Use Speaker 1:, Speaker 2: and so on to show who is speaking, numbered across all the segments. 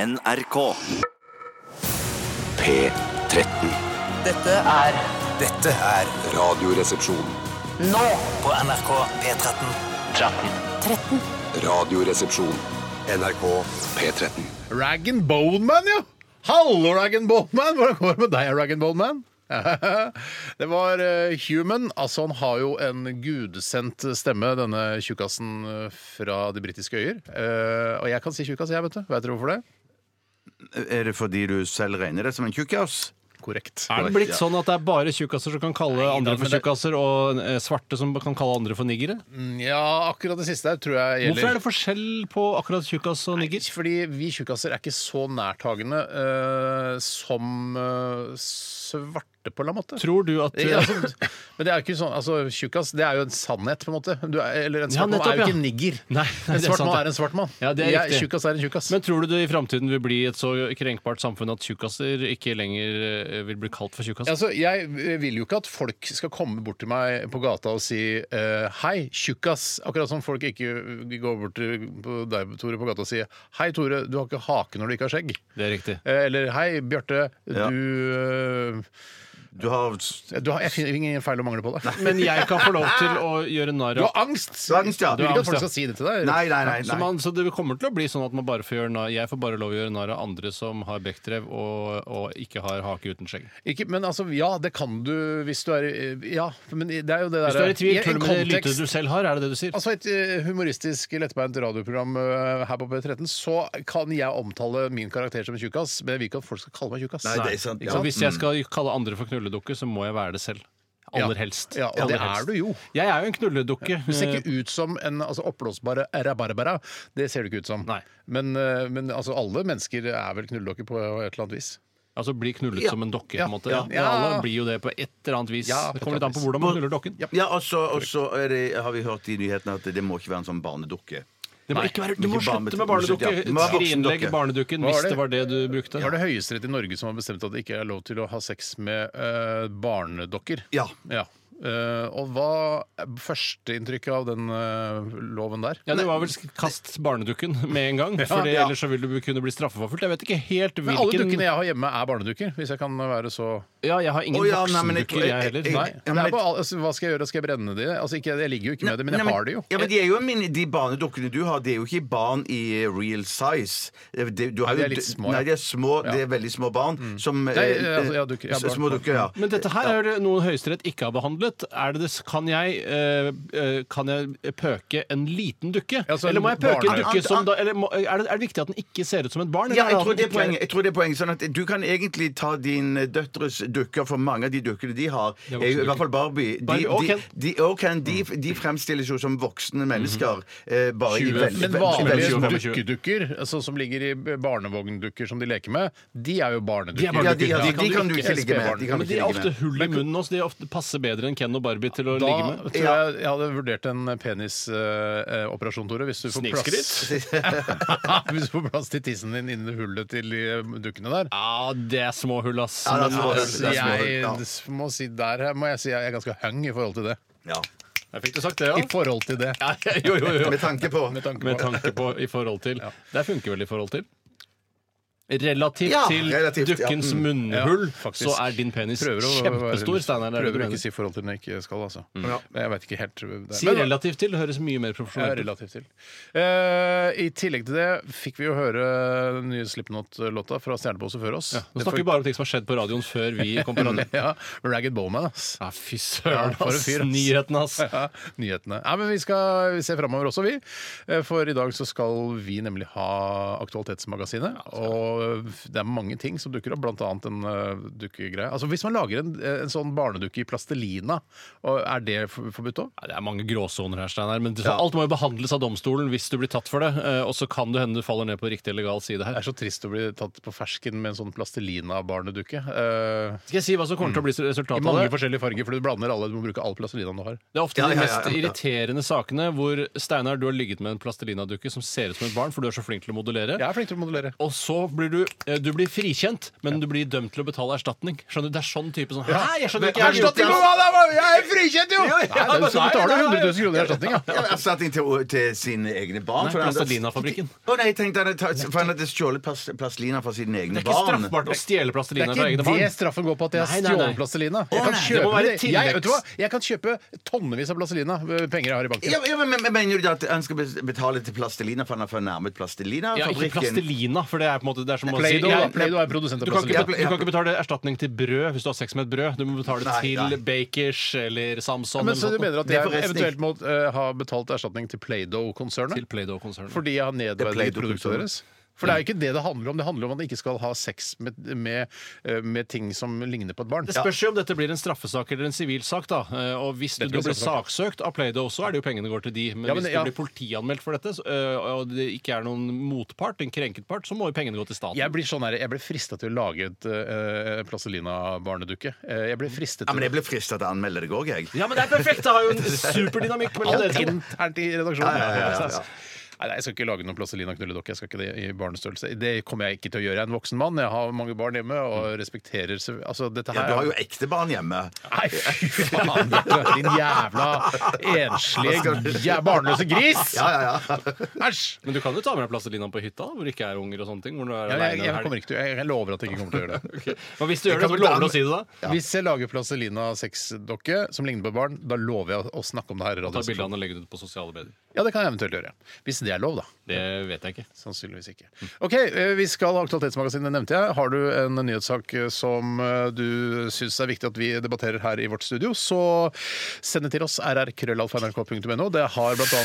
Speaker 1: NRK.
Speaker 2: P13.
Speaker 3: Dette er
Speaker 4: Dette er
Speaker 2: Radioresepsjon.
Speaker 3: nå
Speaker 4: på NRK P13.
Speaker 2: Radioresepsjon. NRK P13.
Speaker 5: Rag and Bone Man, ja! Hallo, Rag and Bone Man! Hvordan går det med deg, Rag and Bone Man? Det var eh, Human. Altså, han har jo en gudsendt stemme, denne tjukkasen eh, fra de britiske øyer. Eh, og jeg kan si tjukkas, jeg, vet du. Vet dere hvorfor det?
Speaker 6: Er det fordi du selv regner det som en tjukkas?
Speaker 5: Korrekt.
Speaker 7: Er det blitt sånn at det er bare tjukkaser som kan kalle
Speaker 5: da,
Speaker 7: andre
Speaker 5: men
Speaker 7: for
Speaker 5: det-
Speaker 7: tjukkaser, og eh, svarte som kan kalle andre for niggere?
Speaker 5: Ja, akkurat det siste her tror jeg gjelder.
Speaker 7: Hvorfor er det forskjell på akkurat tjukkas og nigger?
Speaker 5: Fordi vi tjukkaser er ikke så nærtagende eh, som eh, svarte, på en eller annen måte.
Speaker 7: Tror du at eh,
Speaker 5: Ja, altså, men det er jo ikke sånn, altså tjukkas det er jo en sannhet, på en måte. Du er, eller en
Speaker 7: Ja,
Speaker 5: svart mann
Speaker 7: nettopp,
Speaker 5: er jo ikke
Speaker 7: ja.
Speaker 5: en nigger.
Speaker 7: Nei, nei,
Speaker 5: en
Speaker 7: det er
Speaker 5: svart
Speaker 7: sant,
Speaker 5: mann
Speaker 7: det.
Speaker 5: er en svart mann.
Speaker 7: Ja, det er
Speaker 5: Jeg-
Speaker 7: riktig.
Speaker 5: Tjukkas er en tjukkas.
Speaker 7: Men tror du det i framtiden vil bli et så krenkbart samfunn at tjukkaser ikke lenger eh, vil bli kalt for tjukkaser?
Speaker 5: Altså, jeg vil jo ikke at folk skal komme bort til meg på gata og si eh, 'hei, tjukkas'. Akkurat som folk ikke går bort til på deg, Tore, på gata og sier 'hei, Tore, du har ikke hake når du ikke har skjegg'.
Speaker 7: Det er riktig.
Speaker 5: Eh, Eller 'hei, Bjarte,
Speaker 6: Ja.
Speaker 5: du,
Speaker 6: Du har
Speaker 5: eh, du har, Jeg finner ingen feil å mangle på deg.
Speaker 7: Men jeg kan få lov til å gjøre narr
Speaker 5: Du
Speaker 7: av
Speaker 5: har angst!
Speaker 6: Du har angst, ja.
Speaker 5: Jeg vil ikke at
Speaker 7: Du har angst, ja.
Speaker 5: folk skal si det til deg.
Speaker 6: Nei, nei, nei.
Speaker 7: Så,
Speaker 6: nei.
Speaker 7: man, så det kommer til å bli sånn at man bare får gjøre narr, jeg får bare lov å gjøre narr av andre som har bekkdrev og, og ikke har hake uten skjegg.
Speaker 5: Ikke, men altså, ja, det kan du hvis du er Ja, men det er jo det derre
Speaker 7: Hvis du er i tvil,
Speaker 5: en
Speaker 7: tull med det
Speaker 5: kontekst-
Speaker 7: lyttet du selv har, er det det du sier?
Speaker 5: Altså Et eh, humoristisk, lettbeint radioprogram eh, her på P13, så kan jeg omtale min karakter som tjukkas, men jeg vil ikke at folk skal kalle meg tjukkas.
Speaker 6: Nei, det er sant,
Speaker 5: Ikke
Speaker 6: ja.
Speaker 7: Så hvis jeg skal kalle andre for knulledukke, så må jeg være det selv. Aller
Speaker 5: Mm. Ja.
Speaker 7: helst.
Speaker 5: Ja, og det
Speaker 7: Aller
Speaker 5: er
Speaker 7: helst.
Speaker 5: du jo.
Speaker 7: Jeg er jo en knulledukke. eh,
Speaker 5: Du ser ikke ut som en altså, oppblåsbare rabarbara. Det ser du ikke ut som.
Speaker 7: Nei.
Speaker 5: Men, eh, men altså, alle mennesker er vel knulledokker på et eller annet vis.
Speaker 7: Altså bli knullet som en dokke,
Speaker 5: Ja.
Speaker 7: på en måte.
Speaker 5: Ja.
Speaker 7: Men
Speaker 5: Ja.
Speaker 7: Alle blir jo det på et eller annet vis.
Speaker 5: Ja,
Speaker 7: det
Speaker 5: på et
Speaker 7: kommer litt an på
Speaker 5: eller
Speaker 7: hvordan man knuller dokken.
Speaker 6: Ja, og så og så er det- har vi hørt i nyhetene at det må ikke være en sånn barnedukke.
Speaker 7: Det må ikke være, du
Speaker 6: Ikke
Speaker 7: må
Speaker 6: barne-
Speaker 7: slutte med
Speaker 6: Ja,
Speaker 7: barnedukke.
Speaker 6: det må være
Speaker 7: Skrinlegg
Speaker 6: voksendokke.
Speaker 7: barnedukken
Speaker 5: Hva var
Speaker 7: hvis
Speaker 5: det?
Speaker 7: det var det du brukte.
Speaker 5: Det var det høyesterett i Norge som har bestemt at det ikke er lov til å ha sex med eh, barnedokker.
Speaker 6: Ja.
Speaker 5: Eh, og hva er førsteinntrykket av den eh, loven der?
Speaker 7: Ja, det var vel sk- kast barnedukken med en gang, for
Speaker 5: ja.
Speaker 7: ellers så vil du kunne bli straffeforfulgt. Jeg vet ikke helt
Speaker 5: Men alle
Speaker 7: hvilken
Speaker 5: dukkene jeg har hjemme, er barnedukker. Hvis jeg kan være så
Speaker 7: Ja, jeg har ingen
Speaker 6: Å, ja, nei, men jeg tror-
Speaker 7: voksendukker, jeg
Speaker 6: jeg-
Speaker 7: heller.
Speaker 6: jeg-
Speaker 7: Nei.
Speaker 5: Nei,
Speaker 6: Ja, men
Speaker 5: det er
Speaker 6: jeg-
Speaker 5: bare, al- altså, Hva skal jeg gjøre? Skal jeg brenne de? Altså, ikke, jeg ligger jo ikke med det, men
Speaker 6: Nei,
Speaker 5: jeg har det jo.
Speaker 6: Ja, men de, er jo mini, de barnedukkene du har, de er jo ikke barn i real size. De, du har
Speaker 5: Nei, de er
Speaker 6: jo-
Speaker 5: litt små, ja.
Speaker 6: Nei, de er små, de er veldig små barn. Som, eh,
Speaker 5: altså, ja, dukker, ja,
Speaker 6: s-
Speaker 5: barn.
Speaker 6: små dukker, ja.
Speaker 7: Men dette her er det noe Høyesterett ikke har behandlet. Er det det, kan, jeg, eh, eh, kan jeg pøke en liten dukke?
Speaker 5: Ja, så en
Speaker 7: eller må jeg pøke en
Speaker 5: barnedukke.
Speaker 7: dukke som da, eller må, er, det, er det viktig at den ikke ser ut som et barn?
Speaker 6: Ja,
Speaker 7: eller
Speaker 6: jeg
Speaker 7: at
Speaker 6: tror,
Speaker 7: den
Speaker 6: det er
Speaker 7: ikke er-
Speaker 6: poenget, jeg tror det er poenget. Sånn at du kan egentlig ta din eh, døtres dukker, for mange av de dukkene de har,
Speaker 7: er
Speaker 6: er jo, i
Speaker 7: voksendukker.
Speaker 6: hvert fall Barbie De,
Speaker 7: Barbie og
Speaker 6: de,
Speaker 7: Ken. Mm.
Speaker 6: de, og Ken, de, de fremstilles jo som voksne mennesker. eh, Bare i
Speaker 7: Mhm. Tjue.
Speaker 6: veldig
Speaker 5: Men
Speaker 6: veldig- veldig små-
Speaker 5: vanlige
Speaker 7: 25.
Speaker 5: dukkedukker, altså, som ligger i barnevogndukker som de leker med, de er jo
Speaker 7: De er
Speaker 5: barnedukker.
Speaker 7: barnedukker.
Speaker 6: Ja, de, ja,
Speaker 7: Ja,
Speaker 6: de,
Speaker 7: kan
Speaker 6: de
Speaker 7: du
Speaker 6: kan du
Speaker 5: ikke
Speaker 6: ikke ligge
Speaker 5: elske
Speaker 6: med. De
Speaker 7: Ja,
Speaker 6: kan du
Speaker 7: men
Speaker 6: ikke
Speaker 7: de er
Speaker 6: ligge
Speaker 7: ofte
Speaker 6: med.
Speaker 7: hull i munnen også. De er ofte passer bedre enn Ken og Barbie til å
Speaker 5: Da
Speaker 7: ligge
Speaker 5: tror
Speaker 7: med.
Speaker 5: jeg jeg hadde vurdert en penisoperasjon, Tore. Hvis du får plass Hvis du får plass til tissen din inni hullet til de eh, dukkene der.
Speaker 7: Ja, det er små hull, ass.
Speaker 6: Ja, det er små hull.
Speaker 7: ass,
Speaker 6: Det er små hull,
Speaker 5: Jeg
Speaker 6: ja.
Speaker 5: må si der må jeg si jeg er ganske hung i forhold til det.
Speaker 6: Ja.
Speaker 7: Jeg fikk du sagt det,
Speaker 5: I forhold til det.
Speaker 7: Ja, jo, jo, jo.
Speaker 6: Med tanke på
Speaker 5: Med tanke
Speaker 7: Med
Speaker 5: på
Speaker 7: tanke på i forhold til. Det funker vel i forhold til? Relativt
Speaker 6: Ja,
Speaker 7: til
Speaker 6: relativt, ja.
Speaker 7: dukkens
Speaker 6: Mm.
Speaker 7: munnhull,
Speaker 5: Ja, faktisk.
Speaker 7: så er din penis
Speaker 5: Prøver å
Speaker 7: kjempestor. Steinar, det er
Speaker 5: prøver å
Speaker 7: det du
Speaker 5: ikke
Speaker 7: mener. Mm.
Speaker 5: si forhold til den jeg ikke skal, altså. Men Jeg vet ikke helt eh, det er-
Speaker 7: Si
Speaker 5: Men-
Speaker 7: relativt til, det høres mye mer
Speaker 5: Ja,
Speaker 7: profesjonelt ut.
Speaker 5: relativt til. Eh, I tillegg til det fikk vi jo høre den nye Slipknot-låta fra Stjernepose før oss.
Speaker 7: Nå snakker vi bare om ting som har skjedd på radioen før vi kom på radioen.
Speaker 5: ja, Ragged Bowman, ass.
Speaker 7: Ja, fy søren,
Speaker 5: for en
Speaker 7: ass.
Speaker 5: fyr, ass.
Speaker 7: Nyhetene, ass.
Speaker 5: Ja, nyhetene. Nei, men vi skal se framover også, vi. Eh, For i dag så skal vi nemlig ha Aktualitetsmagasinet. Og det er mange ting som dukker opp, blant annet en eh, dukkegreie. Altså Hvis man lager en, en sånn barnedukke i plastelina, og er det for- forbudt òg?
Speaker 7: Ja, Det er mange gråsoner her, Steinar. Men alt må jo behandles av domstolen hvis du blir tatt for det. eh, Og så kan det hende du faller ned på riktig legal side
Speaker 5: Det
Speaker 7: her.
Speaker 5: er så trist å bli tatt på fersken med en sånn plastelina-barnedukke. Eh,
Speaker 7: Skal jeg si hva som kommer til å bli
Speaker 5: I
Speaker 7: resultatet av
Speaker 5: mange
Speaker 7: det?
Speaker 5: forskjellige farger, for du blander alle. Du må bruke all plastelinaen du har.
Speaker 7: Det er ofte
Speaker 6: Ja, ja, ja, ja.
Speaker 7: de mest irriterende sakene hvor Steinar, du har ligget med en plastelinadukke som ser ut som et barn, for du er så flink til å modellere.
Speaker 5: Jeg er flink til å modellere.
Speaker 7: Og så blir blir du, eh, du blir frikjent, men du blir dømt til å betale erstatning. Skjønner du? Det er sånn type sånn Hæ, jeg
Speaker 6: Men-
Speaker 7: skjønner
Speaker 6: men-
Speaker 7: ikke! Jeg har erstatning på hva?!
Speaker 5: Jeg er frikjent, jo! Nei, det er jo så betaler du 100 000 kroner i erstatning, ja.
Speaker 6: Ja, men Erstatning til, til sine egne barn?
Speaker 7: Nei,
Speaker 6: for han hadde-
Speaker 7: Plastelina-fabrikken.
Speaker 6: Å nei, jeg tenkte han hadde, tatt- for han hadde stjålet plas- plastelina fra sine egne
Speaker 7: Det er
Speaker 6: barn.
Speaker 7: ikke straffbart å stjele
Speaker 5: Det
Speaker 7: plastelina
Speaker 5: er
Speaker 7: fra
Speaker 5: ikke det
Speaker 7: egne barn.
Speaker 5: straffen går på at jeg har
Speaker 7: Nei, nei, nei.
Speaker 5: stjålet plastelina. Jeg
Speaker 7: Å,
Speaker 5: kan,
Speaker 7: nei, det må
Speaker 5: kjøpe,
Speaker 7: være
Speaker 5: det jeg, vet du hva?
Speaker 7: tilvekst.
Speaker 5: jeg kan kjøpe tonnevis av plastelina. ved Penger jeg har i banken.
Speaker 6: Ja, ja, men, men Mener du da at han skal be- betale til plastelina for han har fornærmet
Speaker 7: Ja,
Speaker 6: plastelina-fabrikken?
Speaker 7: ikke plastelina, for det er på en måte det er som å si
Speaker 5: Play-Doh da.
Speaker 7: Jeg-
Speaker 5: Play-Doh er produsent av
Speaker 7: Du kan, ikke,
Speaker 5: plastelina.
Speaker 7: bet- du kan ikke betale erstatning til brød hvis du har sex med et brød. Du må betale
Speaker 6: Nei,
Speaker 7: til
Speaker 6: nei.
Speaker 7: Bakers eller Samson.
Speaker 5: Men så du
Speaker 7: eller noe sånt.
Speaker 5: mener at
Speaker 6: Det er
Speaker 5: jeg
Speaker 6: forresten
Speaker 5: eventuelt må eh, ha betalt erstatning til Play-Doh-konsernet?
Speaker 7: Til Play-Doh-konsernet.
Speaker 5: Fordi jeg har nedverdiget
Speaker 6: Play-Doh-konsernet.
Speaker 5: produktet deres? For det er jo ikke det det handler om. Det handler om at man ikke skal ha sex med, med, eh, med ting som ligner på et barn.
Speaker 7: Det spørs jo om dette blir en straffesak eller en sivilsak. da Eh, Og hvis du
Speaker 5: Dette blir
Speaker 7: blir
Speaker 5: straffesak.
Speaker 7: saksøkt av Play-Doh, så er det jo pengene går til de. Men,
Speaker 5: Ja, men
Speaker 7: hvis
Speaker 5: ja.
Speaker 7: du blir politianmeldt for dette, så, eh, og det ikke er noen motpart, en krenket part, så må jo pengene gå til staten.
Speaker 5: Jeg blir, sånn her, jeg blir frista til å lage et uh, plastelina-barnedukke. Eh, Jeg blir fristet
Speaker 6: Ja, men
Speaker 5: til
Speaker 6: jeg ble fristet til å anmelde deg òg, jeg.
Speaker 7: Ja, men det er perfekt! Det har jo en superdynamikk mellom
Speaker 5: Alt
Speaker 7: dere to.
Speaker 5: internt i redaksjonen. Altså,
Speaker 6: Ja, ja, ja, ja, ja.
Speaker 5: Nei, nei, jeg skal ikke lage noen plastelina-knulledokke. Jeg skal ikke det i barnestørrelse. Det kommer jeg ikke til å gjøre. Jeg er en voksen mann, jeg har mange barn hjemme og respekterer selv- altså, dette
Speaker 6: Mm. Ja,
Speaker 5: her.
Speaker 6: du har jo ekte barn hjemme.
Speaker 5: Nei, fy faen, Bjarte. Din jævla enslige, jæ- barnløse gris!
Speaker 6: Ja, ja, ja.
Speaker 5: Æsj!
Speaker 7: Men du kan jo ta med deg plastelina på hytta, hvor det ikke er unger og sånne ting. Hvor du er
Speaker 5: Ja, jeg,
Speaker 7: alene en
Speaker 5: jeg,
Speaker 7: helg.
Speaker 5: kommer ikke til, jeg lover at jeg ikke kommer til å gjøre det.
Speaker 7: Men hvis du
Speaker 6: Jeg
Speaker 7: gjør det,
Speaker 6: kan ta
Speaker 7: så lover du
Speaker 6: med-
Speaker 7: å si det da?
Speaker 5: Hvis jeg lager plastelina-sexdokke som ligner på barn, da lover jeg å snakke om det her. i
Speaker 7: Ta
Speaker 5: radioen.
Speaker 7: bildene og legge det ut på sosiale medier.
Speaker 5: Ja, det kan jeg eventuelt gjøre. Hvis det er lov, da.
Speaker 7: Det vet jeg ikke.
Speaker 5: Sannsynligvis ikke. Ok, eh, Vi skal ha Aktualitetsmagasinet, nevnte jeg. Har du en nyhetssak eh, som eh, du syns er viktig at vi debatterer her i vårt studio, så send det til oss. rrkrøllalfa.nrk.no. Det har bl.a.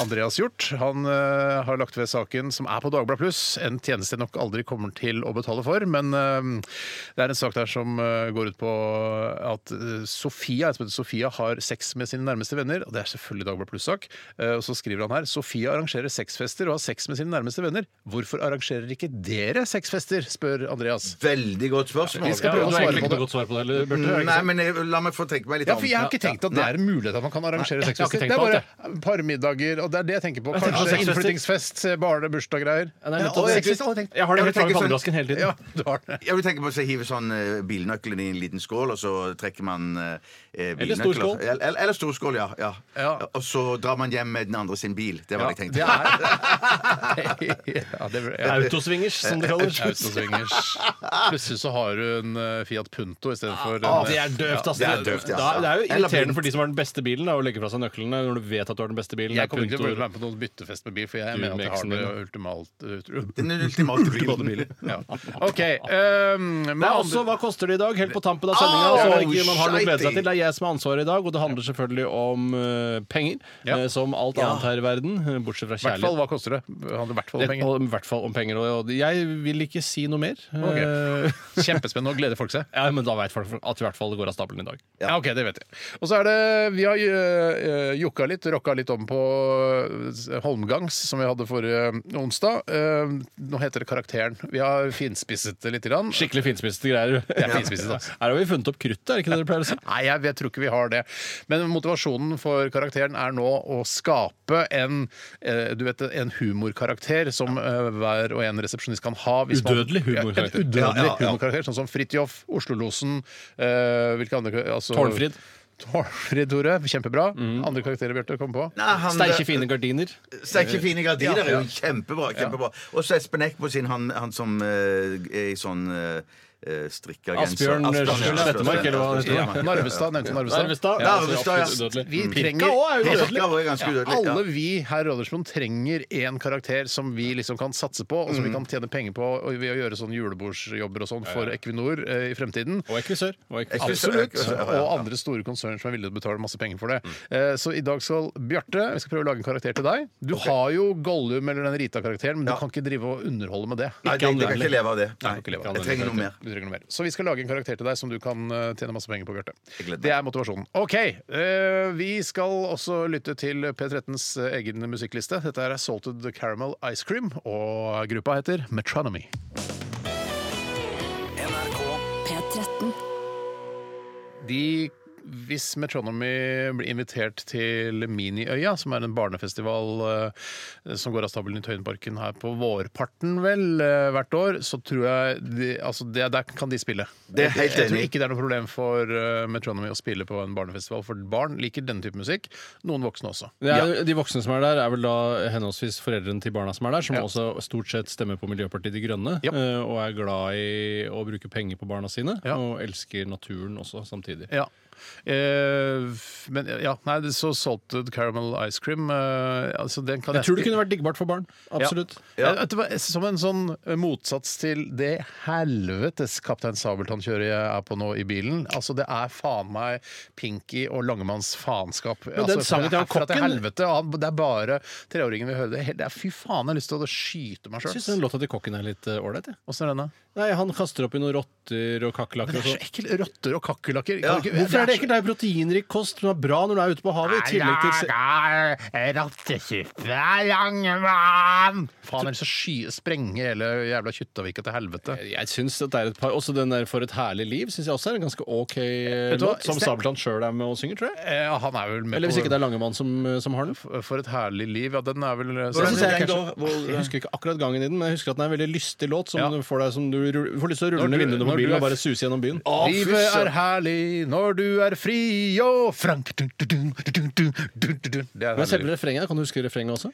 Speaker 5: Andreas gjort. Han eh, har lagt ved saken som er på Dagbladet Pluss, en tjeneste jeg nok aldri kommer til å betale for, men eh, det er en sak der som eh, går ut på at eh, Sofia, jeg tror det heter Sofia har sex med sine nærmeste venner, og det er selvfølgelig Dagbladet Pluss-sak. Eh, Og så skriver han her Sofia arrangerer sexfester og har sex med sine nærmeste venner. Hvorfor arrangerer ikke dere sexfester? spør Andreas.
Speaker 6: Veldig godt spørsmål. Mm,
Speaker 5: Vi skal
Speaker 7: Ja,
Speaker 5: prøve å
Speaker 7: du har
Speaker 5: svare
Speaker 7: egentlig
Speaker 5: på
Speaker 7: ikke
Speaker 5: det.
Speaker 7: noe godt svar på det heller, Bjarte.
Speaker 6: Nei, men jeg, la meg få tenke meg litt
Speaker 5: Ja,
Speaker 6: om.
Speaker 5: for Jeg har ikke tenkt at det er en mulighet at man kan arrangere
Speaker 7: jeg har ikke
Speaker 5: sexfester. Det
Speaker 7: tenkt
Speaker 5: er
Speaker 7: på
Speaker 5: bare parmiddager, og det er det jeg tenker på.
Speaker 7: Jeg tenker på
Speaker 5: Kanskje
Speaker 7: sexfester.
Speaker 5: innflyttingsfest, barnebursdagsgreier.
Speaker 7: det er
Speaker 5: Ja,
Speaker 7: nettopp
Speaker 5: og
Speaker 7: det.
Speaker 5: sexfester har jeg tenkt.
Speaker 7: Jeg har det
Speaker 6: Ja,
Speaker 7: helt
Speaker 6: men
Speaker 7: fram i
Speaker 6: tenk sånn-
Speaker 7: pannebrasken hele tiden.
Speaker 5: Ja, du har det.
Speaker 6: Jeg vil tenke på å hive sånn eh, bilnøklene i en liten skål, og så trekker man eh, eh,
Speaker 7: Eller stor
Speaker 6: bilnøkler.
Speaker 7: skål.
Speaker 6: Eller, eller, eller stor skål, ja, ja.
Speaker 5: Ja.
Speaker 6: Og så drar man hjem med den andre sin bil. Det var det jeg
Speaker 5: Det
Speaker 6: tenkte.
Speaker 5: er ja, det, ja.
Speaker 7: Autosvingers, som det kalles.
Speaker 5: Autosvingers. Plutselig så har du en eh, Fiat Punto istedenfor
Speaker 7: Å, Ah, det
Speaker 5: eh,
Speaker 7: er døvt, ass.
Speaker 6: det er døvt, ja.
Speaker 7: Da, det er jo
Speaker 6: Eller
Speaker 7: irriterende
Speaker 6: blint.
Speaker 7: for de som har den beste bilen, da, å legge fra seg nøklene når du vet at du har den beste bilen.
Speaker 5: Jeg kommer ikke til å
Speaker 7: Punto.
Speaker 5: være med på noen byttefest med bil, for jeg
Speaker 7: Du
Speaker 5: mener at jeg har
Speaker 7: med
Speaker 5: det
Speaker 7: eksen
Speaker 5: ultimalt eh,
Speaker 6: Den ultimate bilen.
Speaker 5: ja. OK. Um, men
Speaker 7: Det er
Speaker 5: andre-
Speaker 7: også altså, Hva koster det i dag? Helt på tampen av altså,
Speaker 6: Au,
Speaker 7: sendinga. man har noe å glede
Speaker 6: shitty.
Speaker 7: seg til. Det er jeg som har ansvaret i dag, og det handler selvfølgelig om eh, penger.
Speaker 5: Ja.
Speaker 7: eh, som alt annet her i verden, eh, bortsett fra
Speaker 5: I hvert fall,
Speaker 7: kjærlighet.
Speaker 5: hva koster det? Det handler i hvert fall om
Speaker 7: Det-
Speaker 5: penger.
Speaker 7: og I hvert fall om penger. Og og jeg vil ikke si noe mer.
Speaker 5: Ok.
Speaker 7: Eh,
Speaker 5: Kjempespennende. Nå gleder folk seg.
Speaker 7: Ja, men Da veit folk at i hvert fall det går av stabelen i dag.
Speaker 5: Ja. OK, det vet jeg. Og så er det Vi har eh, jokka litt, rocka litt om på eh, Holmgangs, som vi hadde forrige onsdag. Eh, nå heter det Karakteren. Vi har finspisset det lite grann.
Speaker 7: Skikkelig finspissete greier. Det
Speaker 5: er finspissete, altså.
Speaker 7: Her har vi funnet opp kruttet, er det ikke det dere pleier å si?
Speaker 5: Nei, jeg, vet- tror ikke vi har det. Men motivasjonen for karakteren er nå å skape en, eh, du vet, en humorkarakter som eh, hver og en resepsjonist kan ha. hvis man-
Speaker 7: Udødelig humorkarakter.
Speaker 5: Ja, en udødelig
Speaker 6: Ja, ja, ja.
Speaker 5: humorkarakter. Sånn som Fridtjof, Oslolosen eh, Hvilke andre altså,
Speaker 7: Tårnfrid. Mm.
Speaker 5: Tårnfrid, Tore. Kjempebra. Andre karakterer, Bjarte, kom på?
Speaker 6: Nei, han-
Speaker 5: eh,
Speaker 7: Sterke, fine gardiner.
Speaker 6: Sterke, fine gardiner
Speaker 5: Ja, ja.
Speaker 6: er jo kjempebra. kjempebra. Og så Espen Eckbo sin, han, han som eh, er i sånn uh, strikka genser.
Speaker 7: Asbjørn Sjøl Slettemark, eller hva han heter.
Speaker 5: Ja, Narvestad. Nevnte Narvestad.
Speaker 7: Narvestad.
Speaker 6: Ja, Narvestad, ja.
Speaker 7: absolutt udødelig.
Speaker 5: Vi
Speaker 7: Pirka
Speaker 5: trenger
Speaker 7: også er
Speaker 6: Ja,
Speaker 7: udødelig.
Speaker 6: Pirka var jo ganske udødelig, ja.
Speaker 5: Alle vi her i Radioresepsjonen trenger én karakter som vi liksom kan satse på, og som
Speaker 6: Mhm.
Speaker 5: vi kan tjene penger på og ved å gjøre sånn julebordsjobber og sånn for Equinor eh, i fremtiden.
Speaker 7: Og ekvisør. Og ekvisør.
Speaker 5: Absolutt.
Speaker 6: Ja, ja, Mm. ja.
Speaker 5: Og andre store konsern som er villige til å betale masse penger for det. Eh, Så i dag skal Bjarte Vi skal prøve å lage en karakter til deg. Du har jo Gollum eller den Rita-karakteren, men du kan ikke drive og underholde med det.
Speaker 6: Nei, jeg, jeg kan ikke leve av det.
Speaker 5: Nei, du kan ikke leve av
Speaker 6: Jeg trenger noe mer.
Speaker 5: Du trenger noe mer. Så vi skal lage en karakter til deg som du kan eh, tjene masse penger på, Bjarte.
Speaker 6: Jeg gleder meg.
Speaker 5: Det er motivasjonen. OK. eh, vi skal også lytte til P13s egen musikkliste. Dette er Salted Caramel Ice Cream, og gruppa heter Metronomy.
Speaker 4: NRK
Speaker 1: P13.
Speaker 5: De hvis Metronomy blir invitert til Miniøya, som er en barnefestival eh, som går av stabelen i Tøyenparken her på vårparten vel eh, hvert år, så tror jeg de, altså det, der kan de spille.
Speaker 6: Det er helt
Speaker 5: jeg, jeg tror
Speaker 6: enig.
Speaker 5: ikke det er noe problem for eh, Metronomy å spille på en barnefestival, for barn liker denne type musikk. Noen voksne også.
Speaker 7: Det er, De voksne som er der, er vel da henholdsvis foreldrene til barna som er der, som
Speaker 5: Ja.
Speaker 7: også stort sett stemmer på Miljøpartiet De Grønne,
Speaker 5: Ja.
Speaker 7: eh, og er glad i å bruke penger på barna sine,
Speaker 5: Ja.
Speaker 7: og elsker naturen også samtidig.
Speaker 5: Ja. Eh, f- men ja, nei, det- så salted caramel ice cream eh, altså den kan
Speaker 7: Jeg tror det kunne vært diggbart for barn. Absolutt.
Speaker 5: Ja. Eh, Vet du hva, Som en sånn motsats til det helvetes Kaptein Sabeltann-kjøret jeg er på nå i bilen. Altså, det er faen meg Pinky og Altså, Langemanns faenskap.
Speaker 7: Men den sangen til han
Speaker 5: herfra
Speaker 7: kokken-
Speaker 5: helvete, og han, Det er bare treåringen vi hører det. Det er fy faen, jeg har lyst til å skyte meg
Speaker 7: Jeg
Speaker 5: sjøl.
Speaker 7: syns den låta til kokken er litt eh, ålreit. jeg.
Speaker 5: Åssen er denne?
Speaker 7: Nei, han kaster oppi noen rotter og kakerlakker
Speaker 5: Det
Speaker 7: og
Speaker 5: er så
Speaker 7: sånn.
Speaker 5: ekkelt. Rotter og kakerlakker.
Speaker 6: Ja,
Speaker 7: Hvorfor er det ekkelt? Det er jo proteinrik kost som er bra når du er ute på havet. I tillegg til se-
Speaker 5: Rottesuppe, Langemann! Faen, ellers så sky- sprenger hele jævla Kjuttaviga til helvete.
Speaker 7: jeg synes at det er et par Også den der For et herlig liv syns jeg også er en ganske OK eh,
Speaker 5: Vet du hva?
Speaker 7: låt, som Sabeltann sjøl er med og synger, tror jeg.
Speaker 5: Eh, han er vel med
Speaker 7: Eller hvis
Speaker 5: på-
Speaker 7: ikke det er Langemann som, eh, som har den.
Speaker 5: For et herlig liv. Ja, den er vel eh,
Speaker 7: Så
Speaker 6: Hvordan
Speaker 7: synes
Speaker 5: Når
Speaker 7: jeg,
Speaker 6: er den
Speaker 7: kanskje-
Speaker 6: da? Hvor-
Speaker 7: jeg husker ikke akkurat gangen i den, men jeg husker at den er en veldig lystig låt som
Speaker 5: Ja.
Speaker 7: du får deg som du rull- får lyst til å rulle
Speaker 5: Når
Speaker 7: ned
Speaker 5: du-
Speaker 7: vinduene på
Speaker 5: når du
Speaker 7: bilen
Speaker 5: er
Speaker 7: og bare
Speaker 5: f-
Speaker 7: suse gjennom byen.
Speaker 6: Å, fy
Speaker 5: Livet er
Speaker 6: søren.
Speaker 5: herlig når du er fri og frank dun, dun, dun, dun, dun, dun, dun, dun. Det er
Speaker 7: Men selve
Speaker 5: herlig.
Speaker 7: refrenget, kan du huske refrenget også?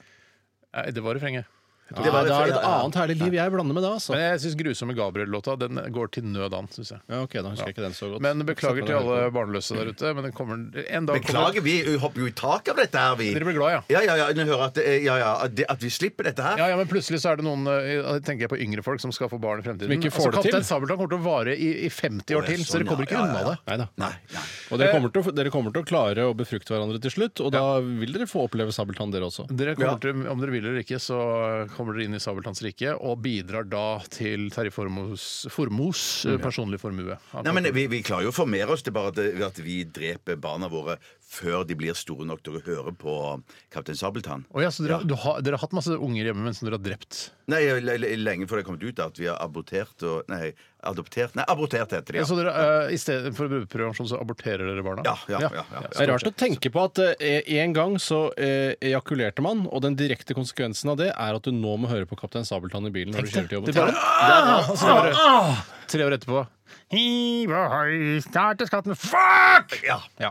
Speaker 5: Nei, det var refrenget.
Speaker 7: Ja,
Speaker 6: var
Speaker 7: da er det
Speaker 6: refrenget,
Speaker 7: et
Speaker 6: ja.
Speaker 7: annet herlig liv jeg blander med da, altså.
Speaker 5: Men jeg syns 'Grusomme Gabriel'-låta den går til nød an, syns jeg.
Speaker 7: Ja, ok, da husker jeg ikke den så godt.
Speaker 5: Men beklager til
Speaker 7: Satt meg
Speaker 5: alle
Speaker 7: og hørte på.
Speaker 5: barnløse der ute, men den kommer en dag
Speaker 6: Beklager, vi hopper jo i taket av dette her, vi.
Speaker 5: Dere blir glad, ja.
Speaker 6: Ja, ja, ja, jeg hører at, eh, ja, ja, at det- at vi slipper dette her.
Speaker 5: Ja, ja, men plutselig så er det noen eh, da tenker jeg på yngre folk som skal få barn i fremtiden. Altså,
Speaker 7: Som ikke får det til.
Speaker 5: Kaptein Sabeltann kommer til å vare i, i 50 år
Speaker 6: Å, ja,
Speaker 5: til, så
Speaker 6: sånn,
Speaker 5: dere kommer
Speaker 6: ja,
Speaker 5: ikke
Speaker 6: ja,
Speaker 5: unna
Speaker 6: ja.
Speaker 5: det.
Speaker 7: Nei da.
Speaker 6: Nei, nei.
Speaker 5: Eh,
Speaker 7: Og dere kommer, til å, dere kommer til å klare å befrukte hverandre til slutt, og da vil dere få oppleve Sabeltann, dere også.
Speaker 5: Dere kommer til, om dere vil eller ikke, så kommer dere inn i Sabeltanns rike og bidrar da til Terje Formos, Formos eh, personlige formue.
Speaker 6: Mm. Nei, men vi, vi klarer jo å formere oss. Det er bare at, ved at vi dreper barna våre før de blir store nok til å høre på Kaptein Sabeltann.
Speaker 5: Å ja, så dere, du har, dere har hatt masse unger hjemme mens dere har drept.
Speaker 6: Nei, jeg- le- le- lenge før det kom ut at vi har abortert og Nei, adoptert Nei, abortert heter det, ja.
Speaker 5: Så dere, eh, I stedet for brukerprevensjon så aborterer dere barna?
Speaker 6: Ja, ja, ja, ja.
Speaker 7: Det er rart å tenke på at eh, en gang så eh, ejakulerte man, og den direkte konsekvensen av det er at du nå må høre på Kaptein Sabeltann i bilen når du kjører til jobben.
Speaker 5: Ah, så dere, tre år etterpå Hiv og høy, start til skatten Fuck!
Speaker 6: Ja.
Speaker 5: Ja.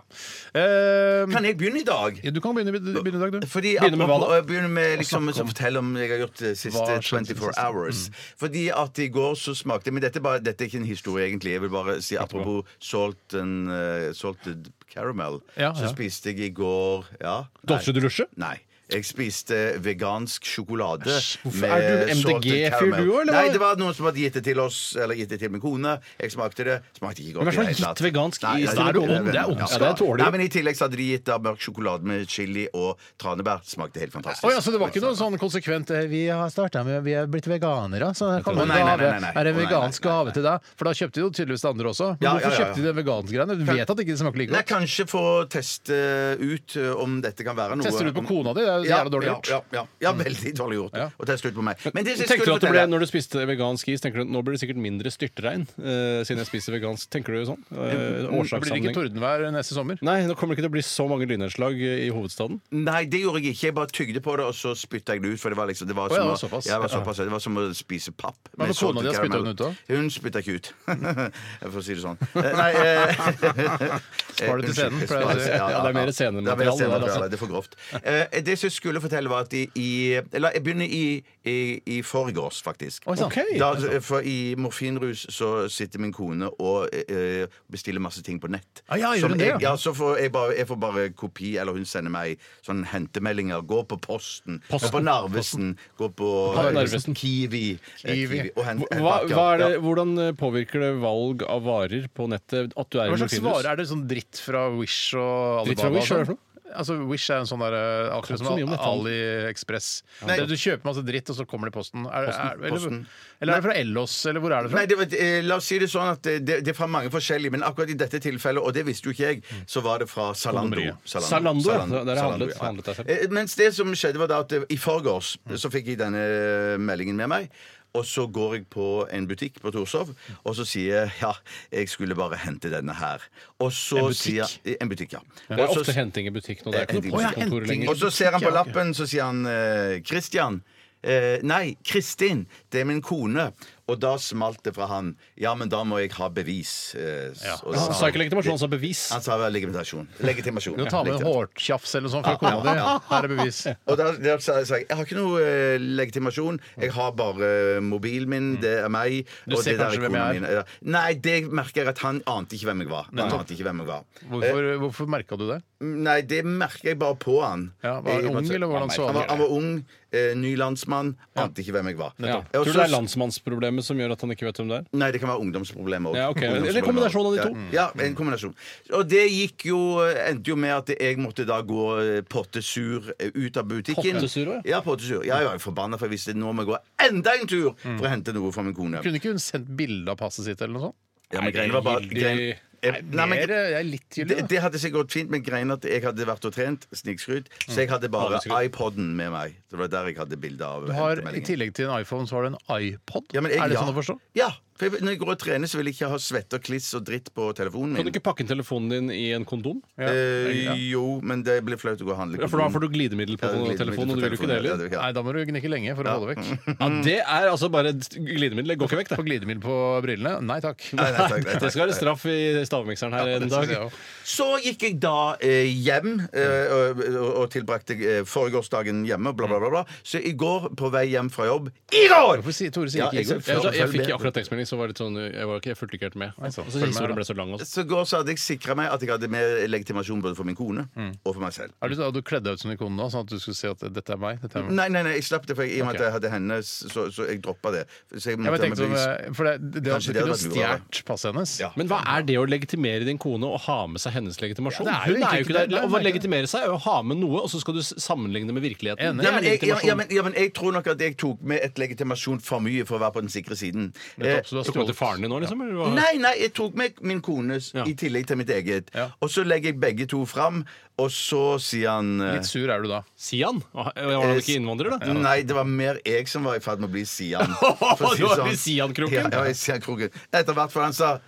Speaker 5: Eh,
Speaker 6: Kan jeg begynne i dag?
Speaker 5: ja, du kan begynne, begynne i dag, du.
Speaker 6: Fordi
Speaker 7: Begynne med hva
Speaker 6: apropos-
Speaker 7: da?
Speaker 6: jeg Begynner med liksom, å fortelle om jeg har gjort det siste
Speaker 5: Hva skjedde siden
Speaker 6: 24
Speaker 5: sist?
Speaker 6: hours. Fordi at i går så smakte Men dette er, bare, dette er ikke en historie, egentlig. Jeg vil bare si apropos salt and, eh, salted caramel.
Speaker 5: Ja,
Speaker 6: så
Speaker 5: ja.
Speaker 6: spiste jeg i går Ja. nei.
Speaker 7: Dolce du lusje?
Speaker 6: Nei. Jeg spiste vegansk sjokolade
Speaker 7: hvorfor er du MDG-fyr du også, eller
Speaker 6: Nei,
Speaker 7: hva?
Speaker 6: det var noen som hadde gitt det til oss, eller gitt det til min kone. Jeg smakte det. Smakte ikke godt.
Speaker 7: Men hvem
Speaker 6: i
Speaker 7: som har
Speaker 6: det hele
Speaker 7: gitt
Speaker 6: tatt.
Speaker 7: vegansk i-
Speaker 6: nei,
Speaker 7: Da er du
Speaker 6: det-
Speaker 7: ond, det er ondskap.
Speaker 6: Ja,
Speaker 7: Ja, det er dårlig.
Speaker 6: Nei, men I tillegg så hadde de gitt da mørk sjokolade med chili og tranebær. Smakte helt fantastisk.
Speaker 5: Å ja, så det var ikke noe sånn konsekvent eh, Vi har startet med Vi er blitt veganere, så her kommer en
Speaker 6: Å, nei, nei,
Speaker 5: gave.
Speaker 6: nei, nei, nei.
Speaker 5: Er det en
Speaker 6: Å, nei,
Speaker 5: vegansk
Speaker 6: nei, nei,
Speaker 5: gave til deg? For da kjøpte de jo tydeligvis det andre også. Men
Speaker 6: Ja,
Speaker 5: hvorfor
Speaker 6: ja, ja, ja.
Speaker 5: kjøpte de den vegansgreiene? Du vet at ikke det smaker like
Speaker 6: Nei,
Speaker 5: godt.
Speaker 6: kanskje få teste ut ø, om dette kan være noe
Speaker 5: Tester du ut på kona di? Det er jo
Speaker 6: Ja,
Speaker 5: jævla dårlig
Speaker 6: ja,
Speaker 5: gjort.
Speaker 6: Ja, ja, ja, veldig dårlig gjort.
Speaker 5: Ja.
Speaker 6: Og teste ut på meg. Men det jeg
Speaker 7: Mm.
Speaker 6: skulle
Speaker 7: Tenkte du at det ble,
Speaker 6: fortelle-
Speaker 7: når du spiste vegansk is, tenker du at nå blir det sikkert mindre styrtregn eh, siden jeg spiser vegansk? Tenker du sånn?
Speaker 6: Eh,
Speaker 7: Uh,
Speaker 5: Blir det ikke
Speaker 7: årsakssammenheng?
Speaker 5: tordenvær neste sommer?
Speaker 7: Nei, nå kommer det ikke til å bli så mange lynnedslag eh, i hovedstaden.
Speaker 6: Nei, det gjorde jeg ikke. Jeg bare tygde på det, og så spytta jeg det ut. For det var liksom Det var
Speaker 5: Å,
Speaker 6: som,
Speaker 5: ja,
Speaker 6: å-
Speaker 5: såpass.
Speaker 6: Ja, det var såpass. Det var som å spise papp. med
Speaker 5: med
Speaker 6: salt
Speaker 5: kona di,
Speaker 6: og
Speaker 5: har spyttet hun ut
Speaker 6: karamell.
Speaker 5: da?
Speaker 6: Hun spytta ikke ut. For å si det sånn. Eh, Nei eh,
Speaker 5: Spar det til scenen,
Speaker 6: unnskyld,
Speaker 5: pleier jeg å
Speaker 6: spar-
Speaker 5: si.
Speaker 7: Ja, det er mer
Speaker 6: Det er mer
Speaker 7: scenemateriale,
Speaker 6: scenemateriale,
Speaker 7: altså.
Speaker 6: det er for grovt. Eh, Det som jeg skulle fortelle, var at i, i Eller jeg begynner i, i, i forgårs, faktisk.
Speaker 5: Oi, sant.
Speaker 7: Ok. altså.
Speaker 6: Da, for I morfinrus så sitter min kone og eh, bestiller masse ting på nett.
Speaker 5: Ah, ja, gjør
Speaker 6: Som
Speaker 5: hun det,
Speaker 6: jeg,
Speaker 5: ja?
Speaker 6: ja, så får jeg, bare, jeg får bare kopi, eller hun sender meg sånn hentemeldinger. Gå på Posten,
Speaker 7: Posten.
Speaker 6: gå på Narvesen, gå på
Speaker 7: På Narvesen.
Speaker 6: Kiwi, eh,
Speaker 5: Kiwi.
Speaker 6: og hent,
Speaker 7: Hva, hva er det,
Speaker 6: Ja.
Speaker 7: hvordan eh, påvirker det valg av varer på nettet at du er
Speaker 5: Hva
Speaker 7: i
Speaker 5: slags
Speaker 7: Morfinrus?
Speaker 5: vare er det sånn dritt fra Wish og Alibaba?
Speaker 7: Dritt fra Wish, hva er det
Speaker 5: og
Speaker 7: for
Speaker 5: sånn? Altså, Wish er en sånn der, eh, akkurat
Speaker 7: Kan så mye
Speaker 5: som
Speaker 7: om dette, han.
Speaker 5: AliExpress.
Speaker 6: Nei.
Speaker 5: Du kjøper masse dritt, og så kommer det i posten. Er, er, eller,
Speaker 6: Posten.
Speaker 5: eller er det fra Ellos, eller hvor er det fra?
Speaker 6: Nei, det, var- eh, La oss si det sånn at det, det, det er fra mange forskjellige, men akkurat i dette tilfellet, og det visste jo ikke jeg, så var det fra Zalando.
Speaker 5: Kondomeriet.
Speaker 7: Mm. Zalando, ja. Der jeg handlet- handlet jeg selv. Mm.
Speaker 6: Eh, Mens det som skjedde var da at eh, i forgårs så fikk jeg denne eh, meldingen med meg. Og så går jeg på en butikk på Torshov,
Speaker 7: Mm.
Speaker 6: og så sier jeg ja, jeg skulle bare hente denne her. Og så
Speaker 7: En butikk?
Speaker 6: sier jeg En butikk, ja.
Speaker 7: Det er
Speaker 6: Og så- Eh,
Speaker 7: ofte henting i butikk nå. Det er ikke noe
Speaker 6: Henting i butikk.
Speaker 7: postkontor lenger.
Speaker 6: Og så ser han på lappen, så sier han eh, Christian. Eh, nei, Kristin. Det er min kone. Og da smalt det fra han. Ja, men da må jeg ha bevis. Eh, s- og
Speaker 7: Han
Speaker 6: sa-
Speaker 7: sa ikke legitimasjon, han sa bevis.
Speaker 6: Han sa vel legitimasjon. Legitimasjon.
Speaker 5: Du kan ta med en
Speaker 6: Legitimasjon.
Speaker 5: hårtjafs eller noe sånt fra kona di. Her er bevis.
Speaker 6: Og da, da sa jeg- sa jeg jeg har ikke noe eh, legitimasjon. Jeg har bare eh, mobilen
Speaker 7: Mm.
Speaker 6: min, det er meg.
Speaker 5: Du
Speaker 6: og
Speaker 5: ser
Speaker 6: det der
Speaker 5: kanskje hvem
Speaker 6: kona
Speaker 5: jeg er.
Speaker 6: mi. Ja. Nei, det merker jeg at han ante ikke hvem jeg var. Han ante ikke hvem jeg var.
Speaker 5: Hvorfor, hvorfor merka du det?
Speaker 6: Nei, det merker jeg bare på han. Eh,
Speaker 5: Ja, var
Speaker 6: Jeg-
Speaker 5: han ung, eller var han så
Speaker 6: Han var,
Speaker 5: gammel?
Speaker 6: han var ung, eh, ny landsmann, ante ikke hvem jeg var.
Speaker 7: Ja.
Speaker 6: Eh, og
Speaker 7: Tror du
Speaker 6: så-
Speaker 7: det er landsmannsproblemet som gjør at han ikke vet hvem det er?
Speaker 6: Nei, det kan være ungdomsproblemer òg.
Speaker 7: Ja, ok. Eller kombinasjon av de to.
Speaker 6: Ja, en kombinasjon. Og det gikk jo, eh, endte jo med at jeg måtte da gå eh, pottesur eh, ut av butikken.
Speaker 7: Pottesur også,
Speaker 6: ja? pottesur. Ja, jeg var jo forbanna, for jeg visste nå må jeg gå enda en tur for å hente noe fra min kone.
Speaker 5: Kunne ikke hun sendt bilde av passet sitt eller noe sånt?
Speaker 6: Ja, men greien var bare
Speaker 7: gildig.
Speaker 6: greien- Eh, nei, men-
Speaker 5: Mer, jeg er litt
Speaker 6: det,
Speaker 5: gyldig. da.
Speaker 6: det hadde sikkert gått fint, men greien at jeg hadde vært og trent, snikskryt, så jeg hadde bare iPoden med meg. Det var der jeg hadde bilde av
Speaker 5: Du har, I
Speaker 6: hentemeldingen.
Speaker 5: tillegg til en iPhone så har du en iPod.
Speaker 6: Ja, men jeg-
Speaker 5: er det
Speaker 6: ja.
Speaker 5: sånn å forstå?
Speaker 6: Ja. For jeg, når jeg går og trener, så vil jeg ikke ha svette og kliss og dritt på telefonen min.
Speaker 7: Kan du ikke pakke inn telefonen din i en kondom?
Speaker 6: Eh, jo, men det blir flaut å gå og handle.
Speaker 7: Ja, For da får du glidemiddel
Speaker 6: mm.
Speaker 7: på
Speaker 6: Ja, glidemiddel
Speaker 7: telefonen, og du vil jo ikke det
Speaker 6: telefonen,
Speaker 7: heller.
Speaker 6: ja,
Speaker 5: Nei, da må du gnikke lenge for å få det vekk.
Speaker 7: Ja, det er altså bare glidemiddel. Det går ikke vekk,
Speaker 5: Få
Speaker 7: det.
Speaker 5: glidemiddel på brillene? Nei takk.
Speaker 6: Nei, nei, takk, nei, takk.
Speaker 7: Det skal være straff i stavmikseren her en
Speaker 5: Det
Speaker 7: dag.
Speaker 5: synes jeg også.
Speaker 6: Så gikk jeg da eh, hjem eh, og, og- og tilbrakte eh, foregårsdagen hjemme, bla, bla, bla, bla. Så i går, på vei hjem fra jobb I går!
Speaker 5: Hvorfor sier Tore sier
Speaker 6: Ja,
Speaker 5: ikke Igor?
Speaker 6: jeg-
Speaker 7: Jeg, jeg, jeg
Speaker 6: følg
Speaker 7: fikk
Speaker 6: med.
Speaker 7: akkurat tekstmelding, så var det litt sånn Jeg, var ikke, jeg fulgte ikke helt med. Og
Speaker 5: sant.
Speaker 7: så
Speaker 5: Følg med,
Speaker 7: historien
Speaker 5: da.
Speaker 7: ble så lang altså. også.
Speaker 6: Så i går så hadde jeg sikra meg at jeg hadde med legitimasjon både for min kone og for meg selv.
Speaker 5: Er du, har du kledd deg ut som en kone nå, sånn at du skulle se at dette er meg? Dette er meg.
Speaker 6: Nei, nei, nei, jeg slapp det, for jeg, i og
Speaker 5: Mm. Ok.
Speaker 6: med at jeg hadde henne, så, så jeg droppa det. Så
Speaker 5: Ja,
Speaker 6: jeg
Speaker 5: men jeg
Speaker 6: måtte ha med
Speaker 5: tenkte
Speaker 6: bevis.
Speaker 5: sånn, eh, for det, det, det hadde ikke
Speaker 6: Kanskje det
Speaker 5: noe
Speaker 6: hadde vært mye
Speaker 5: stjålet passet hennes.
Speaker 6: Ja.
Speaker 7: Men hva er det å legitimere din kone og ha med seg hennes legitimasjon?
Speaker 5: Ja, det er jo
Speaker 7: Hun er jo
Speaker 5: egentlig
Speaker 7: ikke
Speaker 5: ikke
Speaker 7: der.
Speaker 5: det. Nei, det er
Speaker 7: Å
Speaker 5: ikke det.
Speaker 7: legitimere seg er å ha med noe, og så skal du s- sammenligne med virkeligheten.
Speaker 5: Enig.
Speaker 7: Det
Speaker 6: Ja
Speaker 7: er
Speaker 6: men, jeg, ja,
Speaker 7: legitimasjon.
Speaker 6: ja, men, ja, men jeg tror nok at jeg tok med et legitimasjon for mye for å være på den sikre siden. Eh,
Speaker 5: Nettopp, så du har
Speaker 7: Tok du med til
Speaker 5: stjålet.
Speaker 7: faren din nå, liksom? Eller hva?
Speaker 6: Nei, nei, jeg tok med min kones
Speaker 7: Ja.
Speaker 6: i tillegg til mitt eget.
Speaker 5: Ja.
Speaker 6: Og så legger jeg begge to fram, og så sier han eh,
Speaker 5: Litt sur er du da.
Speaker 7: Sian? Var han ikke innvandrer, da?
Speaker 6: Nei, det var mer jeg som var i ferd med å bli Sian. å si
Speaker 7: Du var
Speaker 6: sånn.
Speaker 7: i Sian-kroken?
Speaker 6: Ja, jeg var i Sian-kroken. Etter hvert, for han sa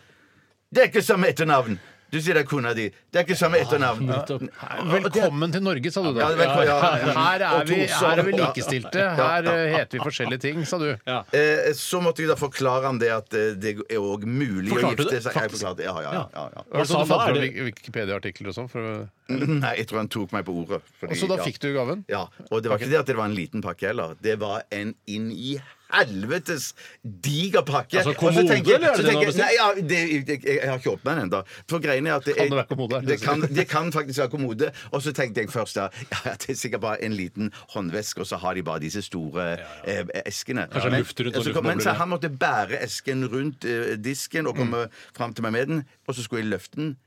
Speaker 6: Det er ikke samme etternavn. Du sier det er kona di. Det er ikke samme etternavn.
Speaker 7: Nettopp.
Speaker 5: Velkommen til Norge, sa du da.
Speaker 6: Ja, velkommen, ja.
Speaker 5: Her,
Speaker 6: Og
Speaker 5: er vi,
Speaker 6: Torshov.
Speaker 5: her er vi likestilte. Her eh, heter vi forskjellige ting, sa du.
Speaker 7: Ja.
Speaker 6: Eh, så måtte jeg da forklare ham det at eh, det er òg mulig
Speaker 7: Forklarte
Speaker 6: å
Speaker 7: du
Speaker 6: gifte
Speaker 7: det?
Speaker 6: seg. Jeg
Speaker 7: Faktisk?
Speaker 6: forklarte, ja, ja, ja, ja, ja.
Speaker 5: Hva sa
Speaker 7: han da? Er
Speaker 5: du?
Speaker 7: det-
Speaker 5: Wikipedia-artikler og sånn? for å-
Speaker 6: Nei, jeg tror han tok meg på ordet. fordi-
Speaker 5: Og så da
Speaker 6: ja.
Speaker 5: fikk du gaven?
Speaker 6: Ja, Og det var ikke det at det var en liten pakke heller. Det var en inn i helvetes diger pakke.
Speaker 7: Altså,
Speaker 6: Og så
Speaker 7: kommode,
Speaker 6: tenker jeg-
Speaker 7: eller er det
Speaker 6: så
Speaker 7: det
Speaker 6: tenker
Speaker 7: du har
Speaker 6: jeg- Nei, ja, det, jeg, jeg, jeg har ikke åpna den ennå. For greiene er at
Speaker 5: Kan det være kommode?
Speaker 6: Det kan, det kan faktisk være kommode. Og så tenkte jeg først da ja, det er sikkert bare en liten håndveske, og så har de bare disse store eh, eskene.
Speaker 7: Kanskje det er
Speaker 6: Men-
Speaker 7: luft rundt og
Speaker 6: så kom- Men så
Speaker 7: luftbobler.
Speaker 6: han måtte bære esken rundt eh, disken og komme
Speaker 7: Mm.
Speaker 6: fram til meg med den, og så skulle jeg løfte den.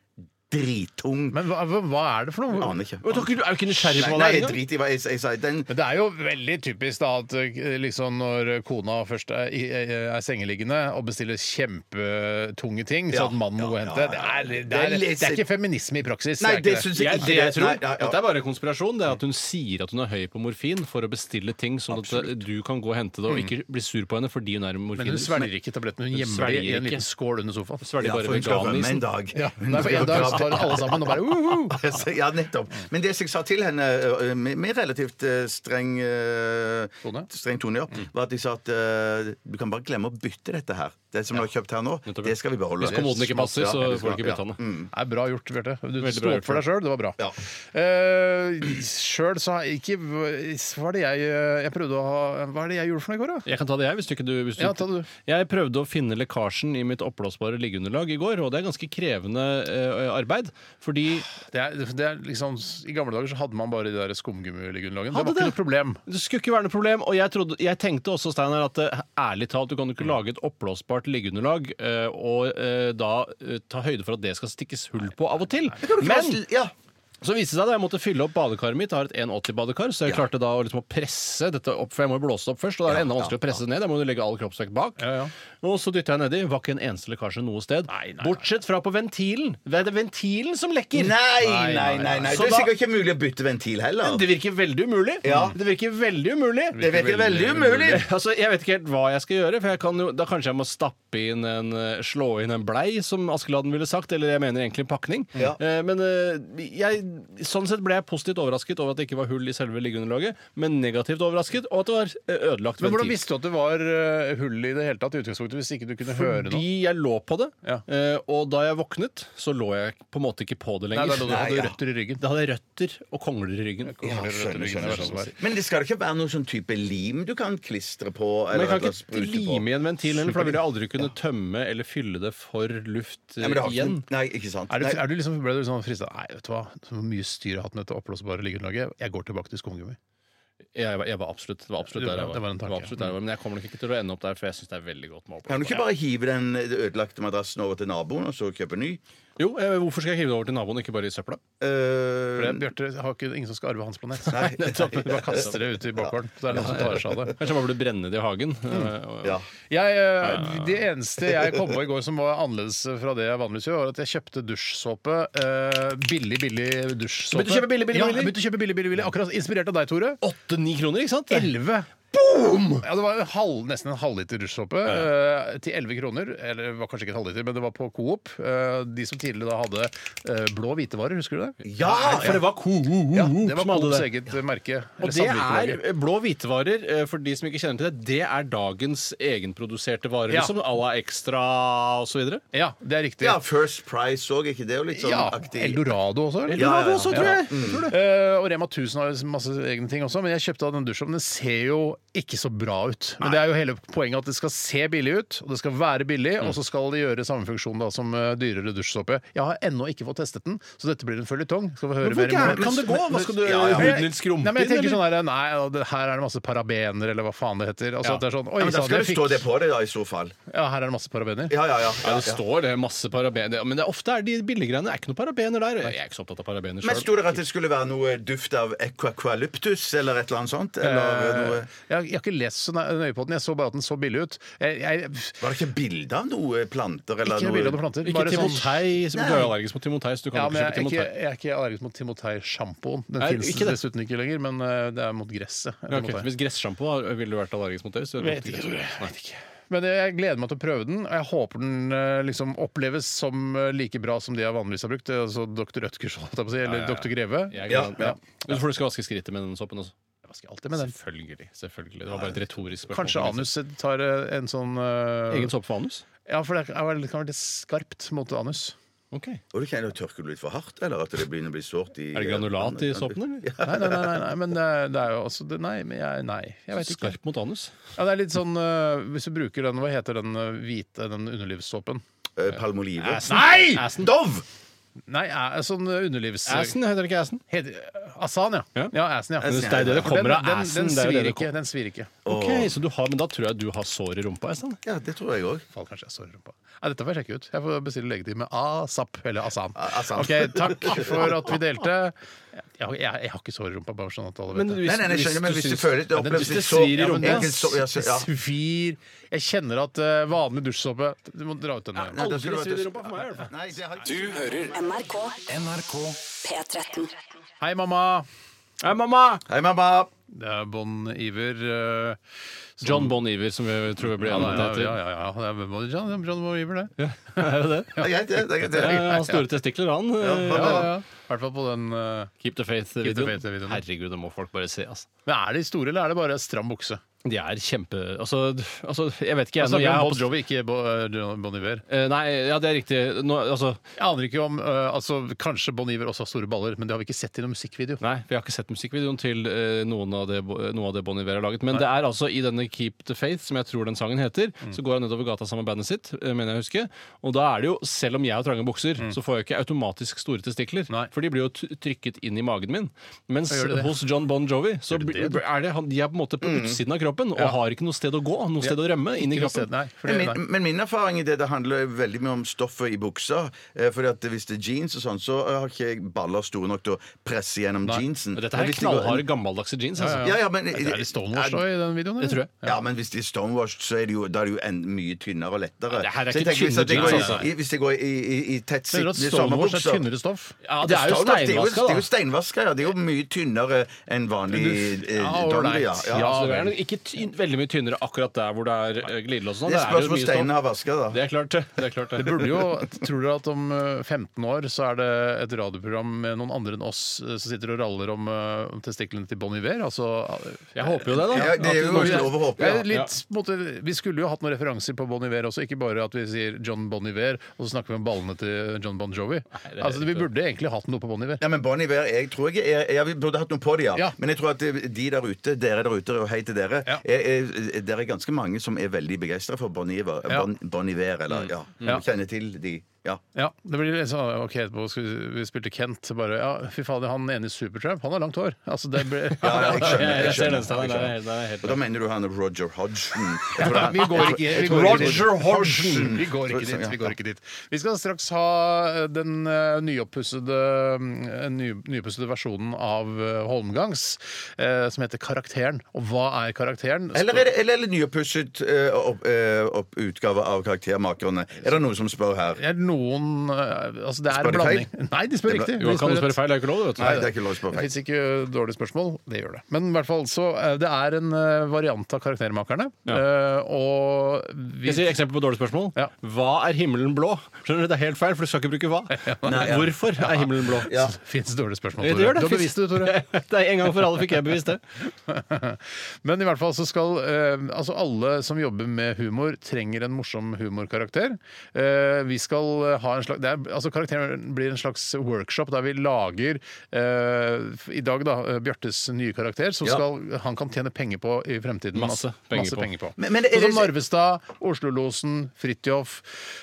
Speaker 6: Dritung.
Speaker 5: Men hva, hva- hva er det for noe?
Speaker 6: Aner ikke.
Speaker 7: Men dere er jo ikke nysgjerrig
Speaker 6: Nei,
Speaker 7: på hva
Speaker 6: nei,
Speaker 7: det
Speaker 6: jeg
Speaker 7: er engang.
Speaker 6: driter i hva jeg, jeg sa. Den
Speaker 5: Men det er jo veldig typisk da at eh, liksom når kona først er, i- eh, er sengeliggende og bestiller kjempetunge ting, så
Speaker 6: Ja,
Speaker 5: at mannen må gå og hente,
Speaker 6: ja,
Speaker 5: det
Speaker 6: ja,
Speaker 5: er, det,
Speaker 6: Det er
Speaker 5: er,
Speaker 6: litt-
Speaker 5: det er ikke feminisme i praksis.
Speaker 6: Nei,
Speaker 5: er ikke
Speaker 6: det syns jeg
Speaker 7: Jeg,
Speaker 6: ikke.
Speaker 7: det jeg tror,
Speaker 6: Nei, ja, ja.
Speaker 7: Dette er bare konspirasjon. Det er at hun sier at hun er høy på morfin for å bestille ting, sånn at du kan gå og hente det og ikke
Speaker 6: Mm.
Speaker 7: bli sur på henne fordi hun er
Speaker 5: Men hun
Speaker 7: morfin.
Speaker 5: svelger ikke tablettene, hun
Speaker 7: Hun
Speaker 5: gjemmer dem i
Speaker 7: svelger
Speaker 5: en
Speaker 7: ikke.
Speaker 5: liten skål under sofaen.
Speaker 7: Svelger
Speaker 6: Ja,
Speaker 7: bare
Speaker 6: for hun skal rømme en
Speaker 7: veganisen.
Speaker 6: dag.
Speaker 5: Ja, Nei, for en dag så tar alle sammen og bare uhu!
Speaker 6: Ja, nettopp. Men det som jeg sa til henne ø, med med relativt ø, streng ø,
Speaker 5: Tone?
Speaker 6: Streng tone, ja.
Speaker 7: Mm.
Speaker 6: Var at jeg sa at ø, du kan bare glemme å bytte dette her. Det som du har kjøpt her nå,
Speaker 7: Nettopp.
Speaker 6: det skal vi beholde.
Speaker 7: Hvis kommoden ikke passer,
Speaker 6: Ja,
Speaker 7: så
Speaker 6: det
Speaker 7: får
Speaker 6: skal-
Speaker 7: du ikke bytte den.
Speaker 5: Nei, bra gjort, Bjarte. Du
Speaker 7: Veldig
Speaker 5: sto
Speaker 7: bra
Speaker 5: opp for deg
Speaker 7: gjort,
Speaker 5: sjøl, det var bra.
Speaker 6: Ja.
Speaker 5: Eh, Sjøl så har jeg ikke Hva er det jeg eh, Jeg prøvde å ha Hva er det jeg gjorde for noe i går, da?
Speaker 7: Jeg kan ta det, jeg. Hvis du ikke du, hvis du,
Speaker 5: Ja, ta det du.
Speaker 7: Jeg prøvde å finne lekkasjen i mitt oppblåsbare liggeunderlag i går, og det er ganske krevende eh, arbeid. Fordi
Speaker 5: Det er, det er liksom, I gamle dager så hadde man bare de der skumgummiunderlagene. Det
Speaker 7: Hadde
Speaker 5: var ikke
Speaker 7: det?
Speaker 5: noe problem.
Speaker 7: det skulle ikke være noe problem. Og jeg, trodde, jeg tenkte også, Steinar, at eh, ærlig talt, du kan jo ikke lage et oppblåsbart liggeunderlag eh, og eh, da eh, ta høyde for at det skal stikkes hull på av og til.
Speaker 6: Men,
Speaker 7: Men
Speaker 6: ja.
Speaker 7: Så viste det seg da jeg måtte fylle opp badekaret mitt. Jeg har et 1,80-badekar, så jeg klarte da å, liksom, å presse dette opp, for jeg må jo blåse det opp først. Og da er det enda vanskeligere å presse det ned. Da må du legge all kroppsvekt bak.
Speaker 5: Ja, ja.
Speaker 7: Og så dytta jeg nedi. Var ikke en eneste lekkasje noe sted.
Speaker 5: Nei, nei, nei.
Speaker 7: Bortsett fra på ventilen. Det er det ventilen som lekker!
Speaker 6: Nei, nei, nei. nei.
Speaker 7: Så
Speaker 6: Det er
Speaker 7: da-
Speaker 6: sikkert ikke mulig å bytte ventil heller.
Speaker 7: Det virker veldig umulig.
Speaker 6: Ja.
Speaker 7: Det virker veldig umulig.
Speaker 6: Det virker veldig umulig.
Speaker 7: Altså, Jeg vet ikke helt hva jeg skal gjøre. For jeg kan jo, Da kanskje jeg må stappe inn en, eh, slå inn en blei, som Askeladden ville sagt. Eller jeg mener egentlig en pakning.
Speaker 6: Ja.
Speaker 7: Eh, Men eh, jeg, sånn sett ble jeg positivt overrasket over at det ikke var hull i selve liggeunderlaget, men negativt overrasket og at det var eh, ødelagt
Speaker 5: Men hvordan
Speaker 7: ventil.
Speaker 5: visste du at det var eh, hull i det hele tatt i utgangspunktet hvis ikke du kunne høre
Speaker 7: Fordi
Speaker 5: noe?
Speaker 7: jeg lå på det,
Speaker 5: Ja.
Speaker 7: eh, og da jeg våknet, så lå jeg på en måte ikke på det
Speaker 5: Nei,
Speaker 7: lenger.
Speaker 5: det er da du
Speaker 6: Nei, ja.
Speaker 5: hadde røtter i ryggen.
Speaker 7: Da hadde jeg røtter og kongler i
Speaker 6: Ja,
Speaker 7: ryggen.
Speaker 6: skjønner,
Speaker 5: Det er
Speaker 6: skjønner,
Speaker 5: verste som er.
Speaker 6: skjønner. Men det skal ikke være noen sånn type lim du kan klistre på?
Speaker 7: Men
Speaker 6: Eller
Speaker 7: jeg
Speaker 6: eller
Speaker 7: kan
Speaker 6: sprute
Speaker 7: ikke
Speaker 6: på?
Speaker 7: lime igjen ventilen, heller, for da vil jeg aldri kunne tømme eller fylle det for luft eh,
Speaker 6: Nei, men det har
Speaker 7: igjen.
Speaker 6: ikke, nei, ikke sant.
Speaker 5: Er du,
Speaker 6: Nei,
Speaker 5: er du liksom, ble du liksom frista Nei, vet du hva, så mye styr jeg har hatt med dette oppblåsbare liggeunderlaget. Jeg går tilbake til skumgummi.
Speaker 7: Jeg, var- jeg var absolutt, det var absolutt
Speaker 5: Det var-
Speaker 7: der jeg var.
Speaker 5: det var en tanke.
Speaker 7: absolutt der jeg var. Men jeg kommer nok ikke til å ende opp der, for jeg syns det er veldig godt med
Speaker 6: kan du ikke
Speaker 7: oppblåsbar.
Speaker 6: bare hive den ødelagte madrassen over til naboen og så kjøpe ny? Eh,
Speaker 7: Jo, eh, hvorfor skal jeg hive det over til naboen, ikke bare i søpla?
Speaker 5: For det,
Speaker 7: Mm.
Speaker 6: Uh,
Speaker 5: Bjarte har ikke ingen som skal arve hans planet.
Speaker 6: Nei,
Speaker 5: nettopp. Du bare kaster det ut i bakgården. Så er det noen som tar seg av det.
Speaker 7: Kanskje jeg bare burde brenne det i hagen? eh, og-
Speaker 6: Mm. ja.
Speaker 5: Jeg, eh, det eneste jeg kom på i går som var annerledes fra det jeg vanligvis gjør, var at jeg kjøpte dusjsåpe. eh, billig, billig dusjsåpe.
Speaker 7: Du begynte å kjøpe billig, billig,
Speaker 5: ja,
Speaker 7: billig?
Speaker 5: jeg begynte å kjøpe billig, billig, billig. Akkurat inspirert av deg, Tore.
Speaker 7: Åtte-ni kroner, ikke sant?
Speaker 5: 11. Boom! Ja, det var en halv, nesten en halvliter dusjsåpe eh, til 11 kroner. Eller det var kanskje ikke en halvliter, men det var på Coop. Eh, de som tidligere da hadde eh, blå hvitevarer, husker du det?
Speaker 6: ja!
Speaker 7: For det var Coop
Speaker 5: Ja, det var
Speaker 7: som hadde
Speaker 5: Coops
Speaker 7: det.
Speaker 5: eget merke. eller
Speaker 7: Og det
Speaker 5: samvirkelaget.
Speaker 7: er blå hvitevarer, eh, for de som ikke kjenner til det, det er dagens egenproduserte varer,
Speaker 5: Ja.
Speaker 7: liksom à la Extra osv.?
Speaker 5: Ja, det er riktig.
Speaker 6: ja, First Price òg, er ikke det jo litt sånn
Speaker 5: Ja,
Speaker 6: aktig?
Speaker 5: Eldorado også, eller?
Speaker 6: Ja, ja, ja.
Speaker 7: også, tror jeg. Tror det.
Speaker 5: Eh, og Rema 1000 har jo masse egne ting også, men jeg kjøpte av den dusjen. Den ser jo ikke så bra ut. Men det er jo hele poenget at det skal se billig ut, og det skal være billig, og så skal det gjøre samme funksjon da som eh, dyrere dusjsåpe. Jeg har ennå ikke fått testet den, så dette blir en føljetong. Skal få høre
Speaker 7: Hvorfor
Speaker 5: mer i
Speaker 7: ikke?
Speaker 5: morgen.
Speaker 7: Kan det gå? Hva skal du
Speaker 6: Ja, ja.
Speaker 7: huden din skrumpe
Speaker 5: Nei, men jeg
Speaker 7: inn,
Speaker 5: tenker
Speaker 7: eller?
Speaker 5: sånn her, nei, ja, det- her er det masse parabener, eller hva faen det heter. Altså,
Speaker 7: Ja.
Speaker 5: at det er sånn,
Speaker 6: Ja,
Speaker 5: Oi,
Speaker 6: men da
Speaker 5: sa
Speaker 6: skal
Speaker 5: jeg
Speaker 6: det stå
Speaker 5: fikk
Speaker 6: det på det, da, i så fall.
Speaker 5: Ja, her er det masse parabener.
Speaker 6: Ja, ja, ja.
Speaker 7: Ja,
Speaker 6: ja,
Speaker 7: det
Speaker 6: ja.
Speaker 7: står det. Masse parabener. Men det er ofte er de billiggreiene. Det er ikke noe parabener der. Jeg er ikke så opptatt av parabener
Speaker 6: Men
Speaker 7: sjøl.
Speaker 6: sto det at det skulle være noe duft av aquaqualyptus eller et eller annet sånt? Eller
Speaker 5: Eh,
Speaker 6: noe...
Speaker 5: Jeg, har- jeg har ikke lest så nø- nøye på den, jeg så bare at den så billig ut. Jeg, jeg,
Speaker 6: Var det ikke bilde av noe planter eller
Speaker 5: ikke billig av noen
Speaker 6: noe?
Speaker 5: planter.
Speaker 7: Ikke
Speaker 5: bare sånn-
Speaker 7: Timotei. Du er jo allergisk mot Timotei, så du kan
Speaker 5: Ja, men jeg er
Speaker 7: ikke kjøpe
Speaker 5: ikke,
Speaker 7: Timotei.
Speaker 5: jeg er ikke allergisk mot Timotei-sjampoen. Den
Speaker 7: Nei,
Speaker 5: fins
Speaker 7: ikke det.
Speaker 5: dessuten ikke lenger, men eh, det er mot gresset.
Speaker 7: Ja, ok.
Speaker 5: Timotei.
Speaker 7: Hvis gressjampo var- ville du vært allergisk mot det? Så
Speaker 5: Vet ikke, Tore. Men jeg gleder meg til å prøve den, og jeg håper den eh, liksom oppleves som eh, like bra som de jeg vanligvis har brukt. eh, Altså Dr. Rødtgers, holdt jeg på å si, eller Dr. Greve.
Speaker 7: Jeg
Speaker 6: Ja,
Speaker 7: gleder meg.
Speaker 6: ja.
Speaker 7: Men For du skal vaske skrittet med den såpen også?
Speaker 5: Jeg vasker alltid med den.
Speaker 7: Selvfølgelig. selvfølgelig. Det var bare et retorisk spørsmål.
Speaker 5: Kanskje anus tar eh, en sånn eh,
Speaker 7: Egen såpe for anus?
Speaker 5: Ja, for det er vel- det kan være litt skarpt mot anus.
Speaker 7: Ok. Er
Speaker 6: Og du kjenner, tørker du litt for hardt, eller at det begynner å bli sårt i
Speaker 7: det granulat i såpen, eller?
Speaker 5: Nei, nei, nei, nei, nei men det, det er jo altså det, Nei, men jeg, nei, jeg vet ikke.
Speaker 7: Skarp mot anus.
Speaker 5: Ja, det er litt sånn eh, Hvis du bruker den, hva heter den eh, hvite, den underlivssåpen?
Speaker 6: Eh, Palmolive.
Speaker 5: Nei!
Speaker 7: Assen.
Speaker 6: Dov!
Speaker 5: Nei, æ- sånn underlivs...
Speaker 7: Assen heter det ikke assen?
Speaker 5: Heter, asan, ja.
Speaker 7: Ja.
Speaker 5: ja. asan, ja.
Speaker 6: Assen,
Speaker 7: Det er jo det det kommer av.
Speaker 5: den, den,
Speaker 7: Assen.
Speaker 5: den,
Speaker 7: det er jo det
Speaker 5: svir
Speaker 7: det
Speaker 5: ikke,
Speaker 7: kom-
Speaker 5: den svir ikke.
Speaker 7: Ok, så du har, Men da tror jeg du har sår i rumpa. Estan.
Speaker 6: Ja, det tror jeg òg.
Speaker 5: Faen, kanskje jeg står i rumpa. Nei, dette får jeg sjekke ut. Jeg får bestille legetime asap. Eller asan.
Speaker 6: A- Asan.
Speaker 5: Ok, Takk for at vi delte. Jeg, jeg, jeg har ikke sår i rumpa, bare sånn at alle vet det.
Speaker 6: Nei, nei, nei, jeg skjønner, men hvis du føler det
Speaker 5: Ja, den-
Speaker 6: oppleves
Speaker 5: hvis
Speaker 6: litt
Speaker 5: det
Speaker 6: sårt
Speaker 5: svir i
Speaker 6: Ja, men
Speaker 5: rumpa,
Speaker 6: det- så- ja, så-
Speaker 5: Det
Speaker 6: ja.
Speaker 5: svir Jeg kjenner at eh, vanlig dusjsåpe Du må dra ut den.
Speaker 6: Nei, da skulle det vært-
Speaker 7: Aldri svir i rumpa for meg, i hvert fall.
Speaker 6: Nei, det har
Speaker 2: Du hører
Speaker 1: NRK
Speaker 4: NRK
Speaker 1: P13.
Speaker 5: Hei, mamma.
Speaker 7: Hei, mamma!
Speaker 6: Hei, mamma!
Speaker 5: Det er Bon Iver. eh,
Speaker 7: John Bon Iver, som vi tror vi ble
Speaker 5: Ja,
Speaker 7: enige
Speaker 5: da,
Speaker 7: om
Speaker 5: ja,
Speaker 7: det heter.
Speaker 5: ja, ja, ja. Det er vel både John, John Bon Iver, det.
Speaker 7: Er det det?
Speaker 6: Det er greit, det. det, er greit,
Speaker 7: Ja,
Speaker 6: det.
Speaker 7: Han har store testikler, han.
Speaker 6: Ja,
Speaker 5: Ja,
Speaker 7: Ja.
Speaker 5: ja. I hvert fall på den eh,
Speaker 7: Keep the
Speaker 5: Keep the
Speaker 7: faith-videoen.
Speaker 5: faith-videoen.
Speaker 7: Herregud, det må folk bare se, altså.
Speaker 5: Men er de store, eller er det bare stram bukse?
Speaker 7: De er kjempe... Altså, d- altså jeg vet ikke,
Speaker 5: Jeg
Speaker 7: jeg. Når jeg
Speaker 5: snakker om
Speaker 7: har
Speaker 5: Bon
Speaker 7: på-
Speaker 5: Jovi, ikke Bo, eh, Bon Iver.
Speaker 7: Eh, Nei, ja, det er riktig. Nå, altså
Speaker 5: Jeg aner ikke om eh, altså, Kanskje Bon Iver også har store baller, men det har vi ikke sett i noen musikkvideo.
Speaker 7: Nei, for jeg har ikke sett musikkvideoen til eh, noen av det, bo- noe av det Bon Iver har laget. Men det er altså i denne Keep the Faith, som jeg tror den sangen heter, så går han nedover gata sammen med bandet sitt, eh, mener jeg å huske. Og da er det jo, selv om jeg har trange bukser, så får jeg ikke automatisk store testikler.
Speaker 5: Nei.
Speaker 7: For de blir jo t- trykket inn i magen min. Mens
Speaker 5: Ja, gjør de det?
Speaker 7: hos John Bon Jovi, så
Speaker 5: Gjør de det,
Speaker 7: bl- er det han, de er på en måte på utsiden av kroppen og har ikke noe sted å gå, noe sted å rømme inn i
Speaker 5: Ikke noe sted,
Speaker 7: kroppen.
Speaker 5: nei, fordi,
Speaker 6: Men
Speaker 5: nei.
Speaker 6: min, men min erfaring i det, det handler veldig mye om stoffet i buksa. Eh, fordi at Hvis det er jeans, og sånn, så eh, har ikke jeg baller store nok til å presse gjennom jeansen.
Speaker 7: Dette
Speaker 6: Men
Speaker 7: her er
Speaker 6: hvis det går-
Speaker 7: knallharde, gammeldagse jeans. Altså.
Speaker 6: Ja, ja, men,
Speaker 5: Det er litt Stonewatch da i den videoen? eller?
Speaker 7: Det tror jeg.
Speaker 6: Ja, men hvis de er stonewashed, så er det jo, da er det jo en, mye tynnere og lettere.
Speaker 7: Ja, det her
Speaker 6: Så jeg
Speaker 7: er ikke
Speaker 6: tenker, hvis
Speaker 7: tynne
Speaker 6: det går i-
Speaker 7: jeans, altså.
Speaker 6: i- Hvis det går i, i, i tett
Speaker 5: Mener du at
Speaker 6: sittende
Speaker 5: Stonewatch er
Speaker 6: sommerbukser
Speaker 5: tynnere stoff?
Speaker 7: Ja, det er jo
Speaker 6: Stonewashed, det er jo-
Speaker 7: steinvaska,
Speaker 6: Det er jo
Speaker 7: da.
Speaker 6: steinvaska, ja. Det er jo mye tynnere enn vanlig eh,
Speaker 5: Ja, all
Speaker 6: dongeri, ja.
Speaker 5: right.
Speaker 6: ja.
Speaker 7: Ja, så det er nok ikke tyn, veldig mye tynnere akkurat der hvor det er eh, glidelås og sånn.
Speaker 6: Det
Speaker 7: Det
Speaker 6: er
Speaker 7: er jo
Speaker 6: spørsmål
Speaker 7: mye
Speaker 6: steinene har
Speaker 7: stoff.
Speaker 6: vaska, da.
Speaker 7: Det er klart, det. det, er klart,
Speaker 5: Det burde jo, Tror dere at om eh, 15 år så er det et radioprogram med noen andre enn oss eh, som sitter og raller om, eh, om testiklene til Bon Iver? Altså, eh,
Speaker 7: Jeg håper jo det, da.
Speaker 6: Ja, det er jo
Speaker 7: At-
Speaker 6: lov å håpe,
Speaker 5: det er
Speaker 6: ja.
Speaker 5: litt, på en måte, vi skulle jo hatt noen referanser på Bon Iver også, ikke bare at vi sier John Bon Iver, og så snakker vi om ballene til John Bon Jovi.
Speaker 7: det er
Speaker 5: altså, vi
Speaker 7: ikke-
Speaker 5: burde egentlig hatt noe på Bon Iver.
Speaker 6: Ja, men Bon Iver, jeg tror ikke jeg, jeg, Vi burde hatt noe på det, ja.
Speaker 5: Ja.
Speaker 6: Men jeg tror at de der ute, dere der ute, og hei til dere
Speaker 5: Ja.
Speaker 6: er, er, Det er ganske mange som er veldig begeistra for Bon Iver.
Speaker 5: Ja. Mm.
Speaker 6: Bon, bon Iver, eller ja.
Speaker 5: Ja.
Speaker 6: Kjenner til de. Ja.
Speaker 5: Ja, det blir litt sånn OK, etterpå skal vi, vi spilte Kent. Bare, ja, fy fader, han ene i Supertramp, han har langt hår. Altså, det ble,
Speaker 6: Ja, ja, jeg skjønner.
Speaker 7: Jeg-
Speaker 6: Jeg
Speaker 7: jeg ser
Speaker 6: skjønner.
Speaker 7: den
Speaker 6: Jeg
Speaker 7: steinen, der er-
Speaker 6: skjønner.
Speaker 7: der er helt
Speaker 6: Og da mener du han er Roger Hodgson? Jeg tror han-
Speaker 5: Vi går ikke, vi
Speaker 6: jeg tror-
Speaker 5: går ikke dit.
Speaker 6: Roger Hodgson!
Speaker 5: Vi går ikke dit. Vi går ikke dit. Vi skal straks ha eh, den eh, nyoppussede, eh, ny, nyoppussede versjonen av eh, Holmgangs, eh, som heter Karakteren. Og hva er karakteren?
Speaker 6: Eller er det, eller er det nyoppusset eh, opp, eh, opp utgave av Karaktermakerne? Er det noen som spør her?
Speaker 5: Er det noen eh, Altså, det er
Speaker 6: Spør de
Speaker 5: en blanding. Nei, de spør
Speaker 6: Det
Speaker 5: riktig.
Speaker 6: ble-
Speaker 7: Jo,
Speaker 5: De
Speaker 7: kan du
Speaker 5: spør
Speaker 7: spørre
Speaker 5: rett.
Speaker 7: feil? Det er jo ikke lov, det,
Speaker 6: Nei,
Speaker 7: vet du.
Speaker 6: det er ikke lov å spørre
Speaker 5: Det
Speaker 6: feil.
Speaker 5: fins ikke dårlige spørsmål. Det gjør det. Men i hvert fall så eh, Det er en eh, variant av Karaktermakerne.
Speaker 7: Ja.
Speaker 5: Eh, Og vi
Speaker 7: Jeg sier eksempel på dårlig spørsmål.
Speaker 5: Ja.
Speaker 7: Hva er himmelen blå? Skjønner du, Det er helt feil, for du skal ikke bruke hva.
Speaker 6: Nei, ja.
Speaker 7: Hvorfor er himmelen blå?
Speaker 6: Ja.
Speaker 5: Fins dårlige spørsmål,
Speaker 7: Det
Speaker 5: Tore.
Speaker 7: gjør det.
Speaker 5: Du har bevist det, Tore.
Speaker 7: Det er En gang for alle fikk jeg bevist det.
Speaker 5: Men i hvert fall så skal eh, altså alle som jobber med humor, trenger en morsom humorkarakter. Eh, vi skal eh, ha en slags det er, altså Karakteren blir en slags workshop der vi lager eh, f- I dag, da, eh, Bjørtes nye karakter, som
Speaker 6: Ja.
Speaker 5: skal, han kan tjene penger på i fremtiden.
Speaker 7: Masse penger
Speaker 5: Masse
Speaker 7: på.
Speaker 5: penger på.
Speaker 6: Men- men er det-
Speaker 5: Sånn som Narvestad, Oslolosen, Fridtjof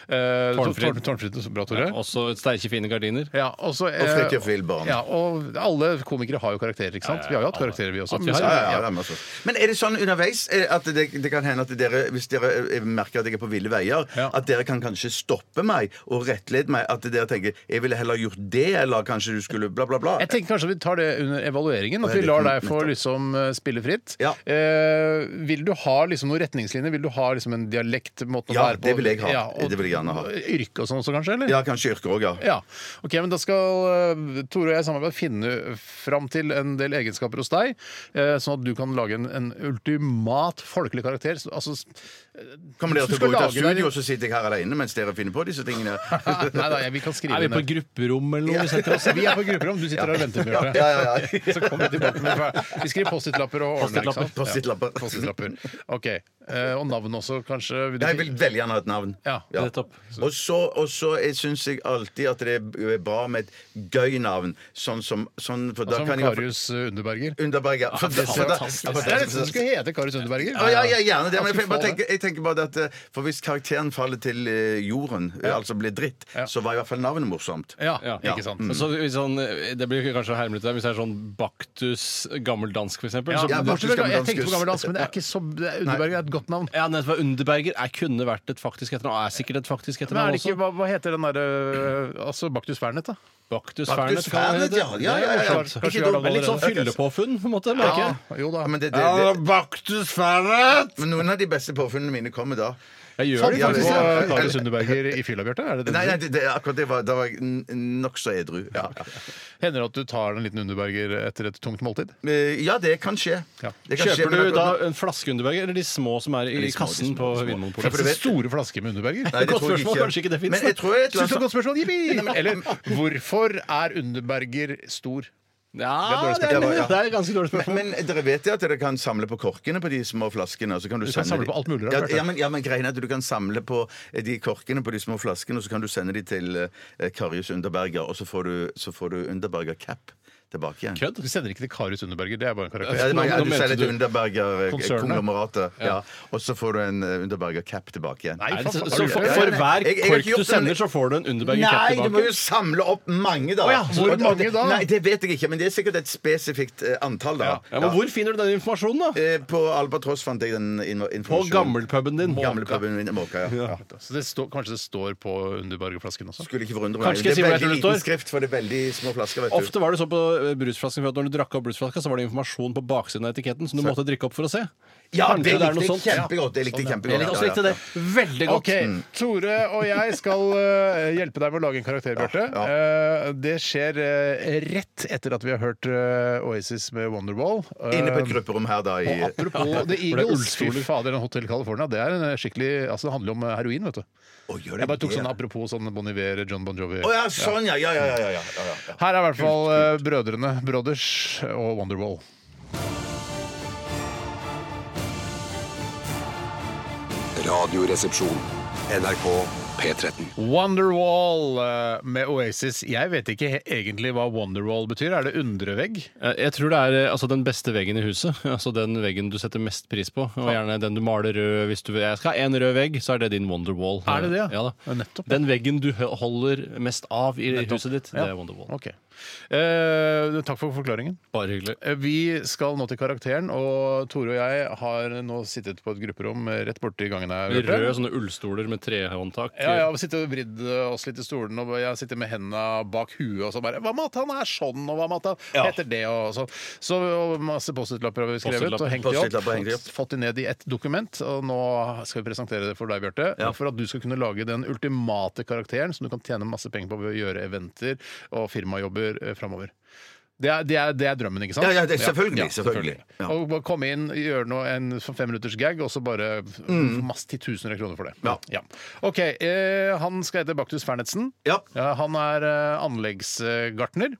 Speaker 5: eh,
Speaker 7: Tårnfrid.
Speaker 5: Tårn- Tårnfrid. så Bra, Tore.
Speaker 7: Også sterke, fine gardiner.
Speaker 5: Ja, og så, eh,
Speaker 6: Fridtjof Wilborn.
Speaker 5: Ja, og alle komikere har jo karakterer, ikke sant? Vi har jo hatt karakterer, vi også.
Speaker 7: At vi
Speaker 5: men
Speaker 7: har,
Speaker 5: så-
Speaker 6: Ja, ja, ja, det er masse. Men er det sånn underveis eh, at det, det kan hende at dere, hvis dere eh, merker at jeg er på ville veier,
Speaker 5: Ja.
Speaker 6: at dere kan kanskje stoppe meg og rettlede meg? At dere tenker 'jeg ville heller gjort det', eller kanskje du skulle bla, bla, bla?
Speaker 5: Jeg tenker kanskje vi tar det under evalueringen. At
Speaker 6: Ja,
Speaker 5: vi
Speaker 6: det
Speaker 5: lar
Speaker 6: kan-
Speaker 5: deg få liksom eh, spille fritt.
Speaker 6: Ja.
Speaker 5: Eh, vil du ha liksom noen retningslinjer? Vil du ha liksom en dialekt? måten å
Speaker 6: Ja,
Speaker 5: være på?
Speaker 6: det vil jeg ha.
Speaker 5: Ja, og
Speaker 6: Det vil jeg gjerne ha.
Speaker 5: Yrke og sånn også, kanskje? eller?
Speaker 6: Ja, kanskje yrker òg, ja.
Speaker 5: Ja. Ok, men Da skal eh, Tore og jeg samarbeide finne fram til en del egenskaper hos deg, eh, sånn at du kan lage en, en ultimat folkelig karakter. Så- Altså,
Speaker 6: Kommer dere
Speaker 5: Du
Speaker 6: til å
Speaker 5: skal
Speaker 6: gå ut av
Speaker 5: lage deg-
Speaker 6: studio, og så sitter jeg her alene mens dere finner på disse tingene?
Speaker 5: nei, nei, vi kan skrive
Speaker 7: Er vi på
Speaker 5: ned.
Speaker 7: grupperom eller noe? Vi setter oss
Speaker 5: Vi er på grupperom. Du sitter her og venter,
Speaker 6: Ja,
Speaker 5: Bjarte.
Speaker 6: ja, ja. ja.
Speaker 5: Så kommer vi tilbake med Vi skriver Post-It-lapper og ordner. ikke sant?
Speaker 6: Post-it-lapper.
Speaker 5: Ja, Post-It-lapper. Ok. Eh, og navn også, kanskje? Vil du-
Speaker 6: Jeg vil veldig gjerne ha et navn.
Speaker 5: Ja,
Speaker 7: nettopp.
Speaker 6: Og så, og så syns jeg alltid at det er bra med et gøy navn, sånn som sånn, for da
Speaker 5: Som
Speaker 6: kan jeg
Speaker 5: Karius eh, Underberger.
Speaker 6: Underberg, ja. For,
Speaker 7: det er
Speaker 6: for da-
Speaker 7: fantastisk.
Speaker 6: ja, for
Speaker 5: Det
Speaker 6: da-
Speaker 5: er nesten som skulle hete Karius Underberger.
Speaker 6: Ja, ja, ja, gjerne det. Men jeg,
Speaker 5: skulle
Speaker 6: bare
Speaker 5: få
Speaker 6: tenker, jeg tenker bare at eh, For hvis karakteren faller til eh, jorden, eh, altså blir dritt,
Speaker 5: Ja.
Speaker 6: så var i hvert fall navnet morsomt.
Speaker 5: Ja,
Speaker 7: Ja.
Speaker 5: ikke sant.
Speaker 7: Mm. Så hvis han, det blir kanskje å herme litt der. Hvis det er sånn Baktus gammeldansk, f.eks.
Speaker 5: Ja,
Speaker 7: Ja,
Speaker 6: ja,
Speaker 7: så,
Speaker 5: bortsett fra- jeg tenkte på
Speaker 6: Gammeldanskus.
Speaker 5: gammeldansk, men det er ikke så, det er- Underberger er et godt navn.
Speaker 7: ja, nettopp. Underberger er, kunne vært et faktisk etternavn. Er sikkert et faktisk
Speaker 5: Men er
Speaker 7: etternavn
Speaker 5: det ikke,
Speaker 7: også.
Speaker 5: hva, hva heter den derre Altså Baktus Fernet, da?
Speaker 7: Baktus
Speaker 6: Baktus
Speaker 7: Fernet kan
Speaker 6: Fernet,
Speaker 7: det
Speaker 6: ja.
Speaker 7: hete.
Speaker 6: Ja, ja, ja, ja.
Speaker 5: Kanskje
Speaker 6: Ikke
Speaker 5: vi har det
Speaker 6: dumt,
Speaker 7: Men litt sånn
Speaker 5: allerede.
Speaker 7: fyllepåfunn, på en måte. merker jeg.
Speaker 5: jo da.
Speaker 6: Ja, men det, det, det,
Speaker 7: Baktus Fernet!
Speaker 6: men noen av de beste påfunnene mine kommer da.
Speaker 7: Jeg gjør
Speaker 5: Fant du
Speaker 7: det
Speaker 6: Ja,
Speaker 7: faktisk.
Speaker 6: hvis jeg-
Speaker 5: på Karius Underberger i fylla, Bjarte? Er det det
Speaker 6: Nei,
Speaker 5: du
Speaker 6: nei,
Speaker 5: sier?
Speaker 6: det, det, akkurat det var, da var jeg n- nokså edru. Ja.
Speaker 5: Hender det at du tar en liten Underberger etter et tungt måltid?
Speaker 6: Eh, ja, det kan skje.
Speaker 5: Ja.
Speaker 6: Det kan skje,
Speaker 7: Kjøper
Speaker 6: men
Speaker 7: du da
Speaker 6: akkurat-
Speaker 7: en flaske Underberger, eller de små som er
Speaker 6: De
Speaker 7: i
Speaker 6: små, de
Speaker 7: kassen
Speaker 6: små,
Speaker 7: på
Speaker 6: de små.
Speaker 7: Vinmonopolet?
Speaker 6: Ja, for du vet-
Speaker 5: Store flasker med Underberger?
Speaker 6: Nei, det
Speaker 7: Godt
Speaker 6: tror jeg
Speaker 7: spørsmål, kanskje ikke det finnes,
Speaker 6: Men jeg
Speaker 7: da.
Speaker 6: tror
Speaker 5: Synes
Speaker 6: jeg,
Speaker 5: du det er et godt spørsmål? Jippi! Eller hvorfor er Underberger stor?
Speaker 7: Ja,
Speaker 5: Det er
Speaker 6: dårlig
Speaker 7: det er,
Speaker 6: spørsmål.
Speaker 7: det er et ganske dårlig spørsmål.
Speaker 6: Men dere vet jo at dere kan samle på korkene på de små flaskene. og Så kan du,
Speaker 5: Du kan
Speaker 6: sende
Speaker 5: samle
Speaker 6: de-
Speaker 5: på alt mulig rart,
Speaker 6: Ja,
Speaker 5: Bjarte.
Speaker 6: ja, men, ja, men greien er at du kan samle på eh, de korkene på de små eh, flaskene, og så kan du sende de til eh, Karius Underberger, og så får du, så får du Underberger Cap. tilbake igjen.
Speaker 7: Kødd?
Speaker 5: Vi sender ikke til Kari Sundberger. Det er bare en
Speaker 6: Ja,
Speaker 5: karakter.
Speaker 6: det er bare,
Speaker 7: Nå- nå
Speaker 6: ja, du
Speaker 7: mente
Speaker 6: selger
Speaker 7: du
Speaker 6: til Underberger-konglomeratet.
Speaker 7: Ja.
Speaker 6: Ja. Og så får du en eh, Underberger-cap tilbake igjen.
Speaker 5: Nei,
Speaker 7: Så,
Speaker 5: faen,
Speaker 7: så
Speaker 5: har du
Speaker 7: for,
Speaker 5: det?
Speaker 6: ja,
Speaker 7: for
Speaker 6: nei,
Speaker 7: hver
Speaker 6: jeg- jeg har
Speaker 7: kork
Speaker 6: ikke gjort
Speaker 7: du sender,
Speaker 6: den-
Speaker 7: så får du en Underberg
Speaker 6: Nei,
Speaker 7: cap
Speaker 6: du må
Speaker 7: tilbake?
Speaker 6: jo samle opp mange, da.
Speaker 5: ja, hvor
Speaker 6: Og det-
Speaker 5: mange da?
Speaker 6: Nei, Det vet jeg ikke, men det er sikkert et spesifikt eh, antall, da.
Speaker 7: Ja, men hvor finner du den informasjonen, da?
Speaker 6: Eh, På Albatross fant jeg den in-
Speaker 7: På
Speaker 6: informasjonen.
Speaker 7: gammelpuben din.
Speaker 6: Gamlepuben min i Måka, ja.
Speaker 5: Så det står, kanskje det står på Underberger-flasken også?
Speaker 6: Skulle ikke forundre meg.
Speaker 7: Kanskje skal jeg
Speaker 6: Det
Speaker 7: si hvor
Speaker 6: er
Speaker 7: jeg tror
Speaker 6: veldig
Speaker 7: det
Speaker 6: liten
Speaker 7: står?
Speaker 6: skrift, for det er veldig små flasker, vet du.
Speaker 7: Ofte var det så på eh, brusflasken for at når du drakk opp brusflaska, så var det informasjon på baksiden av etiketten som du måtte drikke opp for å se.
Speaker 6: Ja,
Speaker 7: Kanskje
Speaker 6: det
Speaker 7: er
Speaker 6: likte
Speaker 7: noe
Speaker 6: jeg
Speaker 7: sånt. Sånn,
Speaker 6: kjempegodt. Det likte jeg
Speaker 7: Jeg likte-
Speaker 6: kjempegodt.
Speaker 7: også likte det veldig godt.
Speaker 5: Ok,
Speaker 6: Mm.
Speaker 5: Tore og jeg skal eh, hjelpe deg med å lage en karakter, Bjarte. Eh, det skjer eh, rett etter at vi har hørt eh, Oasis med Wonderwall. Eh,
Speaker 6: Inne på et grupperom her, da. I,
Speaker 5: og apropos The
Speaker 7: det er
Speaker 5: Eagles, fy
Speaker 7: ullstoler.
Speaker 5: fader, den Hotel California. Det er en skikkelig, altså det handler om eh, heroin, vet du.
Speaker 6: Å, gjør det
Speaker 5: Jeg bare tok
Speaker 6: det?
Speaker 5: sånn apropos sånn Bon Iver, John Bon Jovi.
Speaker 6: Å ja, sånn, ja. Ja, ja, ja. ja, ja, ja, ja.
Speaker 5: Her er i hvert fall eh, brødrene Brothers og Wonderwall.
Speaker 2: Radioresepsjon. NRK P13.
Speaker 5: Wonderwall eh, med Oasis. Jeg vet ikke he- egentlig hva Wonderwall betyr. Er det undrevegg?
Speaker 7: Eh, Jeg tror det er eh, altså, den beste veggen i huset. Altså den veggen du setter mest pris på. Og gjerne den du maler rød hvis du vil. Jeg skal ha én rød vegg, så er det din Wonderwall.
Speaker 5: Er det det, ja?
Speaker 7: Ja,
Speaker 5: Ja,
Speaker 7: da.
Speaker 5: nettopp, ja.
Speaker 7: Den veggen du hø- holder mest av i huset ditt, det
Speaker 5: Ja.
Speaker 7: er Wonderwall.
Speaker 5: Ok. Eh, takk for forklaringen.
Speaker 7: Bare hyggelig.
Speaker 5: Eh, Vi skal nå til karakteren, og Tore og jeg har nå sittet på et grupperom eh, rett borti gangen her.
Speaker 7: Med Røde
Speaker 5: Bjarte.
Speaker 7: sånne ullstoler med trehåndtak.
Speaker 5: Ja,
Speaker 6: eh,
Speaker 5: ja, vi sitter og vridd oss litt i stolen, og jeg sitter med hendene bak huet og så bare Hva med at han er sånn, og hva med at han heter det, og sånn. Så og masse Post-It-lapper har vi skrevet
Speaker 7: Post-it-lapper.
Speaker 5: og hengt de
Speaker 6: Post-it-lapper hengt de
Speaker 5: opp.
Speaker 6: opp.
Speaker 5: Fått de ned i ett dokument, og nå skal vi presentere det for deg, Bjarte. For at du skal kunne lage den ultimate karakteren som du kan tjene masse penger på ved å gjøre eventer og firmajobber eh, framover. Det er, det, er, det er drømmen, ikke sant?
Speaker 6: Ja, ja, det- selvfølgelig, selvfølgelig. Ja.
Speaker 5: Og bare komme inn, gjøre noe, en sånn femminutters gag, og så bare f- få masse titusener av kroner for det.
Speaker 6: Ja.
Speaker 5: OK. Eh, han skal hete Baktus Fernetsen.
Speaker 6: Ja.
Speaker 5: Ja, han er eh, anleggsgartner.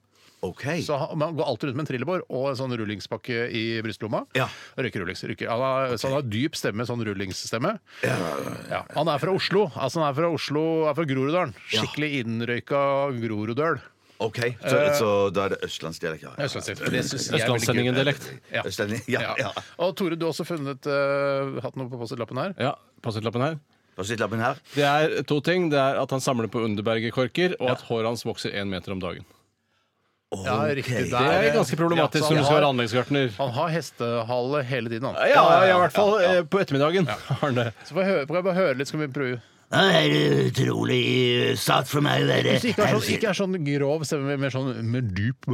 Speaker 6: OK.
Speaker 5: Så han, man går alltid rundt med en trillebår og en sånn rullingspakke i brystlomma.
Speaker 6: Ja.
Speaker 5: Røyker rullings. Røyker. Han har, Så han har dyp stemme, sånn rullingsstemme. Ja. Han er fra Oslo. Altså, han er fra Oslo, er fra Groruddalen. Skikkelig innrøyka Groruddøl.
Speaker 6: ok Så,
Speaker 7: Eh.
Speaker 6: så da er det østlandsdialekt. Ja, ja.
Speaker 5: Østlandsstil. Det synes jeg er veldig gøy.
Speaker 7: Østlandssendingen-dialekt.
Speaker 5: Ja.
Speaker 6: Østlending, ja, ja.
Speaker 5: Ja. Og Tore, du har også funnet eh, hatt noe på Post-It-lappen her.
Speaker 7: Ja, Post-It-lappen her.
Speaker 6: Hva sitter lappen her?
Speaker 7: Det er to ting. Det er at han samler på Underberger-korker, og at håret hans vokser én meter om dagen.
Speaker 5: Ja, riktig.
Speaker 7: Det
Speaker 5: Der,
Speaker 7: er
Speaker 5: eh,
Speaker 7: ganske
Speaker 5: ja,
Speaker 7: problematisk
Speaker 5: så han
Speaker 7: når du skal
Speaker 5: har-
Speaker 7: være anleggsgartner.
Speaker 5: Han har hestehale hele tiden, han.
Speaker 7: Ja, i hvert fall eh, på ettermiddagen. har han det.
Speaker 5: Så får jeg, høre, får jeg bare høre litt, skal vi prøve.
Speaker 1: Det er utrolig eh, satt for meg, det
Speaker 5: Hvis det ikke er sånn, ikke er sånn grov stemme, men mer sånn med dyp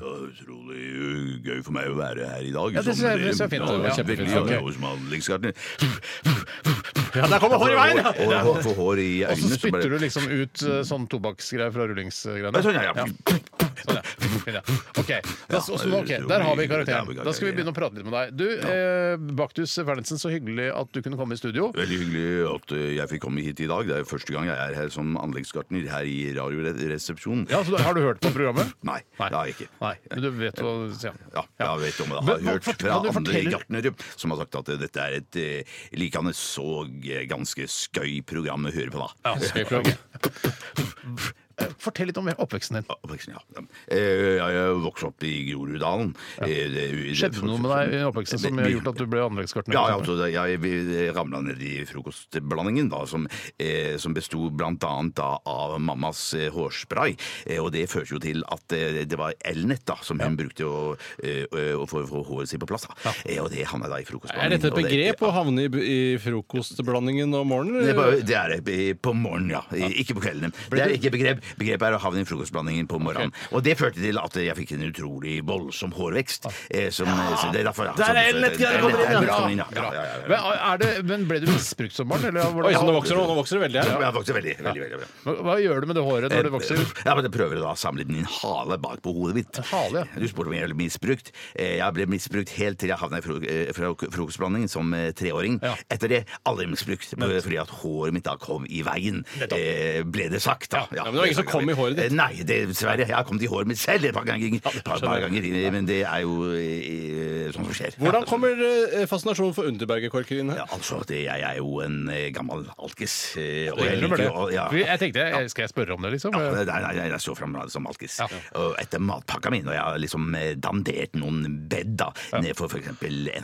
Speaker 1: Utrolig uh, gøy for meg å være her i dag.
Speaker 5: Ja, det
Speaker 1: som-
Speaker 5: synes jeg- det synes jeg er fint.
Speaker 1: Ja,
Speaker 5: Ja,
Speaker 1: veldig
Speaker 5: kjempefint.
Speaker 1: gøy
Speaker 5: Ok.
Speaker 1: som anleggsgartner.
Speaker 7: Ja, der kommer håret i veien!
Speaker 6: Og jeg får- får hår i
Speaker 5: Og så
Speaker 6: øynene. så bare-
Speaker 5: spytter du liksom ut eh, sånn tobakksgreier fra rullingsgreiene.
Speaker 6: Ja, sånn, ja, ja.
Speaker 5: Sånn, ja. Fint, ja. OK. Da, så, så, ok, Der har vi karakteren. Da skal vi begynne å prate litt med deg. Du, eh, Baktus Ferntsen, så hyggelig at du kunne komme i studio.
Speaker 1: Veldig hyggelig at eh, jeg fikk komme hit i dag. Det er jo første gang jeg er her som anleggsgartner her i Radioresepsjonen.
Speaker 5: Ja, så da, Har du hørt på programmet?
Speaker 1: Nei, det har jeg ikke.
Speaker 5: Nei, men du vet hva ja.
Speaker 1: Ja, jeg vet om det. Jeg
Speaker 5: Men hva-
Speaker 1: har hørt
Speaker 5: fort-
Speaker 1: fra
Speaker 5: kan du
Speaker 1: andre
Speaker 5: fortelle-
Speaker 1: gartnere som har sagt at eh, dette er et eh, likende og eh, ganske skøy program å høre på, da.
Speaker 7: Skal vi prøve?
Speaker 5: Fortell litt om oppveksten din.
Speaker 1: Oppveksten, ja. Eh, Jeg vokste opp i Groruddalen. Eh, det-
Speaker 5: Skjedde det noe med deg i oppveksten som har gjort at du ble anleggsgartner?
Speaker 1: Ja, ja, altså, det- jeg, vi ramla ned i frokostblandingen, da, som, eh, som besto blant annet da, av mammas eh, hårspray. Eh, og det førte jo til at eh, det var Elnett da, som hun brukte å, eh, å få, få håret sitt på plass. Da. Eh, og det havna da i
Speaker 7: Er
Speaker 1: frokostblandingen.
Speaker 7: dette et
Speaker 1: og det-
Speaker 7: begrep å havne i, i frokostblandingen om morgenen?
Speaker 1: Det er,
Speaker 7: eller?
Speaker 1: bare, det er det på morgenen, ja. Ikke på kvelden. Det er ikke begrep. Begrepet er å havne i frokostblandingen på morgenen. Og det førte til at jeg fikk en utrolig voldsom hårvekst. eh, Som, så det er derfor, ja.
Speaker 7: Der er
Speaker 1: som-
Speaker 7: Elnett,
Speaker 1: det er
Speaker 7: kommer inn,
Speaker 1: Elnett,
Speaker 7: ja.
Speaker 1: kommer inn, ja. Ja, ja, ja,
Speaker 5: Men, er det, men ble du misbrukt som barn? Eller var
Speaker 7: Oi,
Speaker 5: det,
Speaker 7: så nå vokser det, nå vokser det veldig
Speaker 1: ja.
Speaker 7: her.
Speaker 1: Jeg vokste veldig, veldig, veldig, veldig.
Speaker 5: hva, hva gjør du med det håret når det vokser?
Speaker 6: Eh,
Speaker 1: Ja, men Jeg prøver da å samle den i en hale bak på hodet mitt.
Speaker 5: hale, ja.
Speaker 1: Du spurte om jeg ble misbrukt. Eh, Jeg ble misbrukt helt til jeg havna i fro- eh, fro- frokostblandingen som eh, treåring.
Speaker 5: Ja.
Speaker 1: Etter det aldri misbrukt, fordi at håret mitt da kom i veien, eh, ble det sagt. da.
Speaker 7: Ja, men det var ingen som kom kom i håret ditt?
Speaker 6: Eh, Nei, det, dessverre. Jeg har kommet i håret mitt selv et par ganger. et par, par ganger men det er jo eh, sånt som skjer.
Speaker 7: Hvordan kommer eh, fascinasjonen for Underbergerkorker inn her?
Speaker 6: Ja, altså, det, jeg er jo en eh, gammel alkis. eh, og
Speaker 5: Jeg,
Speaker 6: jeg liker jo ja.
Speaker 5: jeg tenkte, jeg- Skal jeg spørre om det, liksom?
Speaker 6: Ja, nei, nei, nei, jeg så fram som alkis.
Speaker 5: Ja.
Speaker 6: Og etter matpakka mi, når jeg har liksom eh, dandert noen bed da, ned for f.eks.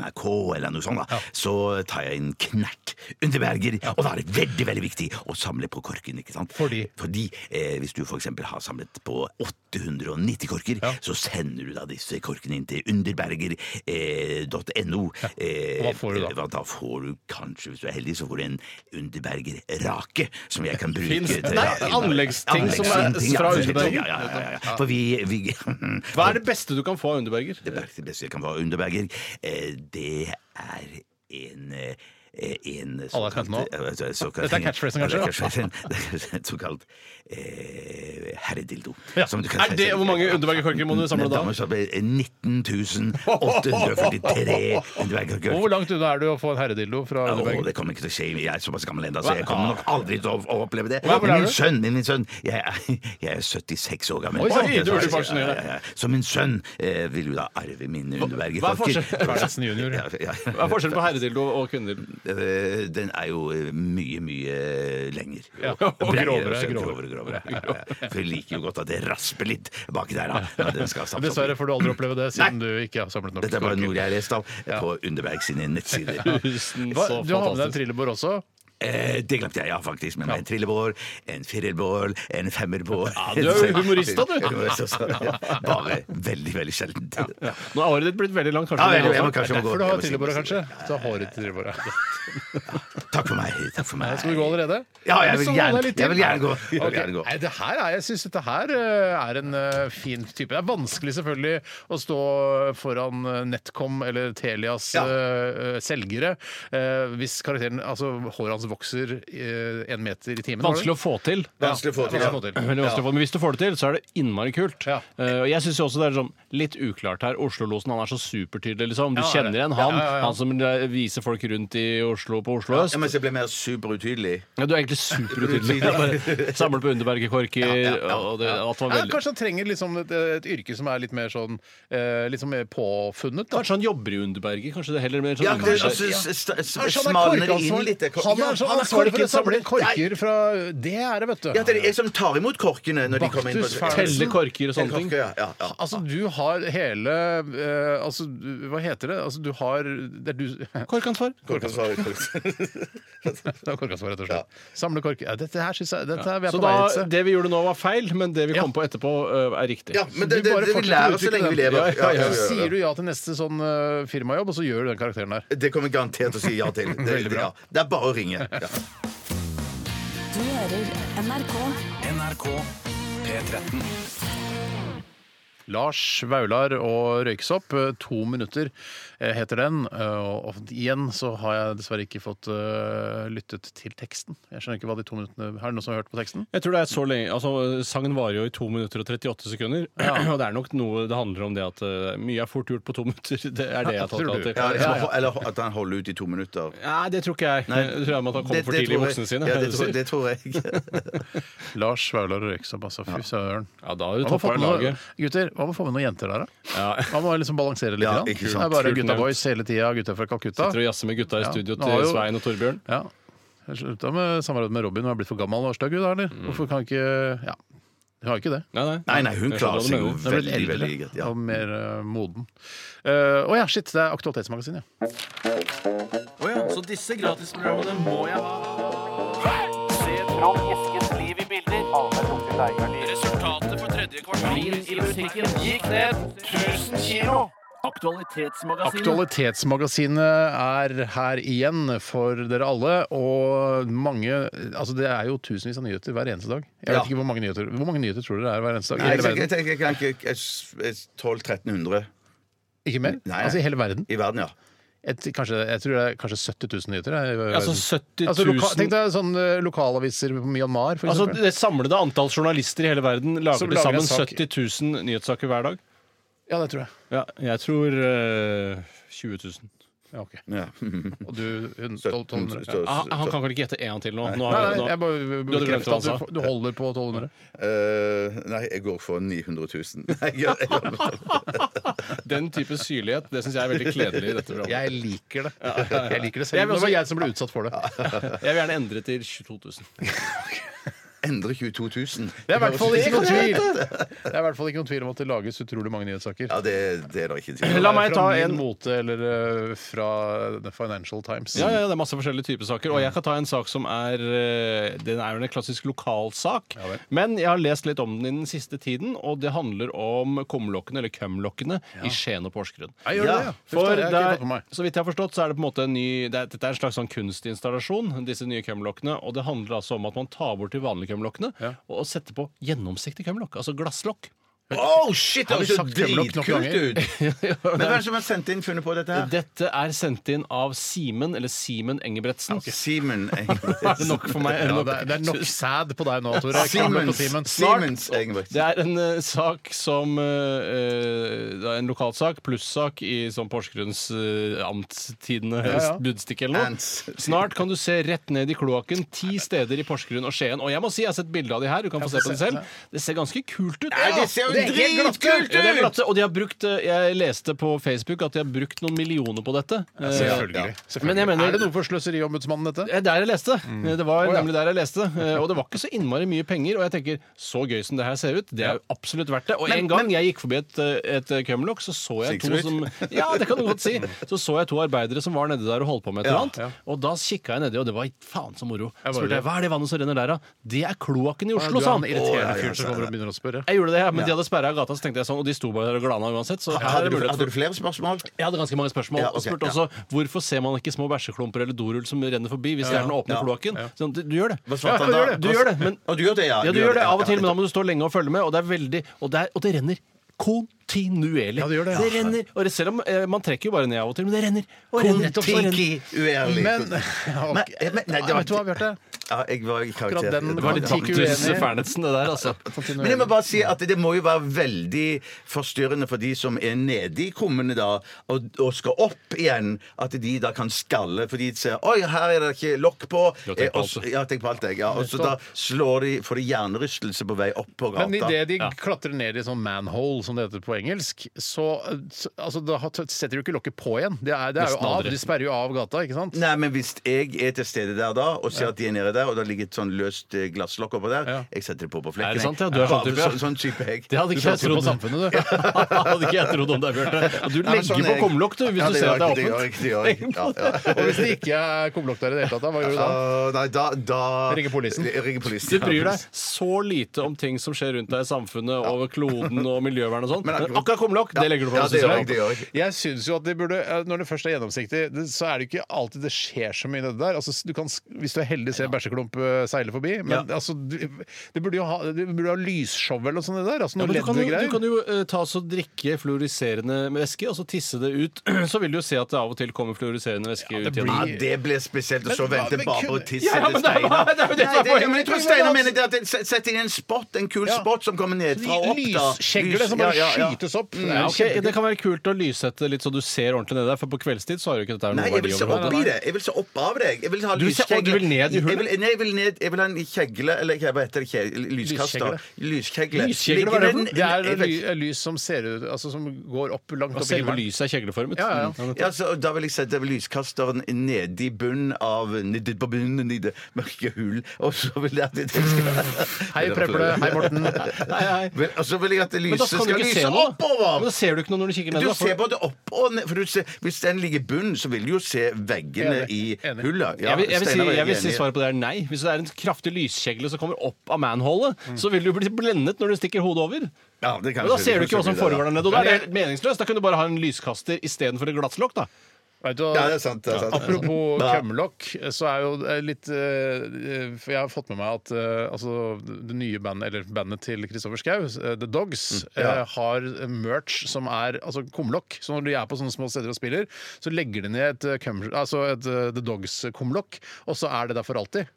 Speaker 6: NRK eller noe sånt, da, så tar jeg en knert Underberger, og da er det veldig veldig viktig å samle på korken. ikke sant?
Speaker 5: Fordi?
Speaker 6: eh, hvis du f.eks. har samlet på 890 korker,
Speaker 5: Ja.
Speaker 6: så sender du da disse korkene inn til underberger.no. Eh,
Speaker 5: Og hva får du da?
Speaker 6: Eh, da får du kanskje, hvis du er heldig, så får du en Underberger-rake, som jeg kan bruke
Speaker 7: Fins
Speaker 6: til-
Speaker 7: det anleggsting
Speaker 6: Anleggsting
Speaker 7: som er fra Underberger?
Speaker 6: Ja, ja, ja, ja. For vi, vi
Speaker 7: Hva er det beste du kan få av Underberger?
Speaker 6: Det beste- beste jeg kan få av Underberger, eh, det er en eh, en
Speaker 5: Alle er kalt nå.
Speaker 6: eh, altså, såkalt-
Speaker 5: Dette er catchphrasen, kanskje?
Speaker 6: Ja, det er catchphrasen. Det er Et såkalt eh, herredildo.
Speaker 5: Ja.
Speaker 6: som du kan
Speaker 7: Er
Speaker 6: si-
Speaker 7: det- hvor mange Underberger-korker må du samle da?
Speaker 6: Da må du samle 19.843 Underberger-korker.
Speaker 5: Hvor langt unna er du å få en herredildo fra
Speaker 6: Ja,
Speaker 5: Underberg?
Speaker 6: å, det kommer ikke til å skje. Jeg er såpass gammel ennå, så jeg kommer nok aldri til å, å oppleve det.
Speaker 5: Hva er
Speaker 6: Men min
Speaker 5: det?
Speaker 6: sønn, men min sønn jeg, er- jeg er 76 år gammel.
Speaker 5: Oi, sann,
Speaker 6: Ja,
Speaker 5: du burde
Speaker 6: ja,
Speaker 5: pensjonere.
Speaker 6: ja, ja, ja. Så min sønn eh, vil jo da arve mine underberger.
Speaker 7: hva er forskjellen?
Speaker 5: Karlsen junior.
Speaker 6: Ja, ja.
Speaker 7: Hva er forskjellen på herredildo og kvinnedildo?
Speaker 6: Eh, Den er jo eh, mye, mye eh, lenger.
Speaker 5: Ja, og
Speaker 6: Breiere,
Speaker 5: grovere,
Speaker 6: også,
Speaker 5: grovere.
Speaker 6: grovere, grovere. Ja, ja, ja. For jeg liker jo godt at det rasper litt baki der. Da. når den skal
Speaker 5: Men
Speaker 6: samles opp.
Speaker 5: Dessverre får du aldri oppleve det, siden du ikke har samlet nok
Speaker 6: Dette er bare
Speaker 5: korker.
Speaker 6: noe jeg har lest av på Underberg sine nettsider.
Speaker 7: Tusen,
Speaker 5: Hva,
Speaker 7: så
Speaker 5: du har med deg en
Speaker 7: fantastisk.
Speaker 5: trillebår også?
Speaker 6: Eh, det glemte jeg, ja, faktisk. Men en trillebår, en firerbår, en femmerbår
Speaker 7: du er jo humorist, da, du.
Speaker 6: Humorist også, ja. Bare veldig, veldig sjeldent. Ja.
Speaker 7: Nå er håret ditt blitt veldig langt,
Speaker 6: Ja,
Speaker 7: kanskje.
Speaker 6: jeg må
Speaker 7: også.
Speaker 6: kanskje må gå.
Speaker 5: For du har
Speaker 6: Jeg må si-
Speaker 5: trillebåret, kanskje? Så har du trillebåret.
Speaker 6: Takk for meg. Takk for meg.
Speaker 5: Skal du gå allerede?
Speaker 6: Ja, jeg vil
Speaker 5: Så holder
Speaker 6: gjerne,
Speaker 5: litt til.
Speaker 6: jeg vil gjerne gå. Jeg
Speaker 5: Ok.
Speaker 6: vil gjerne gå.
Speaker 5: Nei, det her er, jeg syns dette her eh, er en eh, fin type. Det er vanskelig selvfølgelig å stå foran eh, NetCom eller Telias
Speaker 6: Ja.
Speaker 5: eh, eh, selgere eh, hvis karakteren Altså, håret hans vokser eh, en meter i timen.
Speaker 7: Vanskelig å få til.
Speaker 6: Vanskelig
Speaker 7: Altså,
Speaker 6: å få til,
Speaker 5: Ja,
Speaker 6: ja.
Speaker 5: vanskelig å få til.
Speaker 7: Veldig vanskelig å få, Men hvis du får det til, så er det innmari kult.
Speaker 5: Ja.
Speaker 7: Eh, og jeg syns også det er sånn litt uklart her. Oslo-losen han er så supertydelig, liksom.
Speaker 5: Ja,
Speaker 7: Du
Speaker 5: det er
Speaker 7: kjenner
Speaker 5: det.
Speaker 7: igjen han.
Speaker 5: Ja, ja, ja.
Speaker 7: Han som eh, viser folk rundt i Oslo på Oslo øst.
Speaker 6: Ja, mens jeg ble mer superutydelig.
Speaker 7: Ja, du er egentlig superutydelig. Ja, bare Samler på Underbergerkorker og det, alt var
Speaker 5: Ja,
Speaker 7: veldig
Speaker 5: kanskje han trenger liksom et, et yrke som er litt mer sånn eh, Litt sånn mer påfunnet. Da.
Speaker 7: Kanskje han jobber i Underberger? Kanskje det heller mer sånn
Speaker 6: Ja, det,
Speaker 7: Underberger-
Speaker 6: altså, s- s- s-
Speaker 5: Kanskje
Speaker 6: smalner det inn
Speaker 5: korkansvarlig.
Speaker 6: litt. det-
Speaker 5: altså. Han er så
Speaker 6: Ja, han er
Speaker 5: ansvarlig for å samle
Speaker 6: korken-
Speaker 5: korker fra Det er det, vet du.
Speaker 6: Ja, det er jeg som tar imot korkene når de kommer inn.
Speaker 5: Baktus,
Speaker 6: på-
Speaker 7: Telle korker og sånne ting.
Speaker 6: Korker, ja, ja, ja.
Speaker 5: Altså, du har hele eh, Altså, du- hva heter det? Altså, du har Det er du
Speaker 7: Korkansvar.
Speaker 6: Korkansvar, korkansvar.
Speaker 5: Det er korkansvar, rett og slett. Samle kork... Ja, dette her syns jeg dette er, Vi er
Speaker 7: Så
Speaker 5: på vei et
Speaker 7: da,
Speaker 5: sted.
Speaker 7: det vi gjorde nå, var feil, men det vi kom på etterpå, eh, er riktig.
Speaker 6: Ja, men
Speaker 5: Du
Speaker 6: det, det,
Speaker 5: bare
Speaker 6: det vi
Speaker 5: fortsetter å
Speaker 6: lærer så
Speaker 5: utvikle
Speaker 6: lenge vi
Speaker 5: den.
Speaker 6: lever.
Speaker 5: Ja,
Speaker 6: Ja, ja,
Speaker 5: Så
Speaker 6: ja, ja.
Speaker 5: sier du ja til neste sånn eh, firmajobb, og så gjør du den karakteren der.
Speaker 6: Det kommer jeg garantert til å si ja til. Det, det, ja. det er bare å ringe. Ja.
Speaker 8: Du hører NRK.
Speaker 4: NRK P13.
Speaker 5: Lars Vaular og Røyksopp, eh, to minutter eh, heter den. Eh, Og og igjen så har jeg dessverre ikke fått eh, lyttet til teksten. Jeg skjønner ikke hva de to minuttene Er det noen som har hørt på teksten?
Speaker 7: Jeg tror det er så lenge altså, Sangen varer jo i 2 minutter og 38 sekunder. Og det er nok noe det handler om det at eh, mye er fort gjort på to minutter. Det er det jeg har
Speaker 5: tror
Speaker 7: tatt
Speaker 5: du.
Speaker 7: av til.
Speaker 6: Ja, liksom, Eller at han holder ut i to minutter.
Speaker 7: Nei, det tror ikke jeg. jeg tror jeg man kan komme for tidlig i
Speaker 6: tror jeg-
Speaker 7: voksne sine.
Speaker 6: Ja, det,
Speaker 7: er du
Speaker 6: tror,
Speaker 7: sier.
Speaker 6: det tror jeg.
Speaker 5: Lars Vaular og Røyksopp, altså. Fy søren.
Speaker 7: ja, da har du
Speaker 5: Hva med å få
Speaker 7: toppa
Speaker 5: med noen-
Speaker 7: laget.
Speaker 5: Gutter, hva med å få med noen jenter der, da?
Speaker 7: Ja.
Speaker 5: Man må liksom balansere litt.
Speaker 6: Ja,
Speaker 5: grann.
Speaker 6: ikke sant.
Speaker 5: Det er bare
Speaker 7: Kult
Speaker 5: gutta
Speaker 7: nevnt.
Speaker 5: boys hele tida, gutta fra Calcutta.
Speaker 7: Sitter og jazzer med gutta i
Speaker 5: Ja.
Speaker 7: studio
Speaker 5: Nå har
Speaker 7: til
Speaker 5: jo-
Speaker 7: Svein og Torbjørn.
Speaker 5: Ja. Jeg slutta med samarbeidet med Robin og er blitt for gammel og stygg, hun da, eller?
Speaker 7: Mm.
Speaker 5: Hvorfor kan ikke Ja, hun har jo ikke det.
Speaker 7: Nei, nei.
Speaker 6: Nei, nei, hun
Speaker 7: Jeg skjønner hva
Speaker 6: klarer
Speaker 7: du
Speaker 6: seg jo
Speaker 7: mener.
Speaker 5: Hun er blitt
Speaker 6: veldig,
Speaker 5: eldre
Speaker 6: veldig greit. Ja.
Speaker 5: og mer eh, moden. Eh, Å ja, shit, det er Aktualitetsmagasinet, ja.
Speaker 4: Så disse gratisprogrammene må jeg ha. Resultatet på tredje kvartal i musikken gikk ned 1000 kilo.
Speaker 7: Altså,
Speaker 4: Aktualitetsmagasinet.
Speaker 5: Aktualitetsmagasinet er her igjen for dere alle, og mange Altså, det er jo tusenvis av nyheter hver eneste dag. Jeg
Speaker 6: Ja.
Speaker 5: vet ikke hvor mange nyheter Hvor mange nyheter tror dere det er hver eneste dag? i
Speaker 6: Nei,
Speaker 5: hele
Speaker 6: jeg,
Speaker 5: verden?
Speaker 6: jeg, jeg, jeg kan ikke jeg s- jeg s- 1200-1300
Speaker 5: Ikke mer?
Speaker 6: Nei.
Speaker 5: Altså i hele verden?
Speaker 6: i verden, ja.
Speaker 5: Et, kanskje, jeg tror det er kanskje 70 000 nyheter. jeg, i verden.
Speaker 7: Altså 70
Speaker 5: Altså, loka, tenk
Speaker 7: 000
Speaker 5: deg sånn eh, lokalaviser på Myanmar, for
Speaker 7: Altså
Speaker 5: eksempel.
Speaker 7: Det samlede antall journalister i hele verden lager
Speaker 5: Som
Speaker 7: til
Speaker 5: lager en
Speaker 7: sammen
Speaker 5: sak.
Speaker 7: 70 000 nyhetssaker hver dag.
Speaker 5: ja, det tror jeg.
Speaker 7: Ja, jeg tror eh, 20 000.
Speaker 5: Ja, ok.
Speaker 6: Ja.
Speaker 5: Og du hun, 12,
Speaker 6: Mm,
Speaker 5: 1200? Ja.
Speaker 7: Ah, Han kan vel ikke gjette en til nå? nå,
Speaker 5: Nei,
Speaker 7: har-
Speaker 5: nei,
Speaker 7: nå.
Speaker 5: jeg bare
Speaker 7: hadde glemt
Speaker 5: bekrefter
Speaker 7: hva
Speaker 5: at
Speaker 7: han sa.
Speaker 5: du, du holder på 1200.
Speaker 6: Eh, nei, jeg går for 900 000. Nei, jeg, jeg,
Speaker 7: Den type syrlighet det syns jeg er veldig kledelig i dette programmet.
Speaker 5: Jeg liker det. Jeg liker det
Speaker 7: Jeg
Speaker 5: selv.
Speaker 7: vil
Speaker 5: Det var
Speaker 7: også-
Speaker 5: jeg som ble utsatt for det.
Speaker 7: Jeg vil gjerne endre til 22 000.
Speaker 6: Endre 22 000.
Speaker 5: Det er i hvert fall ikke noen tvil Det er i hvert fall ikke noen tvil om at det lages utrolig mange nyhetssaker.
Speaker 6: Ja, det, det er da ikke en tvil. om.
Speaker 7: La meg
Speaker 5: Fra
Speaker 7: ta
Speaker 5: Min
Speaker 7: en-
Speaker 5: mote eller eh, fra The Financial Times.
Speaker 7: Ja, ja, Det er masse forskjellige typer saker. Og jeg kan ta en sak som er eh, Den er jo en klassisk lokalsak.
Speaker 5: vel.
Speaker 7: men jeg har lest litt om den i den siste tiden, og det handler om kumlokkene, eller kømlokkene, i Skien og Porsgrunn.
Speaker 5: Jeg gjør det, ja.
Speaker 7: For
Speaker 5: det har jeg ikke
Speaker 7: der-
Speaker 5: fått med meg.
Speaker 7: så vidt jeg har forstått, så er det på en måte en ny det er, Dette er en slags sånn kunstinstallasjon, disse nye kømlokkene. Og det handler altså om at man tar bort de vanlige kømlokkene
Speaker 5: Ja.
Speaker 7: og setter på gjennomsiktig kømlokk. Altså glasslokk.
Speaker 6: Oh, shit! Det
Speaker 5: Har vi
Speaker 6: høres jo
Speaker 5: sagt Kremlok nok
Speaker 6: dritkult
Speaker 5: ganger?
Speaker 6: ut! Men hvem er det som har sendt inn funnet på dette her?
Speaker 7: Dette er sendt inn av Simen, eller Simen Engebretsen.
Speaker 6: Simen
Speaker 7: Er det nok for meg? Er det
Speaker 5: Ja,
Speaker 7: nok?
Speaker 5: det, er, det er nok sæd på deg nå, Tore. Kramle på
Speaker 6: Simens,
Speaker 5: timen.
Speaker 6: Simens Engebretsen.
Speaker 7: Det er en eh, sak som eh, eh, det er En lokalsak, plussak i sånn Porsgrunns uh, amtstidende
Speaker 5: ja.
Speaker 7: budstikke eller noe.
Speaker 6: Ants.
Speaker 7: Snart kan du se rett ned i kloakken ti steder i Porsgrunn og Skien. Og jeg må si, jeg har sett bilde av de her. Du kan få se på det selv. Det ser ganske kult ut.
Speaker 6: Nei, det ser jo
Speaker 5: Det er helt glatt.
Speaker 6: dritkult
Speaker 7: Ja, det er
Speaker 6: ut!
Speaker 7: glatte, og de har brukt, eh, jeg leste på Facebook at de har brukt noen millioner på dette. Eh,
Speaker 5: Selvfølgelig.
Speaker 7: Men jeg mener-
Speaker 5: er det noe for Sløseriombudsmannen, dette?
Speaker 7: det er Eh, der jeg leste. Det var
Speaker 5: Mm. ja.
Speaker 7: nemlig der jeg leste. Eh, Og det var ikke så innmari mye penger. Og jeg tenker, så gøy som det her ser ut, det er jo absolutt verdt det. Og en gang jeg gikk forbi et, eh, et kømmerlokk, så så jeg to
Speaker 6: Sikkert.
Speaker 7: som Ja, det kan du godt si. Så så jeg to arbeidere som var nede der og holdt på med et eller annet.
Speaker 5: Ja.
Speaker 7: Og da kikka jeg nedi, og det var faen så moro.
Speaker 5: Jeg
Speaker 7: Så
Speaker 5: bare-
Speaker 7: spurte jeg hva er det vannet som renner der, da? Det er kloakken i
Speaker 5: Du
Speaker 7: Oslo,
Speaker 5: er
Speaker 7: sa
Speaker 5: en
Speaker 7: han.
Speaker 5: irriterende fyr som kommer og begynner å spørre.
Speaker 7: altså. Jeg gjorde det, ja, men de hadde sperra gata, så tenkte jeg sånn, og de sto bare der og glana uansett. Så her er
Speaker 6: Hadde
Speaker 7: det
Speaker 6: du,
Speaker 7: mulighet
Speaker 6: hadde
Speaker 7: for
Speaker 6: du flere spørsmål?
Speaker 7: jeg hadde ganske mange spørsmål.
Speaker 6: Ja, ok,
Speaker 7: og spurte
Speaker 6: ja.
Speaker 7: også hvorfor ser man ikke små bæsjeklumper eller dorull som renner forbi hvis det er den åpne
Speaker 6: ja,
Speaker 7: kloakken. Sånn, du, du gjør det.
Speaker 6: Hva svarte
Speaker 7: ja,
Speaker 6: han
Speaker 7: du
Speaker 6: da?
Speaker 7: gjør det. Du gjør det, men,
Speaker 6: Å, du gjør det, ja. Du
Speaker 7: ja, du
Speaker 6: gjør det,
Speaker 7: gjør det av
Speaker 6: ja,
Speaker 7: og til, men da må du stå lenge og følge med. Og det er veldig Og det, er, og det renner kontinuerlig.
Speaker 5: Ja, det gjør det, ja.
Speaker 7: renner, og det, selv om eh, Man trekker jo bare ned av og til, men det renner. Og renner og så renner.
Speaker 6: uærlig.
Speaker 5: Men, ja, ok.
Speaker 6: Nei, men- nei, det
Speaker 5: Ja,
Speaker 6: var-
Speaker 5: Vet du hva, Bjarte?
Speaker 6: Ja, jeg var i karakter.
Speaker 5: Akkurat den
Speaker 6: Det
Speaker 7: Det var
Speaker 6: var
Speaker 7: litt
Speaker 6: det.
Speaker 5: Tikk uenig.
Speaker 7: Titus Fernetsen, det der, altså.
Speaker 6: Men jeg må bare si at det må jo være veldig forstyrrende for de som er nede i krummene da, og, og skal opp igjen, at de da kan skalle, for de ser Oi, her er det ikke lokk på.
Speaker 7: Ja,
Speaker 6: Eh,
Speaker 7: tenk på
Speaker 6: og
Speaker 7: alt,
Speaker 6: så-
Speaker 7: du.
Speaker 6: Ja, tenk på alt, jeg. Ja. Og så da slår de, får de hjernerystelse på vei opp på gata.
Speaker 5: Men idet de
Speaker 7: Ja.
Speaker 5: klatrer ned i sånn manhole, som det heter på engelsk, så så- altså, da har- setter de jo ikke lokket på igjen. Det er, det er jo
Speaker 7: Nesten
Speaker 5: av.
Speaker 7: aldri.
Speaker 5: De sperrer jo av gata, ikke sant?
Speaker 6: Nei, men hvis jeg er til stede der da, og ser at de er nede der, og det ligger et sånn løst eh, glasslokk oppå der,
Speaker 5: Ja.
Speaker 6: jeg setter det på på flekken.
Speaker 7: Er
Speaker 6: jeg.
Speaker 7: det sant, ja? Du er sånn type, ja.
Speaker 6: Bare sånn, sånn type jeg.
Speaker 7: Det hadde
Speaker 5: Du
Speaker 7: ikke jeg
Speaker 5: satser på
Speaker 7: trodd.
Speaker 5: samfunnet, du.
Speaker 7: hadde ikke jeg trodd om deg, Bjarte. Og Du
Speaker 6: Nei, men
Speaker 7: legger
Speaker 6: sånn er
Speaker 7: på
Speaker 6: jeg.
Speaker 7: kumlokk, du, hvis
Speaker 6: Ja,
Speaker 7: du ser at
Speaker 6: gjør
Speaker 7: det er åpent.
Speaker 6: jeg, Det gjør jeg. det gjør jeg. Ja,
Speaker 5: Og hvis det ikke er kumlokk der i det hele tatt, da, hva gjør du
Speaker 6: ja.
Speaker 5: da?
Speaker 6: Å, Nei, da, da
Speaker 5: Ringer polisen.
Speaker 6: Jeg Ringer polisen.
Speaker 7: Du bryr deg så lite om ting som skjer rundt deg i samfunnet, over kloden og miljøvern og sånn.
Speaker 6: Men
Speaker 7: Men
Speaker 6: akkurat-
Speaker 7: akkurat kumlokk, det legger du
Speaker 6: Ja,
Speaker 7: fra
Speaker 6: det gjør jeg.
Speaker 7: deg.
Speaker 6: det gjør jeg.
Speaker 5: Jeg synes jo at de burde, eh, Når det først er gjennomsiktig, det- så er det ikke alltid det skjer så mye i det der. Altså, du kan, sk- hvis du er heldig, se en bæsjeklump eh, seile forbi. Men altså, du, det burde jo ha, du burde ha lysshow eller noe sånt i det der. Altså,
Speaker 7: Ja,
Speaker 5: noe
Speaker 7: men du kan jo, du
Speaker 5: LED-greier.
Speaker 7: kan jo eh, ta så drikke fluoriserende væske og så tisse det ut. Så vil du jo se at det av og til kommer fluoriserende væske
Speaker 5: det
Speaker 7: ut igjen.
Speaker 5: blir-
Speaker 6: Ja, det ble spesielt å
Speaker 5: Men
Speaker 6: så
Speaker 5: hva-
Speaker 6: vente
Speaker 5: men
Speaker 6: bare
Speaker 5: kunne-
Speaker 6: på tisset
Speaker 7: Ja, ja,
Speaker 6: til
Speaker 7: men det er-
Speaker 6: Steinar.
Speaker 7: det er jo det som er
Speaker 6: Nei, det-
Speaker 7: poenget.
Speaker 6: Men jeg tror Steinar mener det at det- sett inn en spot, en kul
Speaker 5: Ja.
Speaker 6: spot som kommer
Speaker 7: Sånn
Speaker 6: nedfra og opp. da.
Speaker 5: Sånn Lyskjegler som bare
Speaker 6: Ja, ja, ja.
Speaker 5: skytes opp.
Speaker 7: Ja, ok, Det kan være kult å lyssette litt så du ser ordentlig ned der, for på kveldstid så har jo ikke dette her
Speaker 6: Nei,
Speaker 7: noe
Speaker 6: jeg vil
Speaker 7: verdi
Speaker 6: se opp i
Speaker 7: overhodet.
Speaker 6: det. Jeg vil se opp av deg. Jeg vil ha
Speaker 7: Du ser-
Speaker 6: lyskjegle.
Speaker 7: og du vil ned i hullet?
Speaker 6: Jeg vil, nei, jeg vil ned Jeg vil ha en kjegle, eller hva heter det, kje- lyskaster. Lyskjegle.
Speaker 7: Lyskjegle, hva er det for noe?
Speaker 5: Det er
Speaker 6: Jeg vet-
Speaker 5: ly- lys som ser ut altså som går opp langt
Speaker 7: Og
Speaker 5: opp i
Speaker 7: selve
Speaker 5: himmelen.
Speaker 7: lyset er kjegleformet.
Speaker 5: Ja, ja, ja.
Speaker 7: Mm.
Speaker 6: Ja, så Da vil jeg sette lyskasteren nedi bunnen av nedi på bunnen i det mørke hull, og så vil jeg at det skal være
Speaker 5: Hei, Preple. Hei, Morten.
Speaker 7: Nei, nei.
Speaker 6: Vel, Og så vil jeg at
Speaker 7: Men
Speaker 6: lyset
Speaker 7: da kan du
Speaker 6: skal
Speaker 7: ikke
Speaker 6: lyse
Speaker 7: se noe. da. Men
Speaker 6: oppover!
Speaker 7: da ser du ikke noe når du kikker ned.
Speaker 6: Du
Speaker 7: da, for-
Speaker 6: ser både opp og ned. For du ser, hvis den ligger i bunnen, så vil du jo se veggene
Speaker 5: Enig,
Speaker 6: i
Speaker 5: enig.
Speaker 6: hullet. Ja,
Speaker 7: jeg, vil, jeg, vil si,
Speaker 6: Steinar er
Speaker 7: jeg vil si
Speaker 6: enig.
Speaker 7: svaret på det er nei. Hvis det er en kraftig lyskjegle som kommer opp av manholet, så vil du bli blendet når du stikker hodet over.
Speaker 6: Ja, det kan
Speaker 7: Men da
Speaker 6: jeg
Speaker 7: ser du ikke hva som
Speaker 6: blir det,
Speaker 7: foregår
Speaker 6: ja.
Speaker 7: der nede. Og da er det helt meningsløst. Da kan du bare ha en lyskaster istedenfor et glasslokk, da.
Speaker 5: Vet du hva?
Speaker 6: Ja, det er sant. Det er sant.
Speaker 5: Apropos
Speaker 6: Ja.
Speaker 5: kømlokk, så er jo eh, litt eh, For jeg har fått med meg at eh, altså, det nye bandet, eller bandet til Kristoffer Schau, eh, The Dogs, eh, har merch som er altså kumlokk. Så når de er på sånne små steder og spiller, så legger de ned et, eh, køm- altså et eh, The Dogs-kumlokk, og så er det der for alltid.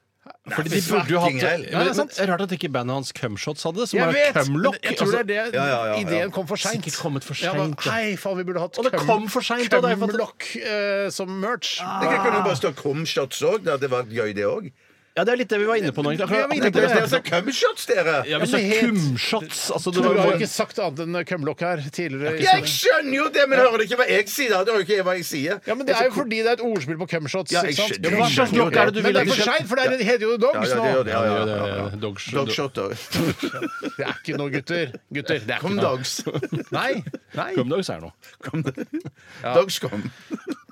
Speaker 7: Fordi de burde jo hatt
Speaker 6: Fucking hell.
Speaker 7: ja, men, men, Rart at ikke bandet hans Cumshots hadde det, som var
Speaker 5: men
Speaker 7: Cumlock. Altså,
Speaker 5: jeg tror det er det
Speaker 6: ja, ja, ja.
Speaker 5: ideen kom for seint.
Speaker 7: Sikkert kommet for
Speaker 5: Ja, men,
Speaker 7: sent, ja.
Speaker 5: hei, faen, vi burde hatt
Speaker 7: Og det
Speaker 5: Cum-
Speaker 7: kom for sent, og det er for at-
Speaker 5: Cumlock eh, som merch.
Speaker 6: Det kan
Speaker 5: Ah.
Speaker 6: jo bare stå Cumshots òg. Det var gøy, det òg.
Speaker 7: Ja, det er litt det vi var inne på nå. egentlig.
Speaker 5: Vi var inne på
Speaker 7: Akkurat
Speaker 5: det.
Speaker 6: Dere sa Cumshots, altså dere!
Speaker 7: Ja, vi sa Cumshots. Altså, det
Speaker 5: Tore
Speaker 7: var
Speaker 5: har jo
Speaker 7: bare
Speaker 5: ikke sagt annet enn Cumlock her tidligere. i
Speaker 6: Jeg
Speaker 5: sendingen.
Speaker 6: skjønner jo det, men hører dere ikke hva jeg sier? Da Det hører dere ikke hva jeg sier.
Speaker 5: Ja, men Det er jo fordi det er et ordspill på cumshots.
Speaker 6: Ja,
Speaker 5: ikke
Speaker 6: jeg
Speaker 5: sant?
Speaker 6: skjønner-
Speaker 5: Men hva
Speaker 6: jeg
Speaker 5: slags
Speaker 6: skjønner jo
Speaker 5: lokk er
Speaker 6: det.
Speaker 5: det du
Speaker 6: Men
Speaker 5: vil at
Speaker 6: det er
Speaker 5: det
Speaker 6: for
Speaker 5: skal
Speaker 6: sent,
Speaker 5: for det heter jo
Speaker 6: Ja,
Speaker 5: dogs
Speaker 6: ja,
Speaker 5: nå.
Speaker 6: det gjør det. Ja, ja,
Speaker 7: Ja,
Speaker 6: ja,
Speaker 7: ja,
Speaker 6: ja.
Speaker 7: ja. Dogs-
Speaker 6: Dogshot òg.
Speaker 5: Det er ikke noe, gutter. Gutter, det er ikke
Speaker 6: Kom,
Speaker 5: noe.
Speaker 6: dogs.
Speaker 5: Nei. nei.
Speaker 7: Cumdogs er noe.
Speaker 6: Kom. Dogs kom.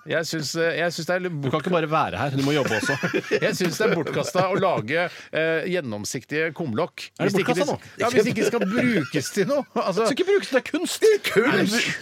Speaker 5: Jeg syns eh, jeg syns det er litt
Speaker 7: Du
Speaker 5: bort-
Speaker 7: kan ikke bare være her, du må jobbe også.
Speaker 5: jeg syns det er bortkasta å lage eh, gjennomsiktige kumlokk.
Speaker 7: Er det
Speaker 5: Hvis ikke de-
Speaker 7: bortkastet nå?
Speaker 5: Ja, hvis ikke de skal brukes til noe. Altså,
Speaker 7: Skal ikke bruke det, det er kunst!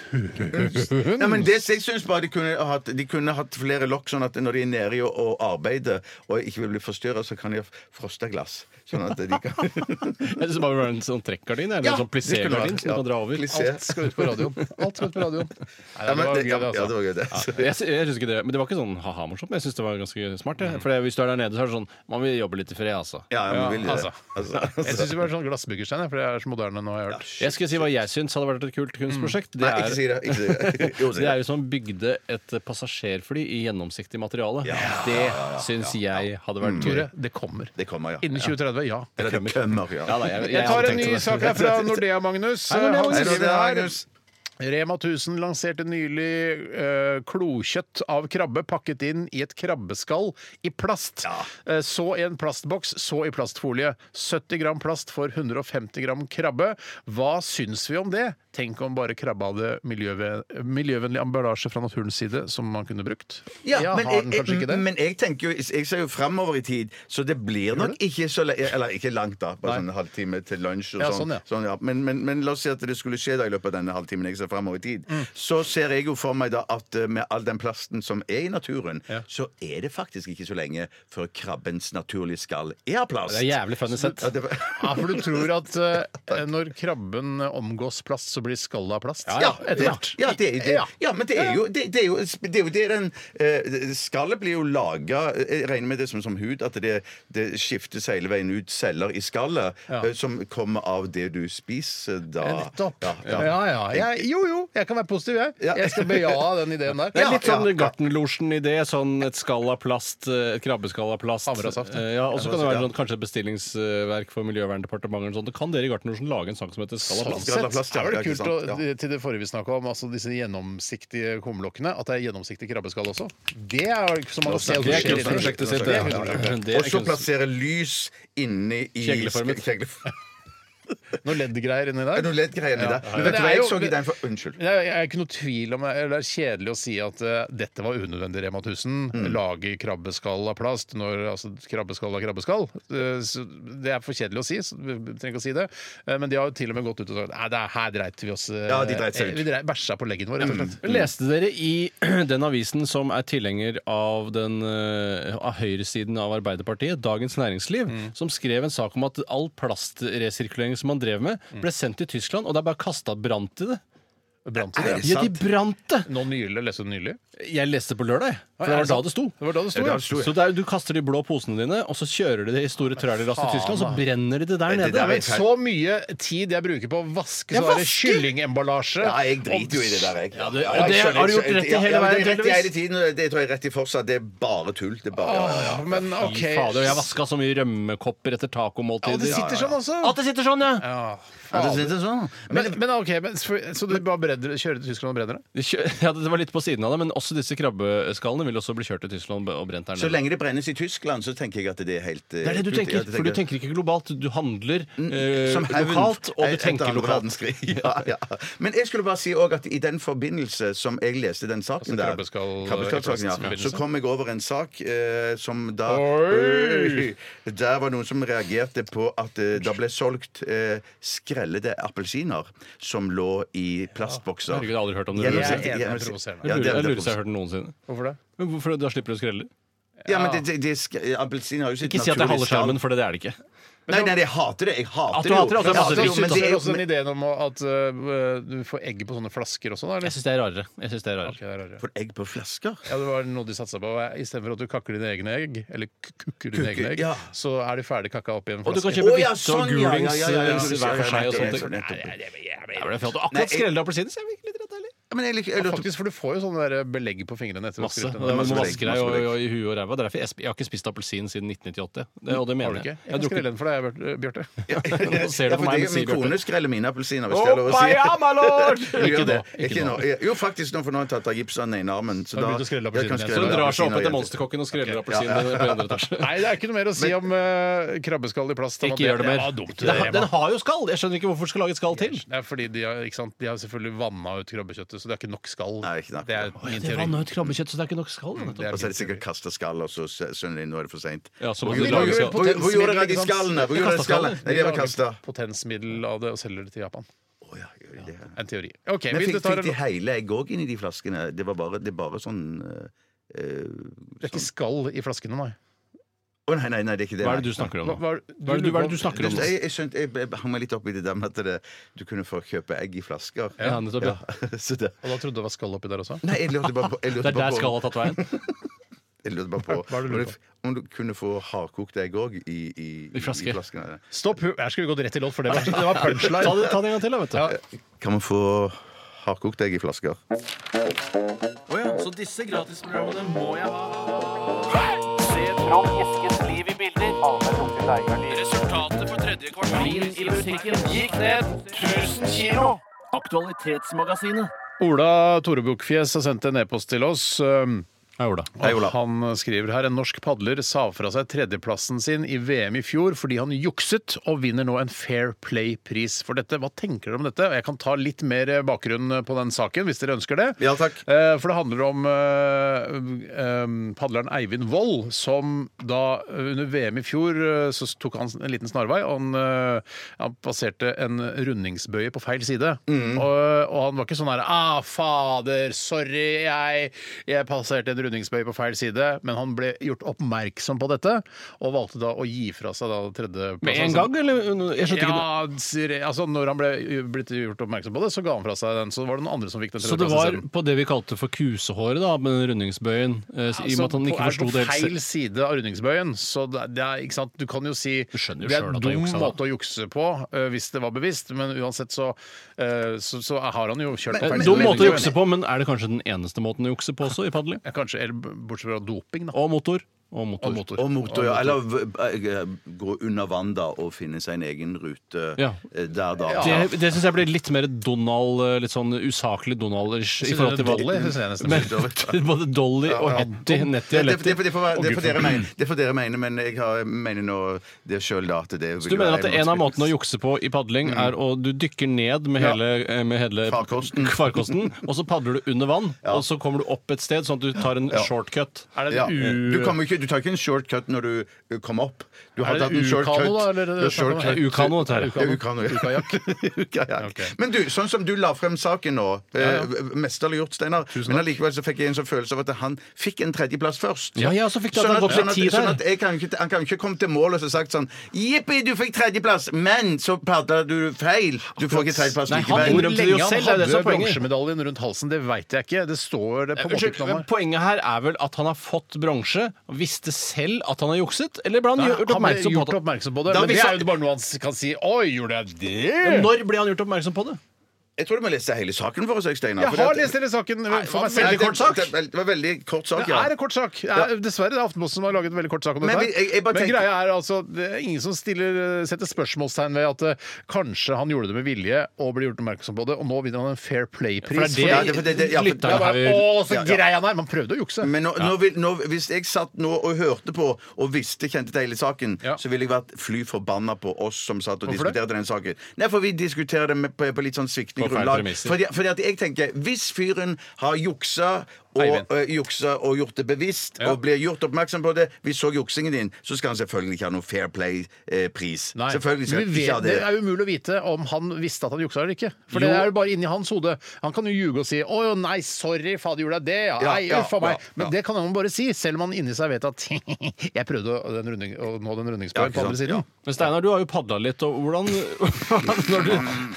Speaker 6: Ja, men det, jeg syns bare de kunne, hatt, de kunne hatt flere lokk, sånn at når de er nede i å, å arbeide og ikke vil bli forstyrra, så kan de ha frosta glass. Sånn at de kan
Speaker 7: Eller så bare være en sånn trekkgardin, eller en sånn plissé-gardin som du kan dra over.
Speaker 6: Plissé.
Speaker 5: alt skal ut på radioen. Alt skal ut på radioen. Nei,
Speaker 6: Ja,
Speaker 5: det
Speaker 6: men
Speaker 5: var
Speaker 6: det-
Speaker 5: gøy, det,
Speaker 6: ja, det
Speaker 5: altså.
Speaker 6: var gøy, det.
Speaker 7: Jeg, sy- jeg synes ikke det, men det var ikke sånn ha-ha-morsomt. men Jeg syns det var ganske smart. Jeg. For hvis du er der nede, så er det sånn Man vil jobbe litt i fred, altså.
Speaker 6: Mm. Ja, ja, men vil de
Speaker 5: altså.
Speaker 6: det? Altså.
Speaker 5: Jeg syns det var sånn glassbyggerstein, jeg, for det er så moderne nå, har jeg hørt.
Speaker 7: Jeg skal si hva jeg syns hadde vært et kult kunstprosjekt. Det
Speaker 6: Mm. Nei, ikke si
Speaker 7: er,
Speaker 6: det. Ikke si det. Jo, si
Speaker 7: det
Speaker 6: det.
Speaker 7: er jo som bygde et passasjerfly i gjennomsiktig materiale. Det syns jeg hadde
Speaker 6: Mm.
Speaker 7: vært
Speaker 5: Tore,
Speaker 7: kult.
Speaker 5: det kommer.
Speaker 6: Det kommer, ja.
Speaker 5: Innen 2030, ja.
Speaker 6: Eller det kommer, ja.
Speaker 7: Ja, da, jeg, jeg,
Speaker 5: Jeg tar
Speaker 7: hadde
Speaker 5: en ny
Speaker 7: tenkt det.
Speaker 5: sak her fra Nordea, Magnus.
Speaker 7: Nordea,
Speaker 5: Han
Speaker 6: Nei, det
Speaker 5: skriver
Speaker 6: er
Speaker 5: her,
Speaker 6: Magnus.
Speaker 5: Rema 1000 lanserte nylig eh, klokjøtt av krabbe pakket inn i et krabbeskall i plast. Eh, så i en plastboks, så i plastfolie. 70 gram plast for 150 gram krabbe. Hva syns vi om det? Tenk om bare krabbe hadde miljøve miljøvennlig emballasje fra naturens side som man kunne brukt.
Speaker 6: Ja, men,
Speaker 5: har den
Speaker 6: jeg,
Speaker 5: kanskje ikke det?
Speaker 6: men jeg tenker jo Jeg ser jo fremover i tid, så det blir nok ikke så le- Eller ikke langt, da. Bare sånn en halvtime til lunsj og
Speaker 5: Ja,
Speaker 6: sånn.
Speaker 5: sånn, ja.
Speaker 6: Sånn, ja. Men, men, men la oss si at det skulle skje da i løpet av denne halvtimen jeg ser fremover i tid. Så ser jeg jo for meg da at eh, med all den plasten som er i naturen, så er det faktisk ikke så lenge før krabbens naturlige skall er av plast.
Speaker 7: Det er jævlig funny sett.
Speaker 6: Ja, det var-
Speaker 5: Ja, for du tror at eh, når krabben omgås plast, så blir skallet av plast?
Speaker 6: Ja,
Speaker 5: etter hvert.
Speaker 6: Ja, det er jo det.
Speaker 5: Ja.
Speaker 6: Ja, men det er jo det, det, er jo, det, er jo det den eh, Skallet blir jo laga Jeg regner med det som, som hud, at det, det skiftes hele veien ut celler i skallet eh, som kommer av det du spiser da.
Speaker 5: Ja, Nettopp.
Speaker 6: Ja, ja.
Speaker 5: Ja, ja. Jeg, jo, jo, jeg kan være positiv, jeg.
Speaker 6: Ja.
Speaker 5: Jeg skal bejae den ideen der.
Speaker 7: Det er litt sånn
Speaker 6: ja.
Speaker 7: Gartnerlosjen-idé. Sånn et skall av plast, et krabbeskalle av plast.
Speaker 5: Havresaft, ja.
Speaker 7: Eh, Ja, og så kan det være sånn, kanskje et bestillingsverk for Miljøverndepartementet. eller sånn. Da kan dere i Gartnerlosjen lage en sang som heter Skall av plast.
Speaker 6: Skall av plast, ja,
Speaker 5: er det
Speaker 6: ja, ikke
Speaker 5: kult å,
Speaker 6: sant, ja.
Speaker 5: til det forrige vi snakka om, altså disse gjennomsiktige kumlokkene, at det er gjennomsiktig krabbeskall også? Det er jo ikke så mange å se.
Speaker 7: Det er kunstprosjektet sitt.
Speaker 5: Det
Speaker 7: det.
Speaker 5: er kunstprosjektet.
Speaker 7: Det er
Speaker 6: Og så
Speaker 7: kunst-
Speaker 6: plassere lys inni i
Speaker 7: Kjegleformet.
Speaker 6: Kjeglef-
Speaker 5: Noe LED-greier inni
Speaker 6: Er det
Speaker 5: der.
Speaker 6: noe leddgreier inni der? Men
Speaker 5: Men det
Speaker 6: vet du hva
Speaker 5: er
Speaker 6: jeg
Speaker 5: jo-
Speaker 6: så i den for Unnskyld.
Speaker 5: Jeg jeg er ikke noe tvil om eller Det er kjedelig å si at eh, dette var unødvendig, Rema 1000.
Speaker 6: Mm.
Speaker 5: Lage krabbeskall av plast når altså, krabbeskall er krabbeskall. Eh, så det er for kjedelig å si, så vi trenger ikke å si det. Eh, men de har jo til og med gått ut og sagt Nei, det er- her dreit vi oss eh,
Speaker 6: Ja, de dreit seg
Speaker 5: eh,
Speaker 6: ut. Mm.
Speaker 5: Vi dreit, bæsja på leggen vår, rett og slett.
Speaker 7: Leste dere i den avisen som er tilhenger av, den, eh, av høyresiden av Arbeiderpartiet, Dagens Næringsliv, som skrev en sak om at all plastresirkulering som man drev med, ble sendt til Tyskland, og det er bare kasta brant i det?
Speaker 5: Brant i det.
Speaker 7: Ja, de brant det!
Speaker 5: Nå nylig, leste du den nylig?
Speaker 7: Jeg leste på lørdag, jeg, for det var da det sto.
Speaker 5: Det var da det sto, ja.
Speaker 7: Så det er, Du kaster de blå posene dine, og så kjører du det i store trailerlass til Tyskland, så brenner de det der
Speaker 6: det
Speaker 7: nede.
Speaker 6: der
Speaker 5: Men
Speaker 6: vet jeg.
Speaker 5: så mye tid jeg bruker på å vaske
Speaker 7: Ja,
Speaker 5: sånn der
Speaker 7: vaske!
Speaker 5: kyllingemballasje
Speaker 6: Ja, jeg driter jo i det der, jeg.
Speaker 7: Ja, det-
Speaker 6: Ja,
Speaker 7: og det
Speaker 6: jeg skjønner,
Speaker 7: har du
Speaker 6: jeg-
Speaker 7: gjort rett i hele
Speaker 6: ja, men
Speaker 7: verden,
Speaker 6: Det er rett i hele
Speaker 7: heldigvis.
Speaker 6: tiden, og det tror jeg rett i fortsatt. Det er bare tull. Det er bare ja, ja, ja.
Speaker 5: Åh, Men OK.
Speaker 7: Fy fader, jeg
Speaker 5: Ja,
Speaker 7: vaska så mye rømmekopper etter
Speaker 5: det
Speaker 7: tacomåltider.
Speaker 5: sitter sånn også.
Speaker 7: At det sitter sånn, ja!
Speaker 5: Ja,
Speaker 6: Ja,
Speaker 5: fader.
Speaker 6: det er sånn.
Speaker 5: Men, men ok, men, så du bare bredder, kjører til Tyskland og brenner det?
Speaker 7: Det kjø- ja! Det var litt på siden av det, men også disse krabbeskallene vil også bli kjørt til Tyskland og brent der
Speaker 6: Så
Speaker 7: nede.
Speaker 6: lenge det brennes i Tyskland, så tenker jeg at det er helt eh,
Speaker 7: Det er det du
Speaker 6: kult. Ja, det
Speaker 7: tenker,
Speaker 6: Mm,
Speaker 7: for du tenker ikke globalt. Du handler eh,
Speaker 6: Som hevn
Speaker 7: lokalt, og
Speaker 6: etter
Speaker 7: du tenker
Speaker 6: andre
Speaker 7: lokalt.
Speaker 6: verdenskrig. Ja, ja. Men jeg skulle bare si også at i den forbindelse som jeg leste den
Speaker 7: Altså,
Speaker 6: saken der
Speaker 5: krabbeskall-
Speaker 6: Krabbeskallsaken, ja.
Speaker 5: krabbeskallforbindelse.
Speaker 6: Så kom jeg over en sak eh, som da
Speaker 5: Oi!
Speaker 6: Der var noen som reagerte på at eh, det ble solgt eh, skrellede appelsiner som lå i plastbokser.
Speaker 7: Herregud, jeg har aldri hørt om det.
Speaker 6: Jeg-
Speaker 5: Jeg er
Speaker 6: jeg-
Speaker 5: enig, det
Speaker 6: jeg-
Speaker 5: er provoserende.
Speaker 6: Ja,
Speaker 7: Jeg
Speaker 6: det er- det
Speaker 7: lurer
Speaker 6: er
Speaker 7: jeg lurer på om jeg har hørt den noensinne.
Speaker 5: Hvorfor det?
Speaker 7: Men hvorfor, Da slipper du å skrelle?
Speaker 6: Ja, men det, det, det, sk- Appelsin har jo sitt
Speaker 7: Ikke si at det er halve
Speaker 6: naturlige skall.
Speaker 7: skjermen, for det er det ikke.
Speaker 6: Nei, nei, jeg hater det. Jeg hater
Speaker 7: At du
Speaker 6: det jo.
Speaker 7: hater det, altså,
Speaker 6: Jeg hater
Speaker 7: det
Speaker 6: jo,
Speaker 7: synes
Speaker 5: Men
Speaker 6: men
Speaker 7: jeg
Speaker 6: det er
Speaker 5: er
Speaker 6: jo-
Speaker 5: også en idé om at øh, du får egget på sånne flasker også, da? Eller?
Speaker 7: Jeg syns det er rarere. Jeg synes det
Speaker 5: Ok,
Speaker 7: er
Speaker 5: det
Speaker 7: rarere.
Speaker 5: er rarere.
Speaker 6: For egg på flasker?
Speaker 5: Ja, det var noe de satsa på. Istedenfor at du kakker dine egne egg, eller k- kukker dine
Speaker 6: Kukker,
Speaker 5: egne egg,
Speaker 6: ja.
Speaker 5: så er de ferdig kakka opp i en
Speaker 7: Og du kan
Speaker 5: flaske.
Speaker 7: kjøpe
Speaker 6: Å, ja,
Speaker 7: hvitte og
Speaker 6: sånn, ja, ja,
Speaker 7: gulings
Speaker 6: ja, ja, ja,
Speaker 7: eh,
Speaker 6: ja,
Speaker 7: hver for seg og
Speaker 6: ja, ja,
Speaker 7: sånt.
Speaker 6: ja, ja, ja,
Speaker 7: Nei, det er vel for at
Speaker 6: Nei,
Speaker 7: du Akkurat
Speaker 6: jeg-
Speaker 7: skrelle appelsiner, så jeg blir ikke litt redd heller.
Speaker 6: Men jeg liker, jeg
Speaker 5: Ja,
Speaker 6: lurer
Speaker 5: faktisk, for du får jo sånne der belegg på fingrene etter
Speaker 7: Masse.
Speaker 5: å ha skrutt
Speaker 7: Og det er-
Speaker 5: den.
Speaker 6: masse
Speaker 7: Du må
Speaker 6: belegg,
Speaker 7: vaske deg
Speaker 6: masse
Speaker 7: og-
Speaker 6: belegg.
Speaker 7: og- i huet og ræva. Det er derfor jeg, jeg har ikke spist appelsin siden 1998. Det, og det
Speaker 5: Har du
Speaker 7: mener
Speaker 5: ikke? Jeg
Speaker 7: jeg.
Speaker 5: kan skrive den for deg, Bjør- Bjarte.
Speaker 6: Ja,
Speaker 7: Nå ser du
Speaker 6: ja,
Speaker 7: på
Speaker 6: for
Speaker 7: meg,
Speaker 6: det- Min
Speaker 7: sier Bjarte.
Speaker 6: kone skreller mine appelsiner, hvis det er lov å si.
Speaker 7: Ikke
Speaker 6: Gjør
Speaker 7: nå.
Speaker 6: det. Ikke nå. Jo, faktisk, nå for nå har jeg tatt av gips av den ene armen. Så
Speaker 5: Har du
Speaker 6: da
Speaker 5: begynt å skrelle
Speaker 6: jeg
Speaker 5: appelsiner?
Speaker 6: kan
Speaker 7: Så
Speaker 6: skrelle
Speaker 7: hun drar seg opp
Speaker 6: appelsiner i-
Speaker 7: etter monsterkokken og skreller appelsiner på andre etasje.
Speaker 5: Nei, det er ikke noe mer å si om eh, krabbeskall i plast.
Speaker 7: Ikke gjør det mer.
Speaker 5: var dumt,
Speaker 7: Den har-
Speaker 5: Rema.
Speaker 7: den har jo skall! Jeg skjønner ikke hvorfor det skal lage et skall til.
Speaker 5: Det er fordi de har, ikke sant, de har selvfølgelig vanna ut krabbekjøttet, så det er ikke nok skall.
Speaker 6: Nei, ikke nok.
Speaker 5: Det er min
Speaker 7: Det
Speaker 5: teori.
Speaker 7: vanner ut krabbekjøtt, så det er ikke nok skall. da, nettopp.
Speaker 5: Det er
Speaker 6: Og så er
Speaker 5: min
Speaker 6: det sikkert kasta skall, og så skjønner de nå er det for seint.
Speaker 7: Ja, så må
Speaker 6: Hvor
Speaker 7: du
Speaker 6: gjorde-
Speaker 7: lage skall.
Speaker 6: hvor- hvor gjorde dere de skallene? Hvor gjorde dere skallene? Nei, de var kasta.
Speaker 5: teori. Potensmiddel av det og selger det til Japan. En teori. OK,
Speaker 6: Men
Speaker 5: vi
Speaker 6: fikk,
Speaker 5: tar
Speaker 6: fikk de
Speaker 5: en
Speaker 6: hele egg òg inn i de flaskene? Det var bare, det er bare sånn eh, eh,
Speaker 5: Det er ikke
Speaker 6: sånn-
Speaker 5: skall i flaskene, nei.
Speaker 6: Å, nei, nei, nei, det er ikke det.
Speaker 7: Hva er
Speaker 6: nei.
Speaker 7: det du snakker om
Speaker 5: Hva,
Speaker 7: nå?
Speaker 5: hva,
Speaker 7: Hva er det du, hva er det du snakker om? nå?
Speaker 6: Jeg, jeg, skjønte, jeg, jeg hang meg litt opp i det der med at det, du kunne få kjøpe egg i flasker.
Speaker 7: Ja, nettopp, ja.
Speaker 6: Så det,
Speaker 5: Og da trodde du det var skall oppi der også?
Speaker 6: nei, jeg lurte bare på, jeg
Speaker 7: Det
Speaker 6: lurte
Speaker 7: er der
Speaker 6: bare på,
Speaker 7: skallet har tatt veien.
Speaker 6: jeg lurte bare på,
Speaker 5: Hva er det du lurer
Speaker 6: om, du, om du kunne få hardkokt egg òg i, i,
Speaker 7: I flasker.
Speaker 6: flaskene.
Speaker 5: Stopp! hu- Her skal vi gå rett i låt, for det var, det var punchline.
Speaker 7: Ta det, ta det en gang til, da, vet du.
Speaker 6: Kan man få hardkokt egg i flasker?
Speaker 4: Så disse gratisprogrammene må jeg ha. Se Trond Eskens liv i bilder. Resultatet på tredje kvartal i butikken gikk ned 1000 kilo. Aktualitetsmagasinet.
Speaker 5: Ola Torebukfjes har sendt en e-post til oss. Um,
Speaker 6: Hei, Ola.
Speaker 5: og Han skriver her en norsk padler sa fra seg tredjeplassen sin i VM i fjor fordi han jukset, og vinner nå en Fair Play-pris for dette. Hva tenker dere om dette? Og Jeg kan ta litt mer bakgrunn på den saken hvis dere ønsker det.
Speaker 6: Ja, takk.
Speaker 5: Eh, For det handler om eh, eh, padleren Eivind Wold, som da eh, under VM i fjor eh, så tok han en liten snarvei. og Han, eh, han passerte en rundingsbøye på feil side.
Speaker 7: Mm.
Speaker 5: Og, og han var ikke sånn her Ah, fader, sorry, jeg, jeg passerte en rundingsbøye på feil side. Men han ble gjort oppmerksom på dette, og valgte da å gi fra seg da tredjeplassen.
Speaker 7: Med en gang, eller? Jeg skjønte ikke det.
Speaker 5: Ja, sier jeg. altså når han ble blitt gjort oppmerksom på det, så ga han fra seg den. Så var det noen andre som fikk den
Speaker 7: Så det
Speaker 5: tredjeplassen
Speaker 7: var
Speaker 5: isteden.
Speaker 7: på det vi kalte for kusehåret, da, med den rundingsbøyen? eh, I og med at han
Speaker 5: på-
Speaker 7: ikke forsto
Speaker 5: er på
Speaker 7: det helt selv.
Speaker 5: feil side av rundingsbøyen. Så det er, det er, ikke sant? Du kan jo si
Speaker 7: skjønner jo
Speaker 5: det er
Speaker 7: selv at
Speaker 5: en
Speaker 7: han
Speaker 5: dum
Speaker 7: juksa, da.
Speaker 5: måte å jukse på øh, hvis det var bevisst, men uansett så, øh, så, så har han jo kjørt på feil
Speaker 7: Eh, Dum måte å
Speaker 5: rundingsbøyen.
Speaker 7: jukse på, men er det kanskje den eneste måten å jukse på også i padling?
Speaker 5: Ja, Kanskje, eller b- Bortsett fra doping, da.
Speaker 7: Og motor. Og motor.
Speaker 5: Og motor.
Speaker 6: Og motor, ja. Eller v- eh, gå under vann da og finne seg en egen rute
Speaker 7: Ja.
Speaker 6: eh, der, da.
Speaker 7: Det, det syns jeg blir litt mer Donald, eh, litt sånn usaklig Donald-ish. i
Speaker 5: Synes
Speaker 7: forhold
Speaker 5: det
Speaker 7: til
Speaker 5: er
Speaker 7: hva-
Speaker 5: Dolly, synes jeg nesten.
Speaker 7: Men- Både Dolly og Hetty, Netty
Speaker 6: Det,
Speaker 7: og
Speaker 6: det, det,
Speaker 7: Letty.
Speaker 6: det, får være- det får
Speaker 7: Å, Gud,
Speaker 6: dere mene, det får dere mene, men jeg har, mener nå det sjøl, da. At det
Speaker 7: Så du mener at en av måtene å jukse på i padling er å du dykker ned med
Speaker 5: Mm. Ja.
Speaker 7: hele, eh, med hele
Speaker 6: Farkosten.
Speaker 7: farkosten, og så padler du under vann, og så kommer du opp et sted, sånn at du tar en shortcut.
Speaker 5: Er det
Speaker 6: ja.
Speaker 5: en u...
Speaker 6: du, kommer ikke, du tar ikke en shortcut når du eh, kommer opp. Du
Speaker 5: Er
Speaker 6: har
Speaker 5: det
Speaker 6: tatt en
Speaker 5: ukano,
Speaker 6: shortcut.
Speaker 5: da, eller er det
Speaker 6: Du har
Speaker 5: det snakker om?
Speaker 6: shortcut.
Speaker 7: Det er ukano, dette her.
Speaker 6: Det er ukano, ja. Ukajakk.
Speaker 5: Ok.
Speaker 6: Men du, sånn som du la frem saken nå,
Speaker 5: Ja, ja.
Speaker 6: eh, mesterlig gjort, Steinar, men allikevel så fikk jeg en sånn følelse av at han fikk en tredjeplass først.
Speaker 7: Ja, ja, så fikk du at
Speaker 6: sånn
Speaker 7: han
Speaker 6: at,
Speaker 7: gått
Speaker 6: sånn
Speaker 7: med
Speaker 6: at,
Speaker 7: ti
Speaker 6: sånn
Speaker 7: der.
Speaker 6: at jeg kan ikke, han kan ikke komme til mål og så sagt sånn Jippi, du fikk tredjeplass, men så padla du feil. Du får ikke tredjeplass
Speaker 7: Nei, han
Speaker 6: likevel.
Speaker 7: innrømte det jo
Speaker 5: han
Speaker 7: selv, det er det
Speaker 5: hadde
Speaker 7: som er poenget.
Speaker 5: bronsemedaljen rundt halsen, det veit jeg ikke. Det står det på måte
Speaker 7: Unnskyld,
Speaker 5: ikke noe
Speaker 7: men
Speaker 5: om.
Speaker 7: Poenget her er vel at han har fått bronse, og visste selv at han har jukset? Eller ble han
Speaker 5: Nei,
Speaker 7: gjort
Speaker 5: Han ble
Speaker 7: oppmerksom på
Speaker 5: gjort
Speaker 7: det?
Speaker 5: oppmerksom på det,
Speaker 7: Da
Speaker 5: men det
Speaker 7: visste-
Speaker 5: er jo bare noe han kan si. Oi, gjorde jeg det?
Speaker 7: Når ble han gjort oppmerksom på det?
Speaker 6: Jeg tror du må lese hele saken for oss, jeg, Steinar.
Speaker 5: Jeg
Speaker 6: fordi at-
Speaker 5: har lest hele saken. øh, For meg selv.
Speaker 6: Nei, det- Det, det var veldig kort sak,
Speaker 5: Det
Speaker 6: ja.
Speaker 5: er en kort sak. Det er, dessverre. Det er Aftenposten som har laget en veldig kort sak om dette. her.
Speaker 6: Men vi- jeg- jeg bare
Speaker 5: Men
Speaker 6: tenker-
Speaker 5: greia er altså det er ingen som stiller, setter spørsmålstegn ved at eh, kanskje han gjorde det med vilje og ble gjort oppmerksom på det, og nå vinner han en Fair Play-pris.
Speaker 7: For det
Speaker 6: Ja,
Speaker 7: er
Speaker 6: det- for det-
Speaker 7: det
Speaker 6: det- ja, for-
Speaker 5: Det er
Speaker 7: lytterne
Speaker 5: bare,
Speaker 7: her
Speaker 5: Å, så
Speaker 6: Ja, ja.
Speaker 5: grei han er! Man prøvde å jukse.
Speaker 6: Men nå, nå vil, nå, hvis jeg satt nå og hørte på og visste kjente til hele saken,
Speaker 5: Ja.
Speaker 6: så ville jeg vært fly forbanna på oss som satt og
Speaker 5: Hvorfor det?
Speaker 6: diskuterte den saken. Nei, for vi diskuterer det med, på, på litt sånn sviktende
Speaker 7: På feil
Speaker 6: grunnlag.
Speaker 7: premisser.
Speaker 6: Fordi, fordi at jeg tenker, hvis fyren har juksa og
Speaker 5: Eivind.
Speaker 6: eh, juksa og gjort det bevisst,
Speaker 5: Ja.
Speaker 6: og blir gjort oppmerksom på det Vi så juksingen din, så skal han selvfølgelig ikke ha noen Fair Play-pris.
Speaker 5: Nei,
Speaker 6: Selvfølgelig skal
Speaker 5: men
Speaker 6: han
Speaker 5: vi
Speaker 6: ikke ha
Speaker 5: vet, det er umulig å vite om han visste at han juksa eller ikke. For det
Speaker 6: Jo.
Speaker 5: er jo bare inni hans hode. Han kan jo ljuge og si 'Å jo, nei, sorry, fader gjorde jeg det', ja.
Speaker 6: Ja,
Speaker 5: Nei,
Speaker 6: ja,
Speaker 5: uff a meg.
Speaker 6: ja,
Speaker 5: Men
Speaker 6: ja.
Speaker 5: det kan han bare si, selv om han inni seg vet at 'Jeg prøvde å, den runding, å nå den
Speaker 6: Ja,
Speaker 5: rundingsbøyen
Speaker 6: ikke
Speaker 5: på andre
Speaker 6: sant,
Speaker 5: siden'.
Speaker 6: ja.
Speaker 7: Men Steinar, du har jo padla litt, og hvordan når du,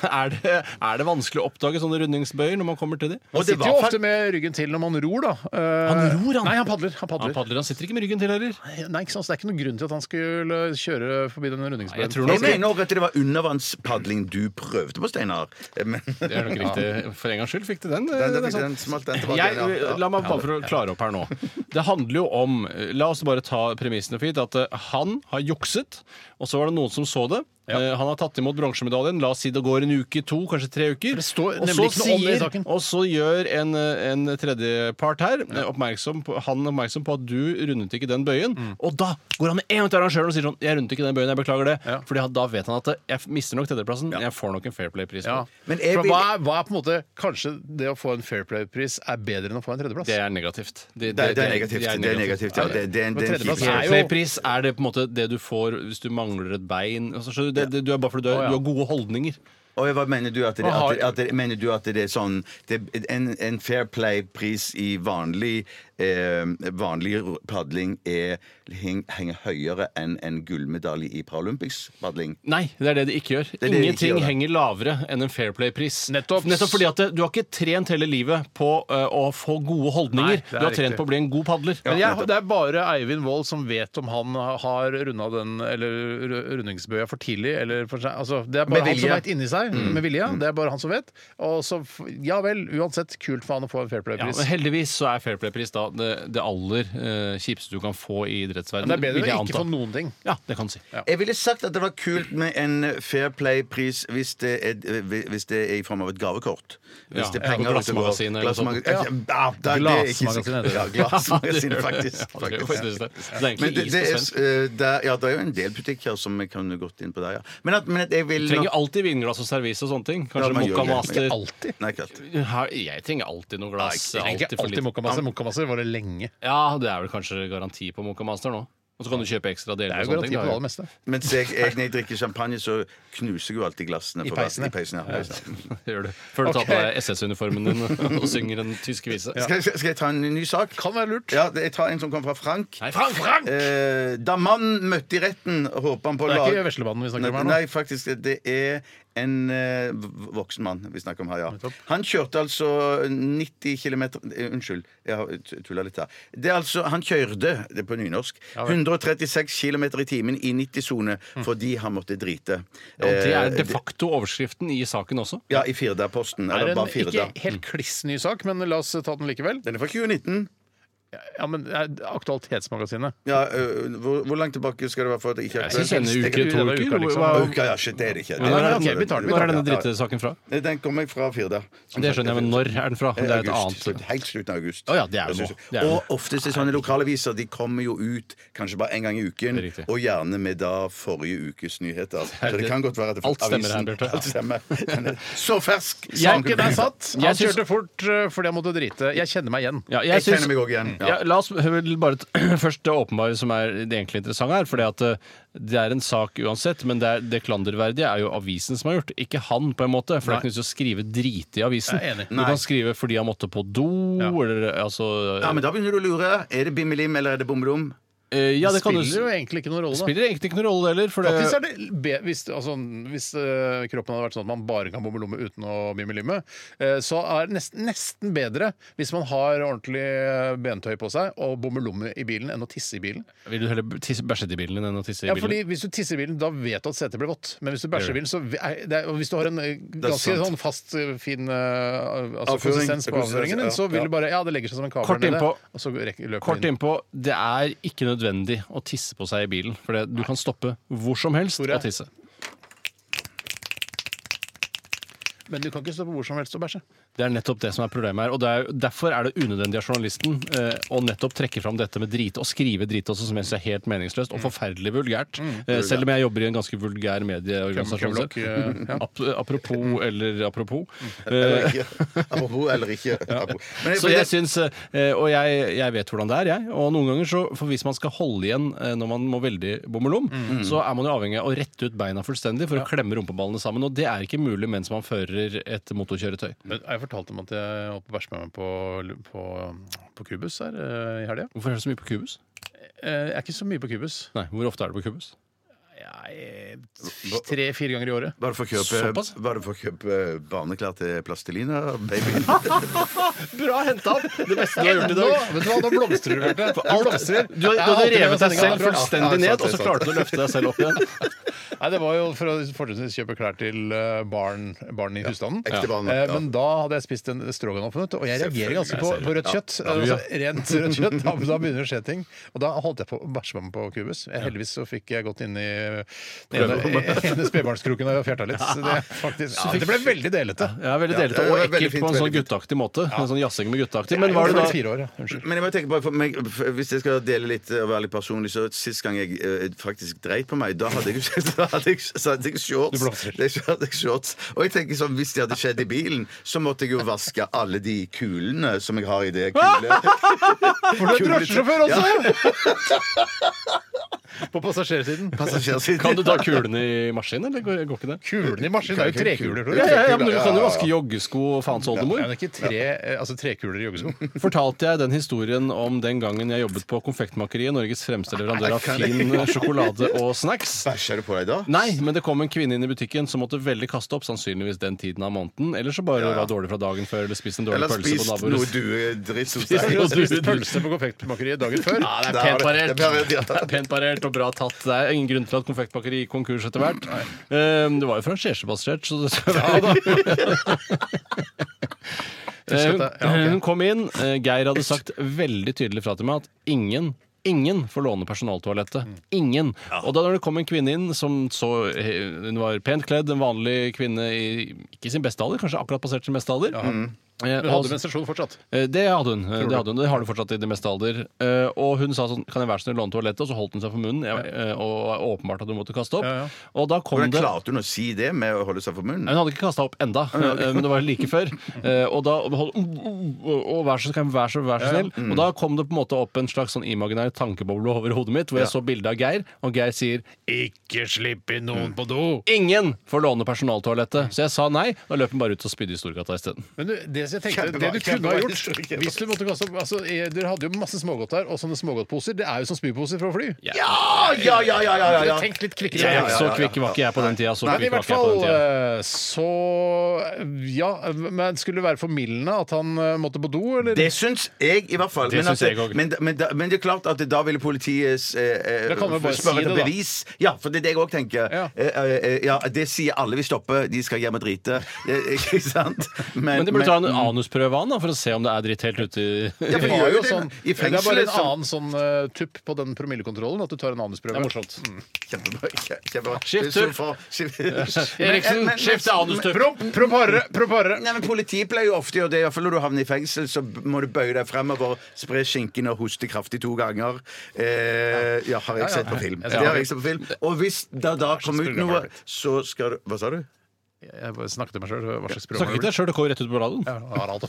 Speaker 7: er, det, er det vanskelig å oppdage sånne rundingsbøyer når man kommer til de?
Speaker 6: Og
Speaker 5: Han
Speaker 6: det
Speaker 5: sitter jo
Speaker 6: var
Speaker 5: ofte med ryggen til når man ror, da. Eh,
Speaker 7: Han ror, han?
Speaker 5: Nei, han padler. Han
Speaker 7: Han
Speaker 5: padler.
Speaker 7: padler, han sitter ikke med ryggen til heller.
Speaker 5: Nei, ikke sant? så Det er ikke noen grunn til at han skulle kjøre forbi den rundingsbøyen.
Speaker 7: Nei, jeg tror
Speaker 6: Jeg
Speaker 7: nok-
Speaker 6: mener også at det var undervannspadling du prøvde på, Steinar. Men
Speaker 7: Det er nok riktig. For en gangs skyld fikk du den.
Speaker 6: den,
Speaker 7: eh,
Speaker 6: den,
Speaker 7: det er
Speaker 6: fikk-
Speaker 7: sant.
Speaker 6: den smalt den tilbake.
Speaker 7: Jeg, eh,
Speaker 6: igjen, eh, ja.
Speaker 7: la meg bare for å klare opp her nå. Det handler jo om eh, La oss bare ta premissene for gitt. At eh, han har jukset, og så var det noen som så det. Eh, Han har tatt imot bronsemedaljen. La oss si det går en uke, to, kanskje tre uker.
Speaker 5: det står
Speaker 7: og, så
Speaker 5: nemlig ikke noe om det i saken.
Speaker 7: og så gjør en, eh, en tredjepart her eh, oppmerksom på, han oppmerksom på at du rundet ikke den bøyen. Og da går han med en gang til arrangøren og sier sånn Jeg rundet ikke den bøyen, jeg beklager det.
Speaker 5: Ja.
Speaker 7: Fordi han- da vet han at eh, jeg mister nok tredjeplassen, jeg får nok en Fair Play-pris.
Speaker 5: Ja.
Speaker 7: for det.
Speaker 6: Men jeg
Speaker 5: For
Speaker 6: vil-
Speaker 5: hva, er- hva er på en måte Kanskje det å få en Fair Play-pris er bedre enn å få en tredjeplass?
Speaker 7: Det er negativt. Det,
Speaker 6: Det, det er negativt. Det er negativt, ja. Det, det, er en- det er en
Speaker 5: tredjeplass
Speaker 6: kjip
Speaker 5: er
Speaker 6: sak.
Speaker 5: jo-
Speaker 7: Fairplaypris er det på en måte det du får hvis du mangler et bein. Altså, skjønner du, det, det, du er bare fordi du, er,
Speaker 5: Å, ja.
Speaker 7: du har gode holdninger.
Speaker 6: Og hva mener du at det,
Speaker 5: Hva har-
Speaker 6: at det, at det, mener du at det er sånn det, en, en Fair Play-pris i vanlig, eh, vanlig padling er, heng, henger høyere enn en gullmedalje i Paralympics-padling?
Speaker 7: Nei, det er det de ikke gjør.
Speaker 6: er det de ikke
Speaker 7: Ingenting
Speaker 6: gjør, da.
Speaker 7: henger lavere enn en Fairplay-pris.
Speaker 5: Nettopp.
Speaker 7: fordi at det- du har ikke trent hele livet på eh, å få gode holdninger.
Speaker 5: Nei, det er
Speaker 7: du har
Speaker 5: riktig.
Speaker 7: trent på å bli en god padler.
Speaker 5: Men jeg, det er bare Eivind Wold som vet om han har runda den eller ru- rundingsbøya for tidlig. Eller for seg. Altså, det er bare
Speaker 6: Med
Speaker 5: han som
Speaker 6: vilje.
Speaker 5: veit inni seg. Med vilje. Det er bare han som vet. Og så, f- ja vel, uansett, kult for han å få en Fair
Speaker 7: Ja,
Speaker 5: Play-pris.
Speaker 7: men heldigvis så er Fairplay-pris da det, det aller eh, kjipeste du kan få i
Speaker 5: Men
Speaker 7: idrettsverdenen.
Speaker 5: det er bedre
Speaker 7: vil jeg
Speaker 5: å ikke
Speaker 7: anta.
Speaker 5: få noen ting.
Speaker 7: Ja, det kan du si.
Speaker 6: Jeg ville sagt at det var kult med en Fair Play-pris hvis, det er- hvis det er i form av et gavekort. Hvis
Speaker 7: Ja,
Speaker 6: det er
Speaker 7: ja,
Speaker 6: penger
Speaker 7: på
Speaker 6: ute og går.
Speaker 7: glassmagasinet eller
Speaker 6: Glassmaga-
Speaker 5: noe sånt.
Speaker 6: Ja, det er- det er ikke så-
Speaker 5: Glassmagasinet heter det.
Speaker 6: Ja, glassmagasinet, faktisk.
Speaker 7: Ja, det gjør faktisk det. Så det er egentlig
Speaker 6: Men det,
Speaker 7: is
Speaker 6: det
Speaker 7: på
Speaker 6: er,
Speaker 7: svensk.
Speaker 6: eh, det er- ja, det er jo en del butikker som jeg kunne gått inn på der, ja. Men at, men at jeg vil
Speaker 7: Du trenger alltid vinglass og servise og sånne ting. Kanskje
Speaker 6: Ja, man gjør
Speaker 7: Mokka
Speaker 6: det.
Speaker 7: Master.
Speaker 5: Alltid.
Speaker 6: Nei, ikke alltid.
Speaker 7: Her, jeg trenger alltid noe glass.
Speaker 5: Ikke
Speaker 7: alltid for
Speaker 5: alltid
Speaker 7: lite.
Speaker 5: mokkamasser. Mokkamasser varer lenge.
Speaker 7: Ja, det er vel kanskje garanti på Moka Master nå. Og så kan du kjøpe ekstra deler.
Speaker 5: Det er jo
Speaker 7: og sånne
Speaker 5: garanti Altså,
Speaker 7: ting,
Speaker 5: på
Speaker 7: da.
Speaker 5: det aller meste.
Speaker 6: Mens jeg, jeg, når jeg drikker champagne, så knuser jeg jo alltid glassene.
Speaker 5: I
Speaker 6: for-
Speaker 5: peisene.
Speaker 6: I peisen ja, peisen.
Speaker 7: Gjør du. Før du tar på deg SS-uniformen din og synger en tysk vise.
Speaker 6: Skal, jeg- skal jeg ta en ny sak?
Speaker 5: Kan være lurt.
Speaker 6: Ja, jeg tar en som kom fra Frank.
Speaker 7: Nei, Frank, Frank!
Speaker 6: Eh, da mannen møtte i retten, håper han på
Speaker 5: Det er
Speaker 6: lag-
Speaker 5: ikke Veslemannen vi snakker om her nå.
Speaker 6: Nei, faktisk, det er en eh, v- voksen mann vi snakker om her, ja. Han kjørte altså 90 km Unnskyld, jeg har t- tulla litt her. Det er altså, Han kjørte, det er på nynorsk, 136 km i timen i 90-sone fordi han måtte drite.
Speaker 7: Og Mm. det
Speaker 6: Eh,
Speaker 7: er de facto overskriften i saken også.
Speaker 6: Ja, i Firda-posten.
Speaker 5: Det
Speaker 6: Eller
Speaker 5: er en
Speaker 6: bare Firda.
Speaker 5: ikke helt kliss ny sak, men la oss ta den likevel.
Speaker 6: Den er fra 2019.
Speaker 5: Ja, men det er Aktualitetsmagasinet.
Speaker 6: Ja, øh, hvor, hvor langt tilbake skal det være for at det ikke er
Speaker 7: Jeg syns denne
Speaker 5: Jeg-
Speaker 7: uke,
Speaker 5: det
Speaker 7: to
Speaker 5: er uka,
Speaker 7: uker.
Speaker 5: liksom.
Speaker 7: hva-
Speaker 6: Uka, ja, shit, det er det ikke.
Speaker 7: Når er,
Speaker 5: ok, vi tar den, vi
Speaker 7: når
Speaker 5: tar
Speaker 7: er denne
Speaker 6: den, ja.
Speaker 7: drittesaken fra?
Speaker 6: Den kommer fra Firda.
Speaker 7: Det skjønner jeg, men når er den fra? Det er et
Speaker 6: Eh, august.
Speaker 7: annet.
Speaker 6: Helt slutten av august.
Speaker 7: Å ja, det er jo
Speaker 6: Jeg
Speaker 7: nå.
Speaker 6: synes-
Speaker 7: Det er jo nå.
Speaker 6: Og oftest er sånne lokalaviser de kommer jo ut kanskje bare en gang i uken,
Speaker 7: Det er riktig.
Speaker 6: og gjerne med da forrige ukes nyheter. Så det kan godt være at det-
Speaker 7: Alt stemmer her,
Speaker 6: avisen-
Speaker 7: Bjarte.
Speaker 6: Alt stemmer. Den er så fersk!
Speaker 5: Saken er satt! Han
Speaker 7: Jeg syns-
Speaker 5: kjørte fort eh, fordi han måtte drite. Jeg kjenner meg igjen.
Speaker 7: Ja, jeg
Speaker 6: Jeg
Speaker 7: syns-
Speaker 6: kjenner meg òg igjen.
Speaker 7: Ja. la oss vel bare t- først det åpenbare som er det egentlig interessante her. fordi at eh, det er en sak uansett, men det, er, det klanderverdige er jo avisen som har gjort, ikke han, på en måte. For det er ikke noe vits i å skrive drit i avisen.
Speaker 5: Jeg er enig.
Speaker 7: Du kan skrive fordi han måtte på do, eller altså
Speaker 6: Ja, men da begynner du å lure. Er det Bimmelim eller er det Bommelom?
Speaker 7: eh, ja, det kan du
Speaker 5: spiller jo egentlig ikke noen rolle, da.
Speaker 7: Spiller egentlig ikke noen rolle heller. For det,
Speaker 5: Faktisk er det be hvis, altså, hvis eh, kroppen hadde vært sånn at man bare kan bomme lomme uten å bimmelimme, uh, så er det nesten, nesten bedre hvis man har ordentlig eh, bentøy på seg og bommer lomme i bilen enn å tisse i bilen.
Speaker 7: Vil du heller tisse, bæsje til bilen din enn å tisse i
Speaker 5: Ja,
Speaker 7: bilen?
Speaker 5: fordi Hvis du tisser i bilen, da vet du at setet blir vått. Men hvis du bæsjer i bilen, så v- er det er, og Hvis du har en eh, ganske
Speaker 6: sant.
Speaker 5: sånn fast, eh, fin eh, altså,
Speaker 6: Avføring.
Speaker 5: konsistens på
Speaker 6: Konsistens,
Speaker 5: avføringen din, så
Speaker 6: ja,
Speaker 5: vil
Speaker 6: ja.
Speaker 5: du bare Ja, det legger seg som en kabel
Speaker 7: Kort
Speaker 5: nede,
Speaker 7: innpå.
Speaker 5: og så rekker, løper
Speaker 7: Kort
Speaker 5: det inn.
Speaker 7: innpå, det er ikke nødvendig å tisse på seg i bilen. For det, du kan stoppe hvor som helst
Speaker 5: Tore.
Speaker 7: å tisse.
Speaker 5: Men du kan ikke stå på hvor som helst og bæsje.
Speaker 7: Det er nettopp det som er problemet her. Og det er, jo- derfor er det unødvendig av journalisten eh, å nettopp trekke fram dette med drite, og skrive drite også, som jeg synes er helt meningsløst og forferdelig vulgært. Eh, selv om jeg jobber i en ganske vulgær medieorganisasjon.
Speaker 5: Kremlokk, eh,
Speaker 7: selv.
Speaker 5: ja.
Speaker 7: Ap apropos eller apropos.
Speaker 6: Eller
Speaker 7: Eh,
Speaker 6: ikke. Apropos eller ikke. Apropos. Men
Speaker 7: Så jeg syns, eh, og jeg, jeg vet hvordan det er, jeg. Og noen ganger, så, for hvis man skal holde igjen eh, når man må veldig bommelom, så er man jo avhengig av å rette ut beina fullstendig for å klemme rumpeballene sammen. Og det er ikke mulig mens man fører et motorkjøretøy.
Speaker 5: Men har jeg fortalt om at jeg holdt på å bæsje med meg på, på, på Cubus her eh, i helga?
Speaker 7: Hvorfor er det så mye på kubus?
Speaker 5: Eh, Jeg er ikke så mye på Cubus.
Speaker 7: Nei, Hvor ofte er det på kubus?
Speaker 5: Tre-fire ganger i året.
Speaker 6: Bare for å kjøpe,
Speaker 7: Såpass?
Speaker 6: bare for å kjøpe barneklær til plastelina, baby.
Speaker 7: Bra henta opp! Det beste
Speaker 5: Nå, vet du hva, nå blomstrer du, Bjarte. Du blomstrer.
Speaker 7: Du, har-
Speaker 5: Jeg
Speaker 7: du hadde
Speaker 5: alltid
Speaker 7: revet deg
Speaker 5: denne
Speaker 7: selv
Speaker 5: sendingen.
Speaker 7: fullstendig
Speaker 6: Ja, ja,
Speaker 7: ned,
Speaker 6: sant,
Speaker 7: og så
Speaker 6: sant.
Speaker 7: klarte du å løfte deg selv opp igjen.
Speaker 5: Nei, det var jo for å fortrinnsvis kjøpe klær til eh, barn, barn i husstanden.
Speaker 6: ekte barn,
Speaker 5: Eh,
Speaker 6: ja.
Speaker 5: Men da hadde jeg spist en stroganoff, vet du, og jeg reagerer ganske på, på rødt kjøtt.
Speaker 7: ja.
Speaker 5: Altså, rent rødt kjøtt. Da, da begynner det å skje ting. Og da holdt jeg på å bæsje meg på kubus. Jeg, heldigvis så fikk jeg gått inn i den ene ene spedbarnskroken og fjerta litt. Så det, faktisk, ja, det ble veldig delete.
Speaker 7: Ja, veldig
Speaker 6: det
Speaker 7: delete,
Speaker 6: var
Speaker 7: og
Speaker 6: veldig
Speaker 7: ekkelt
Speaker 6: fint,
Speaker 7: på en sånn
Speaker 6: veldig fint.
Speaker 7: gutteaktig måte. En sånn jazzing med gutteaktig. Men var det da
Speaker 5: Fire år, ja. Unnskyld.
Speaker 6: Men jeg må tenke på, for meg, for Hvis jeg skal dele litt eh, og være litt personlig, så sist gang jeg eh, faktisk dreit på meg, da hadde jeg, da hadde jeg, så hadde jeg shorts.
Speaker 5: Du blomstrer.
Speaker 6: Da hadde jeg shorts. Og jeg tenker sånn, hvis det hadde skjedd i bilen, så måtte jeg jo vaske alle de kulene som jeg har i det kule.
Speaker 5: For du er drosjesjåfør også! på passasjersiden.
Speaker 7: Kan du ta kulene i maskin, eller går, går ikke det?
Speaker 5: Kulene i maskinen er jo trekuler. tror
Speaker 7: Ja,
Speaker 5: jeg.
Speaker 7: ja, ja, men du kan jo vaske joggesko og faens
Speaker 5: Ja,
Speaker 7: oldemor.
Speaker 5: men ikke tre, eh, altså trekuler i joggesko.
Speaker 7: Fortalte jeg den historien om den gangen jeg jobbet på konfektmakeriet, Norges fremste leverandør av fin sjokolade og snacks?
Speaker 6: Bæsja du på deg da?
Speaker 7: Nei, men det kom en kvinne inn i butikken som måtte veldig kaste opp, sannsynligvis den tiden av måneden, eller så bare var dårlig fra dagen før, eller spiste en dårlig
Speaker 6: Eller
Speaker 7: pølse på
Speaker 6: spist noe eh,
Speaker 7: naboen.
Speaker 6: duedritt hos
Speaker 5: Jeg har
Speaker 6: deg?
Speaker 5: spist pølse på konfektmakeriet dagen før.
Speaker 7: Ja, det
Speaker 6: Der
Speaker 7: er
Speaker 6: var det.
Speaker 7: pent parert.
Speaker 6: Det er parert, ja.
Speaker 7: Det er pent parert og bra tatt. Det er ingen grunn til at konfektmakeri gikk konkurs etter hvert. Um, det var jo fransjesebasert, så det skal være
Speaker 5: Til slutt, ja, ok.
Speaker 7: Hun kom inn. eh, Geir hadde sagt veldig tydelig fra til meg at ingen Ingen får låne personaltoalettet.
Speaker 6: Mm.
Speaker 7: Ingen. Og da når det kom en kvinne inn som så eh, Hun var pent kledd, en vanlig kvinne i ikke sin beste alder, kanskje akkurat passert sin beste alder. Eh,
Speaker 5: Men
Speaker 7: og-
Speaker 5: hadde menstruasjon fortsatt.
Speaker 7: Eh, Det hadde hun. Eh, Det, hadde hun. det har hun fortsatt i det meste alder. Eh, Og hun sa sånn Kan jeg være så snill å låne toalettet? Og så holdt hun seg for munnen. Jeg, eh, og var åpenbart at hun måtte kaste opp.
Speaker 5: Ja, ja.
Speaker 7: Og da kom
Speaker 6: Hvordan
Speaker 7: det
Speaker 6: klarte hun å si det med å holde seg for munnen?
Speaker 7: Nei, Hun hadde ikke kasta opp enda, eh, men det var like før. Eh, Og da og, hold- og, og vær så kan jeg være så, vær så snill. Og da kom det på en måte opp en slags sånn imaginær tankeboble over hodet mitt, hvor jeg så bilde av Geir, og Geir sier
Speaker 5: Ikke slipp inn noen på do!
Speaker 7: Ingen får låne personaltoalettet! Så jeg sa nei. Da løp hun bare ut og spydde i Storgata isteden.
Speaker 5: Men du, det, som jeg tenkte, det du kunne ha
Speaker 6: Kjempebra, kjempebra
Speaker 5: gjort
Speaker 6: historie, kjempebra.
Speaker 5: hvis du måtte kaste opp altså, eh, Dere hadde jo masse smågodt her, og sånne smågodtposer. Det er jo som spyposer fra fly.
Speaker 6: Ja, ja, ja, ja, ja, ja, ja.
Speaker 5: Tenk litt kvikkere.
Speaker 7: Ja,
Speaker 6: ja, ja,
Speaker 7: Så
Speaker 6: ja.
Speaker 7: kvikk var ikke jeg på den tida. Så
Speaker 5: Men i
Speaker 7: kvikk var
Speaker 5: hvert
Speaker 7: ikke jeg
Speaker 5: fall
Speaker 7: på den tida.
Speaker 5: eh, så Ja, men skulle det være formildende at han eh, måtte på do, eller?
Speaker 6: Det syns jeg, i hvert fall.
Speaker 7: Det
Speaker 6: Men,
Speaker 7: syns
Speaker 6: at-
Speaker 7: jeg også.
Speaker 6: men, da- men, da- men det er klart at da ville politiet eh, eh,
Speaker 5: Da kan vi bare si
Speaker 6: spørre
Speaker 5: det,
Speaker 6: etter
Speaker 5: da.
Speaker 6: bevis. Ja, for det er det jeg òg tenker.
Speaker 5: Ja.
Speaker 6: Eh, eh, eh, ja, det sier alle vi stopper. De skal hjem og drite. Eh, Ikke sant?
Speaker 7: Men de burde ta en anusprøve av han da, for å se om det er dritt helt ute i
Speaker 6: Ja, for
Speaker 5: Det
Speaker 6: de
Speaker 5: var
Speaker 6: gjør
Speaker 5: jo
Speaker 6: jo det
Speaker 5: sånn,
Speaker 6: i
Speaker 5: det er bare
Speaker 6: fengselet.
Speaker 5: en
Speaker 6: så-
Speaker 5: annen sånn eh, tupp på den promillekontrollen at du tar en Mm. anusprøve.
Speaker 7: morsomt.
Speaker 6: Kjempebra. kje- kjempebra.
Speaker 7: Skift
Speaker 6: Så
Speaker 7: ut.
Speaker 6: for- skift-
Speaker 7: Eriksen,
Speaker 6: Men- men-
Speaker 7: skift til anustupp.
Speaker 6: men-
Speaker 5: Promp, promp hardere! Promp hardere!
Speaker 6: Nei, men Politiet pleier jo ofte å gjøre det. i hvert fall Når du havner i fengsel, så b- må du bøye deg fremover, spre skinken og hoste kraftig to ganger. Eh, ja, har jeg sett på film.
Speaker 5: Jeg
Speaker 6: Det
Speaker 5: skal-
Speaker 6: har jeg sett på film. Og hvis det da kommer ut
Speaker 5: spiller
Speaker 6: noe,
Speaker 5: Margaret.
Speaker 6: så skal du Hva sa du?
Speaker 5: Jeg bare snakket til meg sjøl. Hva slags
Speaker 7: Snakker
Speaker 5: program
Speaker 7: ikke til deg sjøl, det går rett ut på radioen.
Speaker 5: Harald, da.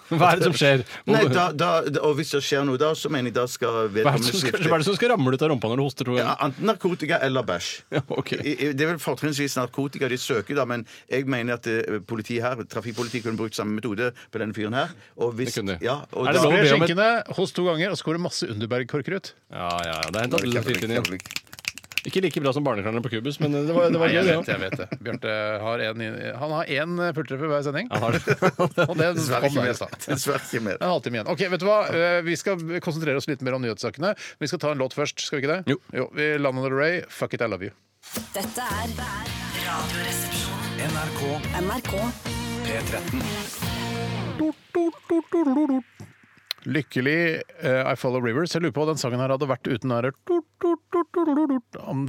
Speaker 7: Hva er det som skjer?
Speaker 6: Nei, da, da, da- og hvis det skjer noe da, så mener jeg da skal
Speaker 7: hva, er det
Speaker 6: vedkommende
Speaker 7: som skal, hva er
Speaker 6: skifte.
Speaker 7: det som skal ramle ut av rumpa når du hoster to
Speaker 6: Ja,
Speaker 7: ganger?
Speaker 6: Enten narkotika eller bæsj.
Speaker 7: Ja, ok.
Speaker 6: I- i- Det er vel fortrinnsvis narkotika de søker, da, men jeg mener at eh, politiet her, trafikkpolitiet kunne brukt samme metode på denne fyren her. Og hvis,
Speaker 7: Det kunne de.
Speaker 6: ja, og
Speaker 7: Er det
Speaker 6: da-
Speaker 7: lov å be
Speaker 5: Spre
Speaker 7: om et-
Speaker 5: skjenkene hos to ganger og skårer masse Underberg-korker ut.
Speaker 7: Ja, ja, ja. Det er hentet litt fint inn igjen. Ikke like bra som barneklærne på kubus, men eh, det var, det var
Speaker 5: Nei, jeg
Speaker 7: gøy, det
Speaker 5: vet,
Speaker 7: også.
Speaker 5: jeg vet det. Bjarte har en i- han har én pultreffer hver sending.
Speaker 7: Jeg har det.
Speaker 5: Og det
Speaker 6: Dessverre
Speaker 5: kom
Speaker 6: ikke
Speaker 5: der i
Speaker 6: mer.
Speaker 5: stad.
Speaker 6: Dessverre ikke mer.
Speaker 5: En halvtime igjen. Ok, vet du hva? Eh, Vi skal konsentrere oss litt mer om nyhetssakene. Vi skal ta en låt først, skal vi ikke det?
Speaker 7: Jo.
Speaker 5: vi Lana Del Rey, 'Fuck It, I Love You'.
Speaker 8: Dette er Radioresepsjonen.
Speaker 2: NRK
Speaker 8: NRK.
Speaker 2: P13.
Speaker 5: Lykkelig, eh, I Follow Rivers. Jeg lurer på hva den sangen her hadde vært uten den her.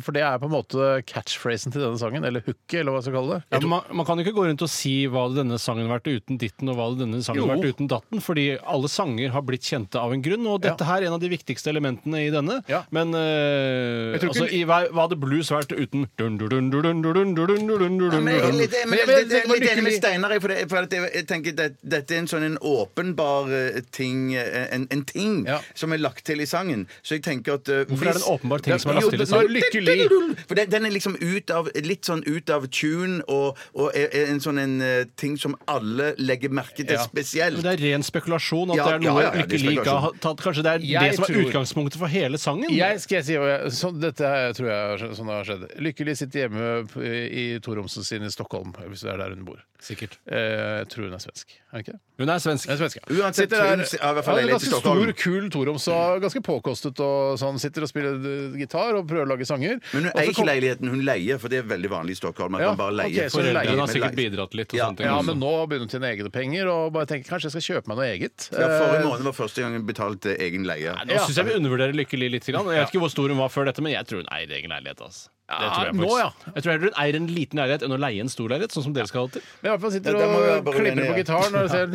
Speaker 5: For det er på en måte catchphrasen til denne sangen, eller hooket, eller hva jeg skal kalle det.
Speaker 7: Ja, men man, man kan jo ikke gå rundt og si hva hadde denne sangen vært uten ditten og hva hadde denne sangen
Speaker 5: Jo.
Speaker 7: vært uten datten, fordi alle sanger har blitt kjente av en grunn, og dette her er en av de viktigste elementene i denne.
Speaker 5: Ja.
Speaker 7: Men eh,
Speaker 5: Jeg tror ikke-
Speaker 7: altså, i, hva, hva hadde blues vært uten dun, dun, dun, dun, dun, dun, dun, dun, dun, dun,
Speaker 6: Men jeg er
Speaker 7: dun.
Speaker 6: litt, men jeg er litt, litt enig med Steinar. jeg, For, det, for at jeg, jeg tenker det, Dette er en sånn en åpenbar eh, ting eh, En, en ting
Speaker 5: Ja.
Speaker 6: som er lagt til i sangen. Så jeg tenker at eh,
Speaker 7: Hvorfor er det en åpenbar ting som er lagt
Speaker 6: Jo,
Speaker 7: til i
Speaker 6: men-
Speaker 7: sangen?
Speaker 5: Lykkelig.
Speaker 6: For den, den er liksom ut av, litt sånn ut av tune og, og er, er en sånn en eh, ting som alle legger merke til
Speaker 5: Ja.
Speaker 6: spesielt.
Speaker 7: Men det er ren spekulasjon at
Speaker 6: Ja,
Speaker 7: det er noe
Speaker 6: ja, ja, ja, det er
Speaker 7: Lykke Lik har
Speaker 6: spekulasjon.
Speaker 7: tatt. Kanskje det er
Speaker 5: Jeg
Speaker 7: det som er
Speaker 5: tror-
Speaker 7: utgangspunktet for hele sangen?
Speaker 5: Jeg skal jeg si hva jeg, så, Dette er- tror jeg er sånn det har skjedd. Lykkelig sitter hjemme p- i Toromsen sin i Stockholm, hvis det er der hun bor.
Speaker 7: Sikkert.
Speaker 5: Eh, Jeg tror hun er svensk. Er hun ikke det?
Speaker 7: Hun er svensk.
Speaker 5: Hun er svensk, ja.
Speaker 6: Uansett,
Speaker 5: Sitter der-
Speaker 6: hun s- har i hvert fall
Speaker 5: Ja, en
Speaker 6: leilighet i
Speaker 5: ganske
Speaker 6: Stockholm.
Speaker 5: stor, kul Toroms og ganske påkostet og sånn. Sitter og spiller eh, gitar og prøver å lage sanger.
Speaker 6: Men hun
Speaker 5: Og så
Speaker 6: eier ikke
Speaker 5: kom-
Speaker 6: leiligheten, hun leier, for det er veldig vanlig i Stockholm. at
Speaker 5: Ja,
Speaker 6: man bare leier.
Speaker 5: ok, så hun leier.
Speaker 7: Foreldrene
Speaker 6: Men
Speaker 7: har sikkert
Speaker 6: leier-
Speaker 7: bidratt litt. Og
Speaker 6: Ja.
Speaker 7: sånne ting
Speaker 5: Ja,
Speaker 7: også.
Speaker 5: men nå begynner hun å tjene egne penger og bare tenker kanskje jeg skal kjøpe meg noe eget.
Speaker 6: Ja, Forrige
Speaker 5: Eh,
Speaker 6: måned var første gang hun betalte egen leie.
Speaker 7: Nå synes jeg vi undervurderer Lykke Li litt. Grann. Jeg vet ikke hvor stor hun var før dette, men jeg tror hun eier egen leilighet. Altså. Det tror
Speaker 5: Ja,
Speaker 7: jeg,
Speaker 5: nå,
Speaker 7: faktisk.
Speaker 5: ja.
Speaker 7: jeg tror heller hun eier en liten leilighet enn å leie en stor leilighet, sånn som dere skal ha det til.
Speaker 5: Men i hvert fall sitter
Speaker 6: Ja, da må vi være
Speaker 5: og
Speaker 6: bare
Speaker 5: klipper
Speaker 6: uenige,
Speaker 5: på
Speaker 6: ja.
Speaker 5: gitaren og ser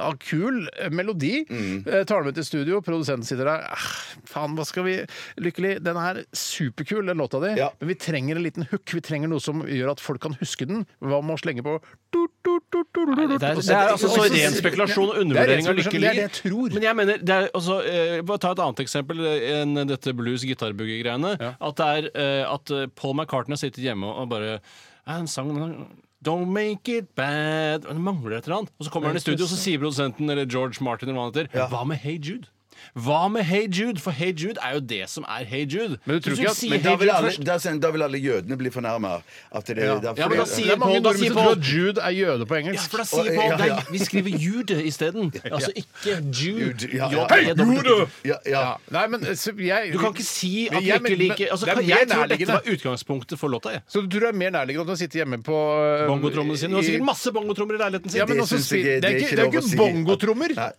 Speaker 5: ah, Kul melodi. Eh, Tar den med til studio, produsenten sitter der. Ah, faen, hva skal vi Lykkelig, den er superkul, den låta di,
Speaker 6: Ja.
Speaker 5: men vi trenger en liten hook. Vi trenger noe som gjør at folk kan huske den. Hva med å slenge på du, du, du, du, du, du,
Speaker 7: Det er,
Speaker 5: og
Speaker 7: det
Speaker 5: så-
Speaker 7: er altså så
Speaker 5: og så-
Speaker 7: ren spekulasjon
Speaker 5: Det er
Speaker 7: og
Speaker 5: ren
Speaker 7: undervurdering av Lykke
Speaker 5: spekulasjon,
Speaker 7: Li.
Speaker 5: det er det jeg tror.
Speaker 7: Men jeg mener, det er altså eh, Bare ta et annet eksempel eh, enn dette blues-gitarboogie-greiene. At det er eh, at eh, Paul McCartney har sittet hjemme og bare «Ja, den sangen den- Don't make it bad Det mangler et eller annet. Og så kommer han i studio, og så sier produsenten eller George Martin eller hva han heter Hva med Hey Jude? Hva med Hey Jude? For Hey Jude er jo det som er Hey Jude.
Speaker 5: Men du tror
Speaker 7: Hvis
Speaker 5: ikke at-
Speaker 7: sier
Speaker 6: Men da
Speaker 7: Hey
Speaker 6: vil,
Speaker 7: Jude
Speaker 6: alle,
Speaker 7: først-
Speaker 6: da, da vil alle jødene bli fornærma. At det, ja.
Speaker 7: Ja, men da
Speaker 5: Det er
Speaker 7: sier
Speaker 5: mange
Speaker 7: Paul- da
Speaker 5: nordmenn
Speaker 7: sier
Speaker 5: som tror
Speaker 7: Paul-
Speaker 5: at Jude er jøde på
Speaker 7: Ja,
Speaker 5: engelsk.
Speaker 7: for da sier
Speaker 6: Og-
Speaker 7: Paul
Speaker 6: ja, ja.
Speaker 7: nei, Vi skriver Jude isteden. Altså ikke Jude.
Speaker 6: Ja, ja.
Speaker 7: J- Jude!
Speaker 6: ja, ja.
Speaker 5: Ja. Nei, men eh, så jeg
Speaker 7: Du kan ikke si at
Speaker 5: Men
Speaker 7: du
Speaker 5: jeg-
Speaker 7: ikke
Speaker 5: men-
Speaker 7: liker altså,
Speaker 5: det er
Speaker 7: kan-
Speaker 5: mer
Speaker 7: Jeg tror dette
Speaker 5: nærliggende.
Speaker 7: var utgangspunktet for låta. jeg.
Speaker 5: Så du tror det er mer nærliggende at du sitter hjemme på øh,
Speaker 7: Bongotrommene sine. Du har
Speaker 5: i-
Speaker 7: sikkert masse bongotrommer i leiligheten sin.
Speaker 5: Ja, men
Speaker 6: Det
Speaker 5: også,
Speaker 6: synes
Speaker 5: spil-
Speaker 6: jeg ikke-
Speaker 5: det er ikke,
Speaker 6: det er ikke
Speaker 5: det er
Speaker 6: lov å
Speaker 5: ikke
Speaker 6: si.
Speaker 5: bongotrommer.
Speaker 6: Nei.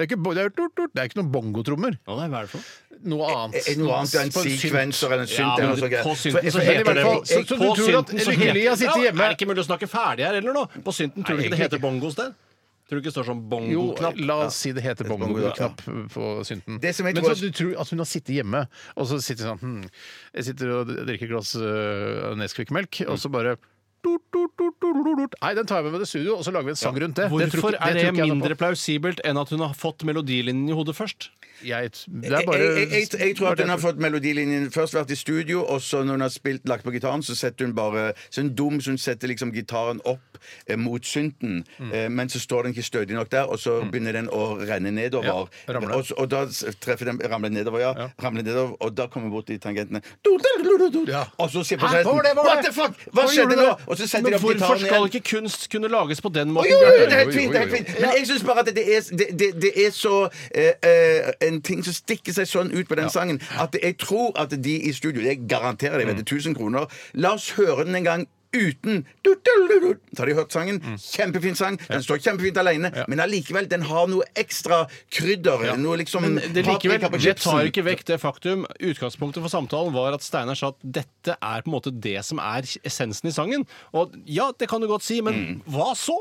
Speaker 5: Det er ikke, bo- det er, tut, tut, det er ikke noen bongotrommer.
Speaker 7: Ja, det er hva er det for noe?
Speaker 5: Noe annet.
Speaker 6: Er det eh, noe annet enn
Speaker 5: På en synt.
Speaker 6: sekvenser eller en synt?
Speaker 7: Ja,
Speaker 6: eller
Speaker 7: men
Speaker 6: noe sånt greier?
Speaker 7: på
Speaker 6: For-
Speaker 7: synten
Speaker 5: i
Speaker 6: for- jeg-
Speaker 7: så
Speaker 5: hvert
Speaker 7: heter det
Speaker 5: fall- så- så du
Speaker 7: på
Speaker 5: tror at
Speaker 7: synten så
Speaker 5: Lykke
Speaker 7: heter-
Speaker 5: Li har sittet
Speaker 7: Ja,
Speaker 5: hjemme-
Speaker 7: Er det ikke mulig å snakke ferdig her heller nå? På synten tror du ikke det heter bongos der? Tror du ikke det står sånn
Speaker 5: Jo,
Speaker 7: bongo-knapp?
Speaker 5: la oss si det heter bongoknapp på synten.
Speaker 6: Det som jeg
Speaker 5: Men
Speaker 6: tror
Speaker 5: så du
Speaker 6: er-
Speaker 5: tror at hun har sittet hjemme, og så sitter hun sånn hm, Jeg sitter og drikker et glass øh, Nesquik-melk, og så bare tut, tut, tut, tut, tut, tut. Nei, den tar jeg med meg til studio, og så lager vi en sang rundt det. det tror ikke-
Speaker 7: Hvorfor
Speaker 5: tror
Speaker 7: er det
Speaker 5: ikke jeg noe på.
Speaker 7: mindre plausibelt enn at hun har fått melodilinjen i hodet først?
Speaker 5: Jeg, det er
Speaker 6: Jeg,
Speaker 5: bare
Speaker 6: jeg, jeg, jeg tror at hun har fått melodilinjen først vært i studio, og så når hun har spilt, lagt på gitaren, så setter hun bare sånn dum så hun setter liksom gitaren opp eh, mot synten,
Speaker 5: Mm.
Speaker 6: eh, men så står den ikke stødig nok der, og så begynner den å renne nedover.
Speaker 5: Ja, ramler.
Speaker 6: og, så- og da s- treffer den ramler nedover, ja. Ramler nedover, og da kommer hun bort i tangentene. Du, du, du, du, du.
Speaker 5: Ja.
Speaker 6: Og så sier
Speaker 5: Hæ? Hvor var det,
Speaker 6: produsenten
Speaker 5: hvor var
Speaker 6: What
Speaker 5: det?
Speaker 6: the fuck? Hva
Speaker 5: Hvor gjorde du
Speaker 6: skjedde nå?
Speaker 5: det?
Speaker 6: Og så
Speaker 7: Men
Speaker 6: setter de opp
Speaker 7: hvorfor
Speaker 6: gitaren
Speaker 7: skal
Speaker 6: igjen.
Speaker 7: ikke kunst kunne lages på den
Speaker 6: Å,
Speaker 7: måten?
Speaker 6: Jo, jo, jo, det
Speaker 7: der?
Speaker 6: er helt fint! det er helt fint Men jeg syns bare at det er, det, det, det er så eh, eh, En ting som stikker seg sånn ut på den sangen, at jeg tror at de i studio Jeg garanterer det,
Speaker 7: Mm.
Speaker 6: jeg vet det, 1000 kroner. La oss høre den en gang. Uten du, du, du, du. Så har de hørt sangen.
Speaker 7: Mm.
Speaker 6: Kjempefin sang. Den står kjempefint alene. Men allikevel, den har noe ekstra krydder. Noe liksom
Speaker 7: Men det likevel,
Speaker 6: paprika på
Speaker 7: det
Speaker 6: chipsen.
Speaker 7: tar ikke vekk det faktum. Utgangspunktet for samtalen var at Steinar sa at dette er på en måte det som er essensen i sangen. Og ja, det kan du godt si, men hva så?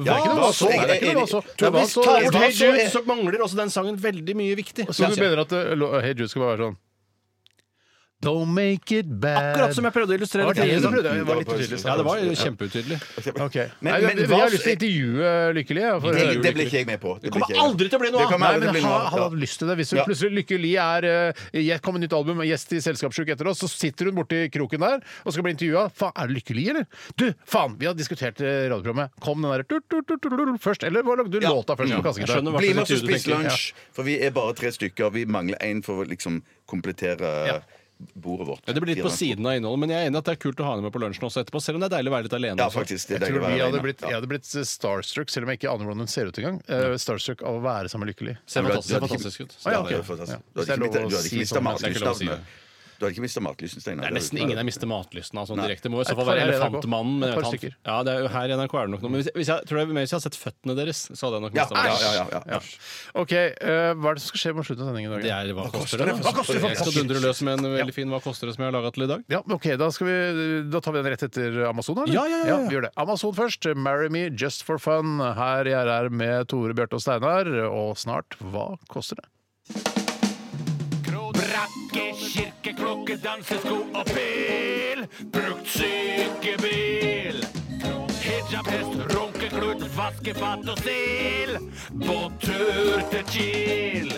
Speaker 7: Hva
Speaker 6: Mm. ikke noe hva så.
Speaker 7: Det er ikke noe hva så. Det er hva så.
Speaker 6: Jeg er enig.
Speaker 7: Hva så,
Speaker 6: Hva så?
Speaker 7: så mangler også den sangen veldig mye viktig.
Speaker 5: Så du mener at eh, lo- Hey Jude skal bare være sånn Don't make it bad
Speaker 7: Akkurat som jeg prøvde å illustrere
Speaker 5: Var det det du prøvde?
Speaker 7: tidligere.
Speaker 5: Det var litt utydelig.
Speaker 7: Ja, det var jo kjempeutydelig.
Speaker 5: Ok.
Speaker 6: Men-
Speaker 5: Nei,
Speaker 6: men
Speaker 5: jeg, jeg,
Speaker 6: hva-
Speaker 5: har lyst til å intervjue øh, Lykkelig. jeg, for å
Speaker 6: Det,
Speaker 5: høre-
Speaker 6: det blir ikke jeg med på.
Speaker 7: Det kommer aldri til å bli noe
Speaker 6: Det
Speaker 7: av.
Speaker 6: kommer
Speaker 5: Nei,
Speaker 6: aldri
Speaker 5: men
Speaker 6: til å bli
Speaker 5: ha,
Speaker 6: noe av.
Speaker 5: han hadde lyst til det. Hvis du
Speaker 6: Ja.
Speaker 5: plutselig Lykke Li er uh, kom med nytt album, og gjest i Selskapssjuk etter oss, så sitter hun borti kroken der og skal bli intervjua. Faen, er det Lykke Li, eller? Du, faen! Vi har diskutert eh, radioprogrammet. Kom den der tut, tut, tut, tut, tut, først? Eller hva lagde du
Speaker 6: Ja.
Speaker 5: låta først? på
Speaker 7: Jeg
Speaker 5: kassegitar?
Speaker 7: skjønner hva
Speaker 6: Bli med
Speaker 7: slags
Speaker 6: oss og
Speaker 7: intervju du
Speaker 6: spis
Speaker 7: tenker.
Speaker 6: lunsj, for vi er bare tre stykker. Vi mangler én for å liksom komplettere bordet vårt.
Speaker 7: Ja, det blir litt på siden av innholdet, men jeg er enig at det er kult å ha henne med på lunsjen også etterpå, selv om det er deilig å være litt alene.
Speaker 6: Ja,
Speaker 7: også.
Speaker 6: faktisk. Det
Speaker 5: Jeg
Speaker 6: er deilig
Speaker 5: tror
Speaker 6: å være
Speaker 5: vi hadde
Speaker 6: alene.
Speaker 5: blitt, jeg
Speaker 6: Ja.
Speaker 5: hadde blitt eh, starstruck, selv om jeg ikke aner hvordan hun ser ut engang. Eh, Starstruck av å være sammen med Lykkelig.
Speaker 7: Ser
Speaker 6: Men du hadde-
Speaker 7: fantastisk, ser
Speaker 6: du hadde ikke-
Speaker 7: fantastisk ut.
Speaker 5: Ah, ja,
Speaker 6: Ja, det
Speaker 5: ok.
Speaker 6: er fantastisk.
Speaker 5: Ja.
Speaker 6: Du hadde ikke blitt- du hadde ikke
Speaker 5: Hvis det er lov å si
Speaker 6: blitt
Speaker 5: sånn,
Speaker 6: av
Speaker 5: det er ikke lov å si det.
Speaker 6: matlystavene. Du har ikke mista matlysten, Steinar?
Speaker 7: Det er nesten ingen jeg mister matlysten av sånn
Speaker 6: Nei.
Speaker 7: direkte. Det Må i så
Speaker 5: Et
Speaker 7: fall
Speaker 5: par
Speaker 7: være
Speaker 5: i NRK.
Speaker 7: Elefantmannen. Men
Speaker 5: Et
Speaker 7: jeg
Speaker 5: par
Speaker 7: vet han-
Speaker 5: stykker.
Speaker 7: ja, det er jo her i NRK er det nok noe. Men hvis jeg, hvis jeg, tror jeg, men hvis jeg hadde sett føttene deres, så hadde jeg nok
Speaker 6: Ja,
Speaker 7: mistet
Speaker 6: ja,
Speaker 7: matlysten.
Speaker 6: ja, ja, ja.
Speaker 5: OK, eh, hva er det som skal skje mot slutten av sendingen i dag?
Speaker 7: Det er Hva koster det? da?
Speaker 5: Hva koster det?
Speaker 7: Jeg skal dundre løs med en veldig fin Hva koster det? som jeg har laga til i dag.
Speaker 5: Ja, men ok, da, skal vi, da tar vi den rett etter Amazon, eller?
Speaker 7: Ja, ja, ja, ja.
Speaker 5: vi gjør det. Amazon først. Marry me just for fun. Her jeg er med Tore, Bjarte og Steinar. Og snart Hva koster det?
Speaker 9: Brakke, kirke, klokke, dansesko og pil. Brukt sykebil. Hijab, hest, runkeklut, vaskefat og stil. På tur til Kiel.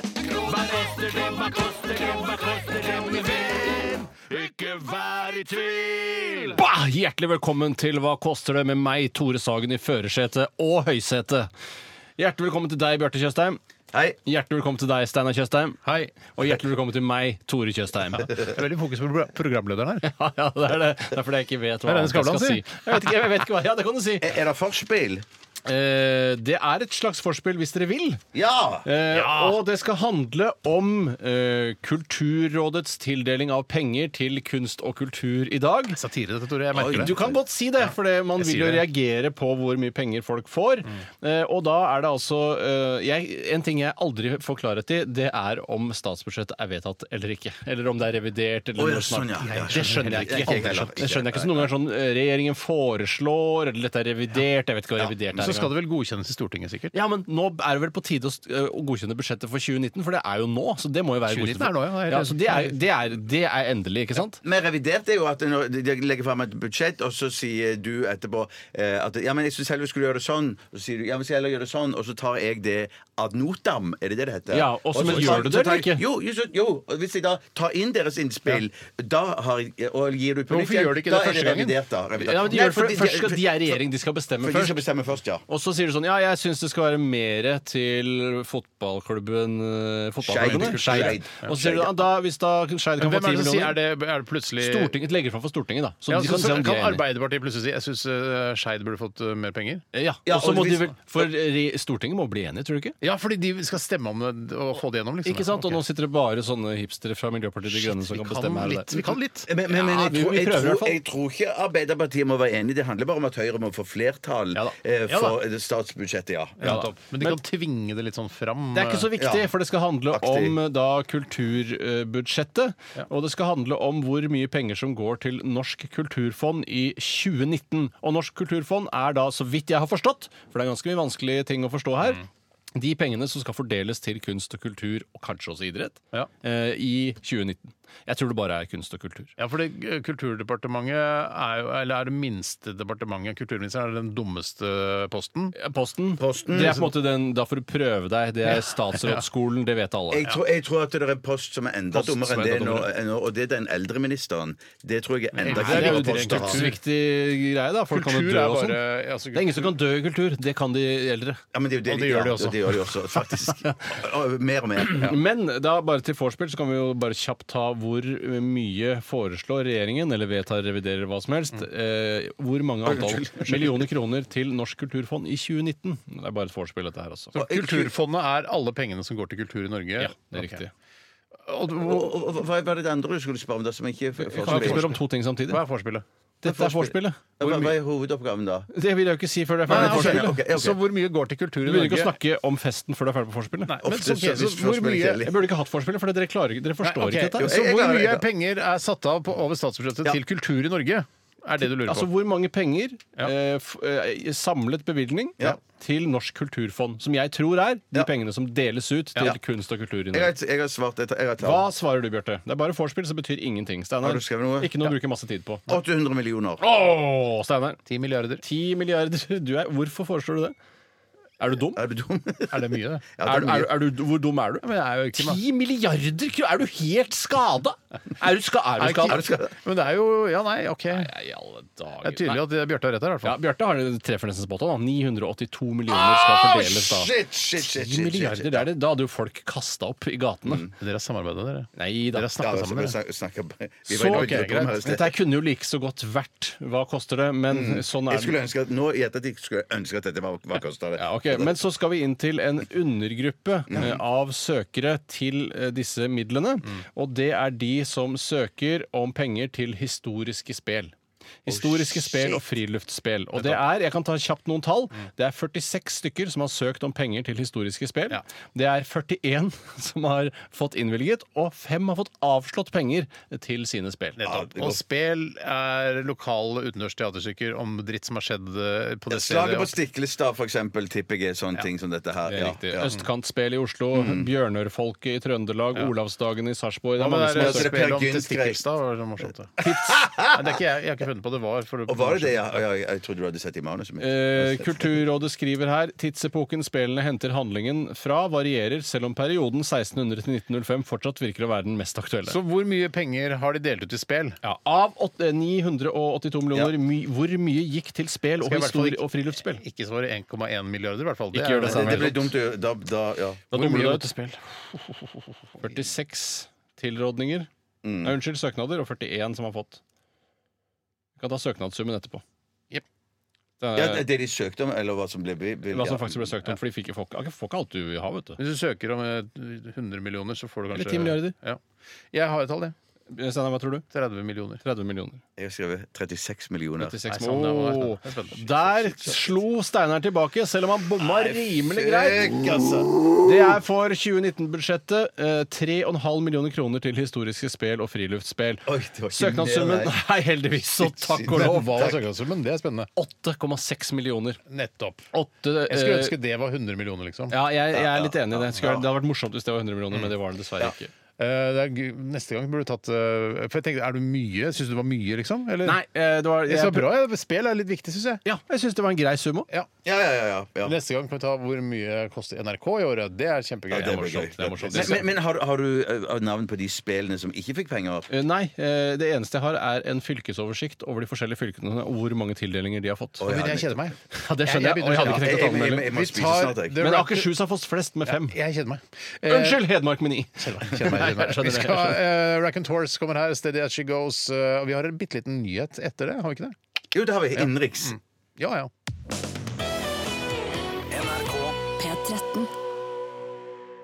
Speaker 9: Hva koster det, hva koster det, hva koster det, min venn? Ikke vær i tvil.
Speaker 7: Bah! Hjertelig velkommen til Hva koster det? med meg, Tore Sagen i førersetet og høysetet. Hjertelig velkommen til deg, Bjarte Tjøstheim.
Speaker 6: Hei.
Speaker 7: Hjertelig velkommen til deg, Steinar Tjøstheim.
Speaker 5: Hei.
Speaker 7: Og hjertelig velkommen til meg, Tore Tjøstheim.
Speaker 5: Det er Veldig fokus på pro- programlederen her.
Speaker 7: Ja, ja, det er det. Det er fordi jeg ikke vet hva
Speaker 5: Det er det
Speaker 7: annet jeg
Speaker 5: Skavlan
Speaker 7: skal si. Jeg vet ikke, jeg vet ikke hva. Ja, det kan du si.
Speaker 6: Er er det forspill?
Speaker 7: Eh, det er et slags forspill, hvis dere vil.
Speaker 6: Ja!
Speaker 7: Eh, Og det skal handle om eh, Kulturrådets tildeling av penger til kunst og kultur i dag.
Speaker 5: Satire, dette, Tore. Jeg merker
Speaker 7: Du
Speaker 5: det.
Speaker 7: kan godt si det, for det, man vil
Speaker 5: sier
Speaker 7: jo
Speaker 5: det.
Speaker 7: reagere på hvor mye penger folk får. Eh, og da er det altså eh, jeg, En ting jeg aldri får klarhet i, det er om statsbudsjettet er vedtatt eller ikke. Eller om det er revidert
Speaker 6: Å,
Speaker 7: eller
Speaker 6: ja,
Speaker 7: noe
Speaker 6: sånn,
Speaker 7: sånt.
Speaker 6: ja. Ja,
Speaker 7: Det skjønner jeg
Speaker 6: Jeg-
Speaker 7: ikke.
Speaker 6: jeg- jeg- jeg-
Speaker 7: Det skjønner jeg ikke. Så noen ganger sånn eh, regjeringen foreslår, eller dette er revidert, jeg vet ikke hva revidert er.
Speaker 5: Så skal
Speaker 7: engang.
Speaker 5: det vel godkjennes i Stortinget, sikkert.
Speaker 7: Ja, men nå er det vel på tide å st- eh, å godkjenne budsjettet for 2019, for det er jo nå. Så det må jo være
Speaker 5: 2019
Speaker 7: godkjent.
Speaker 5: er nå, ja. Jeg er helt
Speaker 7: så det er, det, er, det er endelig, ikke sant?
Speaker 6: Men revidert er jo at når de legger fram et budsjett, og så sier du etterpå eh, at ja, men jeg syns heller vi skulle gjøre det sånn, og så sier du ja, men jeg heller gjøre det sånn, og så tar jeg det ad notam, er det det det heter?
Speaker 7: Ja, og så- men
Speaker 6: så-
Speaker 7: gjør du det
Speaker 6: så tar
Speaker 7: eller
Speaker 6: jeg-
Speaker 7: ikke?
Speaker 6: Jo, jo, så- jo, og hvis jeg da tar inn deres innspill, da har jeg, og gir du på
Speaker 5: Hvorfor gjør du ikke det
Speaker 6: da er
Speaker 5: første gangen?
Speaker 6: revidert, da. Revidert.
Speaker 7: Ja, men de
Speaker 6: Nei,
Speaker 7: gjør det for,
Speaker 6: fordi-
Speaker 7: først skal de er i regjering, de skal bestemme
Speaker 6: For de
Speaker 7: først.
Speaker 6: skal bestemme først, ja.
Speaker 7: Og så sier du sånn Ja, jeg syns det skal være mer til fotballklubben eh, fotballklubbene.
Speaker 6: Skeid.
Speaker 7: Skeid. Og så sier du
Speaker 6: Skeid, ja.
Speaker 7: da, hvis da Skeid kan
Speaker 5: Men
Speaker 7: få
Speaker 5: hvem er
Speaker 7: 10
Speaker 5: det som sier er
Speaker 7: millioner
Speaker 5: det, er det plutselig
Speaker 7: Stortinget legger fram for Stortinget, da. Så
Speaker 5: Ja,
Speaker 7: de
Speaker 5: så,
Speaker 7: kan se
Speaker 5: så
Speaker 7: om de
Speaker 5: kan
Speaker 7: er enige.
Speaker 5: Arbeiderpartiet plutselig si jeg syns uh, Skeid burde fått eh, mer penger.
Speaker 7: Ja,
Speaker 6: Ja,
Speaker 7: og så
Speaker 6: og
Speaker 7: må de
Speaker 6: hvis-
Speaker 7: vel For re- Stortinget må bli enige, tror du ikke?
Speaker 5: Ja, fordi de skal stemme om det og få det gjennom, liksom.
Speaker 7: Ikke sant? Og
Speaker 5: Ok.
Speaker 7: nå sitter det bare sånne hipstere fra Miljøpartiet De Grønne som
Speaker 5: vi
Speaker 7: kan
Speaker 5: kan
Speaker 7: bestemme her. og
Speaker 5: litt.
Speaker 7: der.
Speaker 5: Vi kan litt.
Speaker 6: Men, men, men
Speaker 7: Ja,
Speaker 6: jeg,
Speaker 7: vi-
Speaker 6: tror,
Speaker 7: vi
Speaker 6: jeg,
Speaker 7: prøver i hvert
Speaker 6: tror,
Speaker 7: fall.
Speaker 6: jeg tror ikke Arbeiderpartiet må være enig. Det handler bare om at Høyre må få flertall
Speaker 7: Ja da.
Speaker 6: eh,
Speaker 7: Ja
Speaker 6: for eh, statsbudsjettet, ja.
Speaker 5: Ja, da. men de kan tvinge det litt sånn fram.
Speaker 7: Det er ikke så viktig,
Speaker 6: Ja.
Speaker 7: for det skal handle
Speaker 6: Aktig.
Speaker 7: om eh, da kulturbudsjettet. Og det skal handle om hvor mye penger som går til Norsk kulturfond i 2019. Og Norsk kulturfond er da, så vidt jeg har forstått, for det er ganske mye vanskelige ting å forstå her de pengene som skal fordeles til kunst og kultur, og kanskje også idrett,
Speaker 5: Ja.
Speaker 7: eh, i 2019. Jeg tror det bare er kunst og kultur.
Speaker 5: Ja, for det, eh, Kulturdepartementet er jo eller er det minste departementet. Kulturministeren er den dummeste posten.
Speaker 7: Posten,
Speaker 6: Posten.
Speaker 7: det er på en måte den Da får du prøve deg. Det er statsrådsskolen, det vet alle.
Speaker 6: Jeg tror, jeg tror at det er en post som er enda
Speaker 7: Post
Speaker 6: dummere
Speaker 7: som
Speaker 6: enn
Speaker 7: er
Speaker 6: det
Speaker 7: enda
Speaker 6: nå,
Speaker 7: dummere.
Speaker 6: enn nå, og det er den eldreministeren. Det tror jeg er altså. enda
Speaker 7: Nei, det er jo
Speaker 6: kulere post å ha.
Speaker 7: kulturviktig greie, da. Folk kan jo
Speaker 5: Kultur
Speaker 7: dø
Speaker 5: er
Speaker 7: og sånn.
Speaker 5: bare altså,
Speaker 7: Det er ingen som kan dø i kultur. Det kan de eldre.
Speaker 6: Ja, men det, er jo
Speaker 5: Og det gjør de
Speaker 6: ja,
Speaker 5: også.
Speaker 6: og det gjør de også, faktisk. Og- og Mer og mer.
Speaker 7: Men da bare til vorspiel så kan vi jo bare kjapt ta hvor mye foreslår regjeringen, eller vedtar, reviderer, hva som helst, eh, hvor mange antall millioner kroner til Norsk kulturfond i 2019. Det er bare et vorspiel, dette her også.
Speaker 5: Så Kulturfondet er alle pengene som går til kultur i Norge.
Speaker 7: Ja, det er
Speaker 5: Ok.
Speaker 7: riktig.
Speaker 5: Og, du-
Speaker 6: Og, og, og, hva var det det andre du skulle spørre om? da, som jeg ikke f-
Speaker 7: Kan vi ikke
Speaker 6: forstår?
Speaker 7: spørre om to ting samtidig?
Speaker 5: hva er forspillet?
Speaker 7: Dette er vorspielet.
Speaker 6: Hva, hva er hovedoppgaven da?
Speaker 7: Det vil jeg jo ikke si før det er
Speaker 6: Nei, ok,
Speaker 7: ferdig. med vorspielet.
Speaker 6: ok, ok.
Speaker 5: Så hvor mye går til kultur i
Speaker 7: Du
Speaker 5: Norge?
Speaker 7: begynner ikke å snakke om festen før du er ferdig på vorspielet.
Speaker 5: men
Speaker 6: Ofte
Speaker 5: så,
Speaker 6: så er
Speaker 5: så,
Speaker 6: det
Speaker 5: hvor
Speaker 6: forspill
Speaker 5: mye
Speaker 6: kjedelig.
Speaker 7: Jeg burde ikke hatt vorspielet, for dere, klarer, ikke- dere forstår
Speaker 5: Ok,
Speaker 7: ikke dette. her.
Speaker 5: Så
Speaker 6: jeg- jeg
Speaker 5: hvor
Speaker 6: klarer
Speaker 5: mye
Speaker 6: det.
Speaker 5: penger er satt av på, over statsbudsjettet til kultur i Norge? Er det du lurer
Speaker 7: Altså
Speaker 5: på?
Speaker 7: hvor mange penger
Speaker 5: Ja.
Speaker 7: eh, f eh, samlet bevilgning
Speaker 6: Ja.
Speaker 7: til Norsk kulturfond, som jeg tror er de
Speaker 6: Ja.
Speaker 7: pengene som deles ut til
Speaker 6: Ja.
Speaker 7: kunst og kultur
Speaker 6: Jeg
Speaker 7: i Norge.
Speaker 6: har, jeg har svart et jeg har et
Speaker 7: Hva
Speaker 6: tall.
Speaker 7: svarer du, Bjarte? Det er bare vorspiel, så det betyr ingenting. Steinar.
Speaker 6: Har du skrevet noe?
Speaker 7: Ikke noe å bruke masse tid på.
Speaker 6: 800 millioner.
Speaker 7: Åh, Steinar.
Speaker 5: 10 milliarder.
Speaker 7: 10 milliarder. Du er, hvorfor foreslår du det? Er du dum?
Speaker 6: Er du dum?
Speaker 5: Er det mye, det?
Speaker 6: Ja, det er
Speaker 7: Er,
Speaker 6: mye.
Speaker 7: er, er du, hvor dum
Speaker 5: Ja,
Speaker 7: er du?
Speaker 5: Men det er jo ikke
Speaker 7: 10 milliarder kroner! Er du helt skada? Er du, ska, er du skada?
Speaker 5: Men det er jo Ja, nei, OK. Det
Speaker 7: Nei, i alle dager.
Speaker 5: er tydelig
Speaker 7: Nei.
Speaker 5: at Bjarte har rett her, i hvert
Speaker 7: ja,
Speaker 5: fall.
Speaker 7: Bjarte har treffer nesten spot on. da. 982 millioner skal fordeles da.
Speaker 6: Shit, shit, shit, shit,
Speaker 7: 10
Speaker 6: shit,
Speaker 7: milliarder,
Speaker 6: shit. Mm.
Speaker 7: det er det. Da hadde jo folk kasta opp i gatene.
Speaker 5: Dere har samarbeidet, dere.
Speaker 7: Nei da.
Speaker 5: Dere har snakka sammen, dere.
Speaker 6: vi snakker, vi
Speaker 7: Så,
Speaker 6: var inne på
Speaker 7: ok,
Speaker 6: et rom her i
Speaker 7: greit.
Speaker 6: sted.
Speaker 7: Dette her kunne jo like så godt vært Hva koster det? Men sånn
Speaker 6: Jeg
Speaker 7: er
Speaker 6: skulle
Speaker 7: det.
Speaker 6: ønske at, nå i ettertid skulle jeg ønske at dette var hva kosta det.
Speaker 7: Ja, ok. Men så skal vi inn til en undergruppe eh, av søkere til eh, disse midlene. Og det er de som søker om penger til historiske spel. Historiske spel og friluftsspel. Og det er, jeg kan ta kjapt noen tall, det er 46 stykker som har søkt om penger til historiske spel. Det er 41 som har fått innvilget, og 5 har fått avslått penger til sine spill.
Speaker 5: Nettopp. Og spel er lokale utendørs teaterstykker om dritt som har skjedd eh, på det
Speaker 6: Slaget på
Speaker 5: stedet.
Speaker 6: Stiklestad, for eksempel, tipper jeg er sånne ting som dette her.
Speaker 7: Det er
Speaker 6: Ja.
Speaker 7: riktig. Østkantspel i Oslo, Bjørnørfolket i Trøndelag, Olavsdagen i Sarpsborg.
Speaker 5: Mm.
Speaker 7: Det
Speaker 5: Ja,
Speaker 7: er
Speaker 5: men det
Speaker 7: mange som
Speaker 5: der
Speaker 7: har søkt.
Speaker 5: spillet om
Speaker 6: Peer Gynt
Speaker 5: testikkelstad var så morsomt. det. Nei, det er ikke jeg, jeg har ikke funnet på det var. For
Speaker 6: Og var det det? Ja, ja, jeg, jeg trodde du hadde sett i manuset mitt.
Speaker 7: Eh, Kulturrådet skriver her tidsepoken spillene henter handlingen fra, varierer, selv om perioden 1600 til 1905 fortsatt virker å være den mest aktuelle.
Speaker 5: Så hvor mye penger har de delt ut i spel?
Speaker 7: ja, av åt- eh, 982 millioner, my, hvor mye gikk til spel og
Speaker 5: Skal jeg i hvert fall
Speaker 7: histori
Speaker 5: ikke-
Speaker 7: og friluftsspill?
Speaker 5: Ikke svare 1,1 milliarder, i hvert fall.
Speaker 7: Ikke
Speaker 5: er-
Speaker 7: gjør det
Speaker 6: Det,
Speaker 7: samme.
Speaker 6: det blir dumt å gjøre da, da, ja.
Speaker 7: Da
Speaker 5: Hvor
Speaker 7: dummer
Speaker 5: mye
Speaker 7: du
Speaker 5: går
Speaker 7: deg ut. 46 tilrådninger. Nei, unnskyld, søknader, og 41 som har fått. Vi kan ta søknadssummen etterpå.
Speaker 5: Jep.
Speaker 7: Det er,
Speaker 6: ja. Det det de søkte om, eller hva som ble bevilget?
Speaker 7: Eh. hva som faktisk ble søkt om, for de fikk jo folk, får ikke alt du vil ha, vet du.
Speaker 5: Hvis du søker om eh, 100 millioner, så får du kanskje
Speaker 7: Eller 10 milliarder.
Speaker 5: Ja. Jeg har et tall, jeg.
Speaker 7: Eh, Steinar, hva tror du?
Speaker 5: 30 millioner.
Speaker 7: 30 millioner.
Speaker 6: Jeg har skrevet 36 millioner.
Speaker 7: 36
Speaker 5: Nei, sånn, det var
Speaker 7: Åh.
Speaker 5: spennende. Det er spennende.
Speaker 7: Der slo Steinar tilbake, selv om han bomma rimelig greit.
Speaker 6: Fuck, altså.
Speaker 7: Det er for 2019-budsjettet eh, 3,5 millioner kroner til historiske spel og friluftsspill.
Speaker 6: Oi, det var ikke mer,
Speaker 7: Søknadssummen
Speaker 6: nei.
Speaker 7: er heldigvis, så takk og
Speaker 5: Og
Speaker 7: lov,
Speaker 5: hva var søknadssummen? Det er spennende.
Speaker 7: 8,6 millioner.
Speaker 5: Nettopp.
Speaker 7: Åtte,
Speaker 5: Jeg skulle
Speaker 7: eh,
Speaker 5: ønske det var 100 millioner, liksom.
Speaker 7: ja, jeg, jeg er litt enig i det. Skulle, det hadde vært morsomt hvis det var 100 millioner, men det var det dessverre ikke.
Speaker 5: Eh, det er, gu- neste gang burde du tatt eh, For jeg tenkte, er du mye? Syns du det var mye, liksom? Eller?
Speaker 7: Nei, eh, det var
Speaker 5: Det
Speaker 7: jeg,
Speaker 5: som er bra, ja. Spel er litt viktig, syns jeg.
Speaker 7: Ja, jeg syns det var en grei sum òg.
Speaker 5: Ja.
Speaker 6: Ja, ja, ja. ja, ja.
Speaker 5: Neste gang kan vi ta hvor mye koster NRK i året. Det er kjempegøy.
Speaker 6: Ja, det blir gøy.
Speaker 5: morsomt, det er morsomt.
Speaker 6: Men, men, men har, har du eh, navn på de spillene som ikke fikk penger?
Speaker 7: Eh, Nei. eh, Det eneste jeg har, er en fylkesoversikt over de forskjellige fylkene og hvor mange tildelinger de har fått.
Speaker 5: Men jeg kjeder meg.
Speaker 7: Ja, det skjønner jeg.
Speaker 5: Jeg- jeg
Speaker 7: Og jeg hadde ikke
Speaker 5: begynner
Speaker 6: Jeg, jeg, jeg, jeg
Speaker 7: tenkt å ta den heller.
Speaker 6: må
Speaker 5: Vi
Speaker 6: spise
Speaker 5: tar
Speaker 6: snart, jeg.
Speaker 5: The
Speaker 7: Men
Speaker 5: Rapper-
Speaker 7: Akershus har fått flest med fem.
Speaker 5: Jeg kjeder meg. Eh,
Speaker 7: Unnskyld, Hedmark med ni.
Speaker 5: Kjeder meg, kjeder meg,
Speaker 7: Nei, jeg
Speaker 5: kjeder meg. Vi
Speaker 7: skjønner sånn, det, jeg
Speaker 5: skal, eh, Rack and Tours kommer her, Steady as she goes. eh, og vi har en bitte liten nyhet etter det, har vi ikke det?
Speaker 6: Jo, det har vi. Innenriks.
Speaker 7: Mm.
Speaker 5: Ja, ja.
Speaker 8: P13.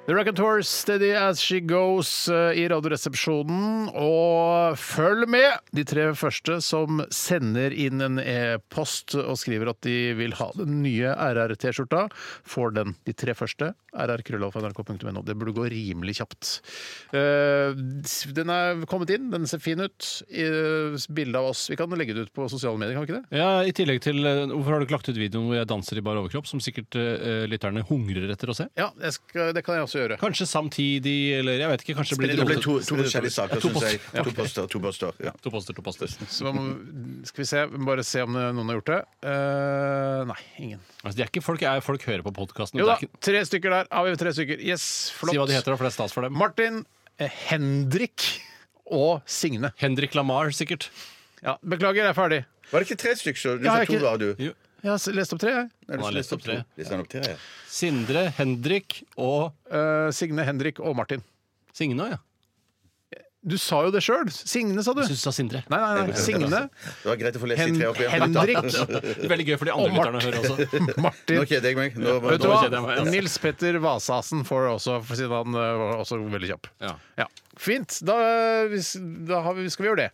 Speaker 5: The Rack and Tours, Steady as she goes eh, i Radioresepsjonen. Og følg med! De tre første som sender inn en e-post og skriver at de vil ha den nye RR-T-skjorta, får den. De tre første. rrkrøllalfa.nrk.no. Det burde gå rimelig kjapt. Eh, Den er kommet inn, den ser fin ut. Eh, Bilde av oss. Vi kan legge det ut på sosiale medier, kan vi ikke det?
Speaker 7: Ja, I tillegg til eh, Hvorfor har du ikke lagt ut videoen hvor jeg danser i bar overkropp, som sikkert eh, lytterne hungrer etter å se?
Speaker 5: Ja, jeg skal, det kan jeg også gjøre.
Speaker 7: Kanskje samtidig, eller jeg vet ikke. Kanskje det blir
Speaker 6: Det ble to, to
Speaker 7: rotet.
Speaker 6: forskjellige saker,
Speaker 7: To
Speaker 6: syns jeg.
Speaker 7: poster.
Speaker 6: To poster. To poster ja.
Speaker 7: To poster, to poster.
Speaker 5: Så man må, skal vi se, vi må bare se om noen har gjort det. Eh, nei, ingen.
Speaker 7: Altså, de er ikke folk, er, folk hører på podkasten.
Speaker 5: Jo da,
Speaker 7: Si
Speaker 5: tre stykker der. Har vi tre stykker? Yes, flott.
Speaker 7: hva de heter, da, for det er stas for dem.
Speaker 5: Martin, eh, Henrik og Signe.
Speaker 7: Henrik Lamar, sikkert.
Speaker 5: Ja, beklager, jeg er ferdig.
Speaker 6: Var det ikke tre stykker? så Du
Speaker 5: Ja,
Speaker 6: sa
Speaker 5: jeg
Speaker 6: to,
Speaker 5: ikke-
Speaker 6: da, du.
Speaker 7: Jo.
Speaker 5: Jeg har s- lest opp tre. jeg.
Speaker 6: Nei, du
Speaker 7: Han har
Speaker 6: sa
Speaker 7: lest opp
Speaker 6: nettopp to.
Speaker 7: tre.
Speaker 6: Leste han opp tre, ja.
Speaker 7: Sindre, Henrik og
Speaker 5: Eh, Signe, Henrik og Martin.
Speaker 7: Signe, ja.
Speaker 5: Du sa jo det sjøl. Signe, sa du.
Speaker 7: Jeg syns du sa Sindre.
Speaker 5: Nei, nei, nei. Signe,
Speaker 7: altså.
Speaker 6: Det var greit å få lest de
Speaker 5: Hen
Speaker 6: tre opp igjen.
Speaker 5: Henrik,
Speaker 7: Veldig gøy for de
Speaker 5: Og
Speaker 7: andre lytterne å
Speaker 5: Martin.
Speaker 7: høre også.
Speaker 5: Martin.
Speaker 6: Nå kjeder jeg meg. Nå,
Speaker 5: Vet du
Speaker 6: nå-
Speaker 7: kjeder jeg meg,
Speaker 5: hva?
Speaker 7: altså.
Speaker 5: Nils Petter Vasasen får også, for siden han eh, var også veldig kjapp.
Speaker 7: Ja.
Speaker 5: Fint. Da, eh, hvis- da har vi, skal vi gjøre det.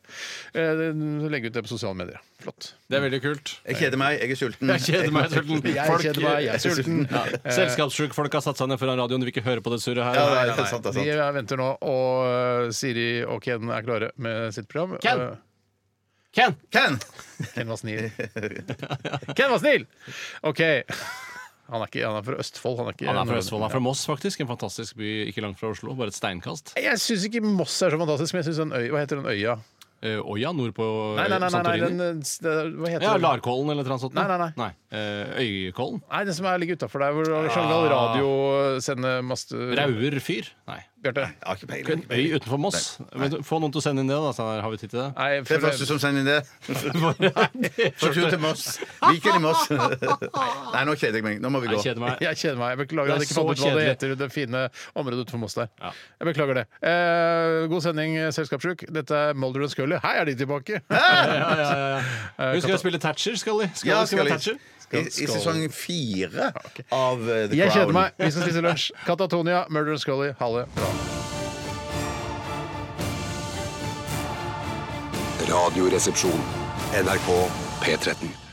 Speaker 5: Eh, Legge ut det på sosiale medier. Flott.
Speaker 7: Det er veldig kult.
Speaker 6: Jeg kjeder meg. Jeg er sulten.
Speaker 7: Jeg kjeder meg, jeg er sulten.
Speaker 5: Jeg
Speaker 7: Folk-
Speaker 5: kjeder meg, jeg er sulten.
Speaker 7: Ja. Selskapssjukfolk Eh, har satt seg ned foran radioen, de vil ikke høre på det surret her.
Speaker 6: Ja, nei, det er sant, altså. det
Speaker 5: De
Speaker 6: er sant.
Speaker 5: venter nå, og eh, Siri og Ken er klare med sitt program.
Speaker 7: Ken!
Speaker 5: Eh,
Speaker 7: Ken!
Speaker 6: Ken!
Speaker 5: Ken var snill. Ken var snill! OK. Han er, ikke, han er fra Østfold. Han er, ikke
Speaker 7: Han er fra Østfold, han er fra Moss faktisk. En fantastisk by ikke langt fra Oslo, bare et steinkast.
Speaker 5: Jeg syns ikke Moss er så fantastisk, men jeg synes den øy, hva heter den øya?
Speaker 7: Eh, Øya nord på eh,
Speaker 5: Nei, nei, nei, nei, nei,
Speaker 7: Santorini.
Speaker 5: den, eh, s- det- hva heter
Speaker 7: ja,
Speaker 5: den?
Speaker 7: Larkollen eller et eller annet sånt?
Speaker 5: Nei, nei, nei.
Speaker 7: Eh, Øykollen?
Speaker 5: Nei, den som er ligger utafor der hvor Sjangal Radio sender mast...
Speaker 7: Rauer fyr? Nei.
Speaker 5: Bjarte.
Speaker 6: Jeg har ikke peiling.
Speaker 7: En øy utenfor Moss. Men Få noen til å sende inn det, da. Steinar. Har vi tid til det?
Speaker 5: Nei,
Speaker 6: Det er
Speaker 5: for
Speaker 6: første som sender inn det. På tur til Moss. Viken i Moss. Nei, nå kjeder jeg meg. Nå må vi gå.
Speaker 7: Jeg kjeder meg.
Speaker 5: jeg kjeder meg. Jeg beklager at jeg
Speaker 7: Det
Speaker 5: ikke
Speaker 7: er
Speaker 5: fant ut
Speaker 7: så
Speaker 5: hva det
Speaker 7: kjedelig.
Speaker 5: heter, det fine området utenfor Moss der.
Speaker 7: Ja.
Speaker 5: Jeg beklager det. Eh, god sending, Selskapssjuk. Dette er Molder og Scully. Her er de tilbake!
Speaker 7: Ja, ja, ja, ja. Husk å spille Thatcher, skal de? Skal
Speaker 6: Ja,
Speaker 7: de
Speaker 6: skal de.
Speaker 7: spille Thatcher?
Speaker 6: I, I sesong fire av eh, The Crown.
Speaker 5: Jeg kjeder meg. Vi skal spise lunsj. Katatonia, Murder and Scully, ha det bra.
Speaker 2: Radioresepsjon. NRK P13.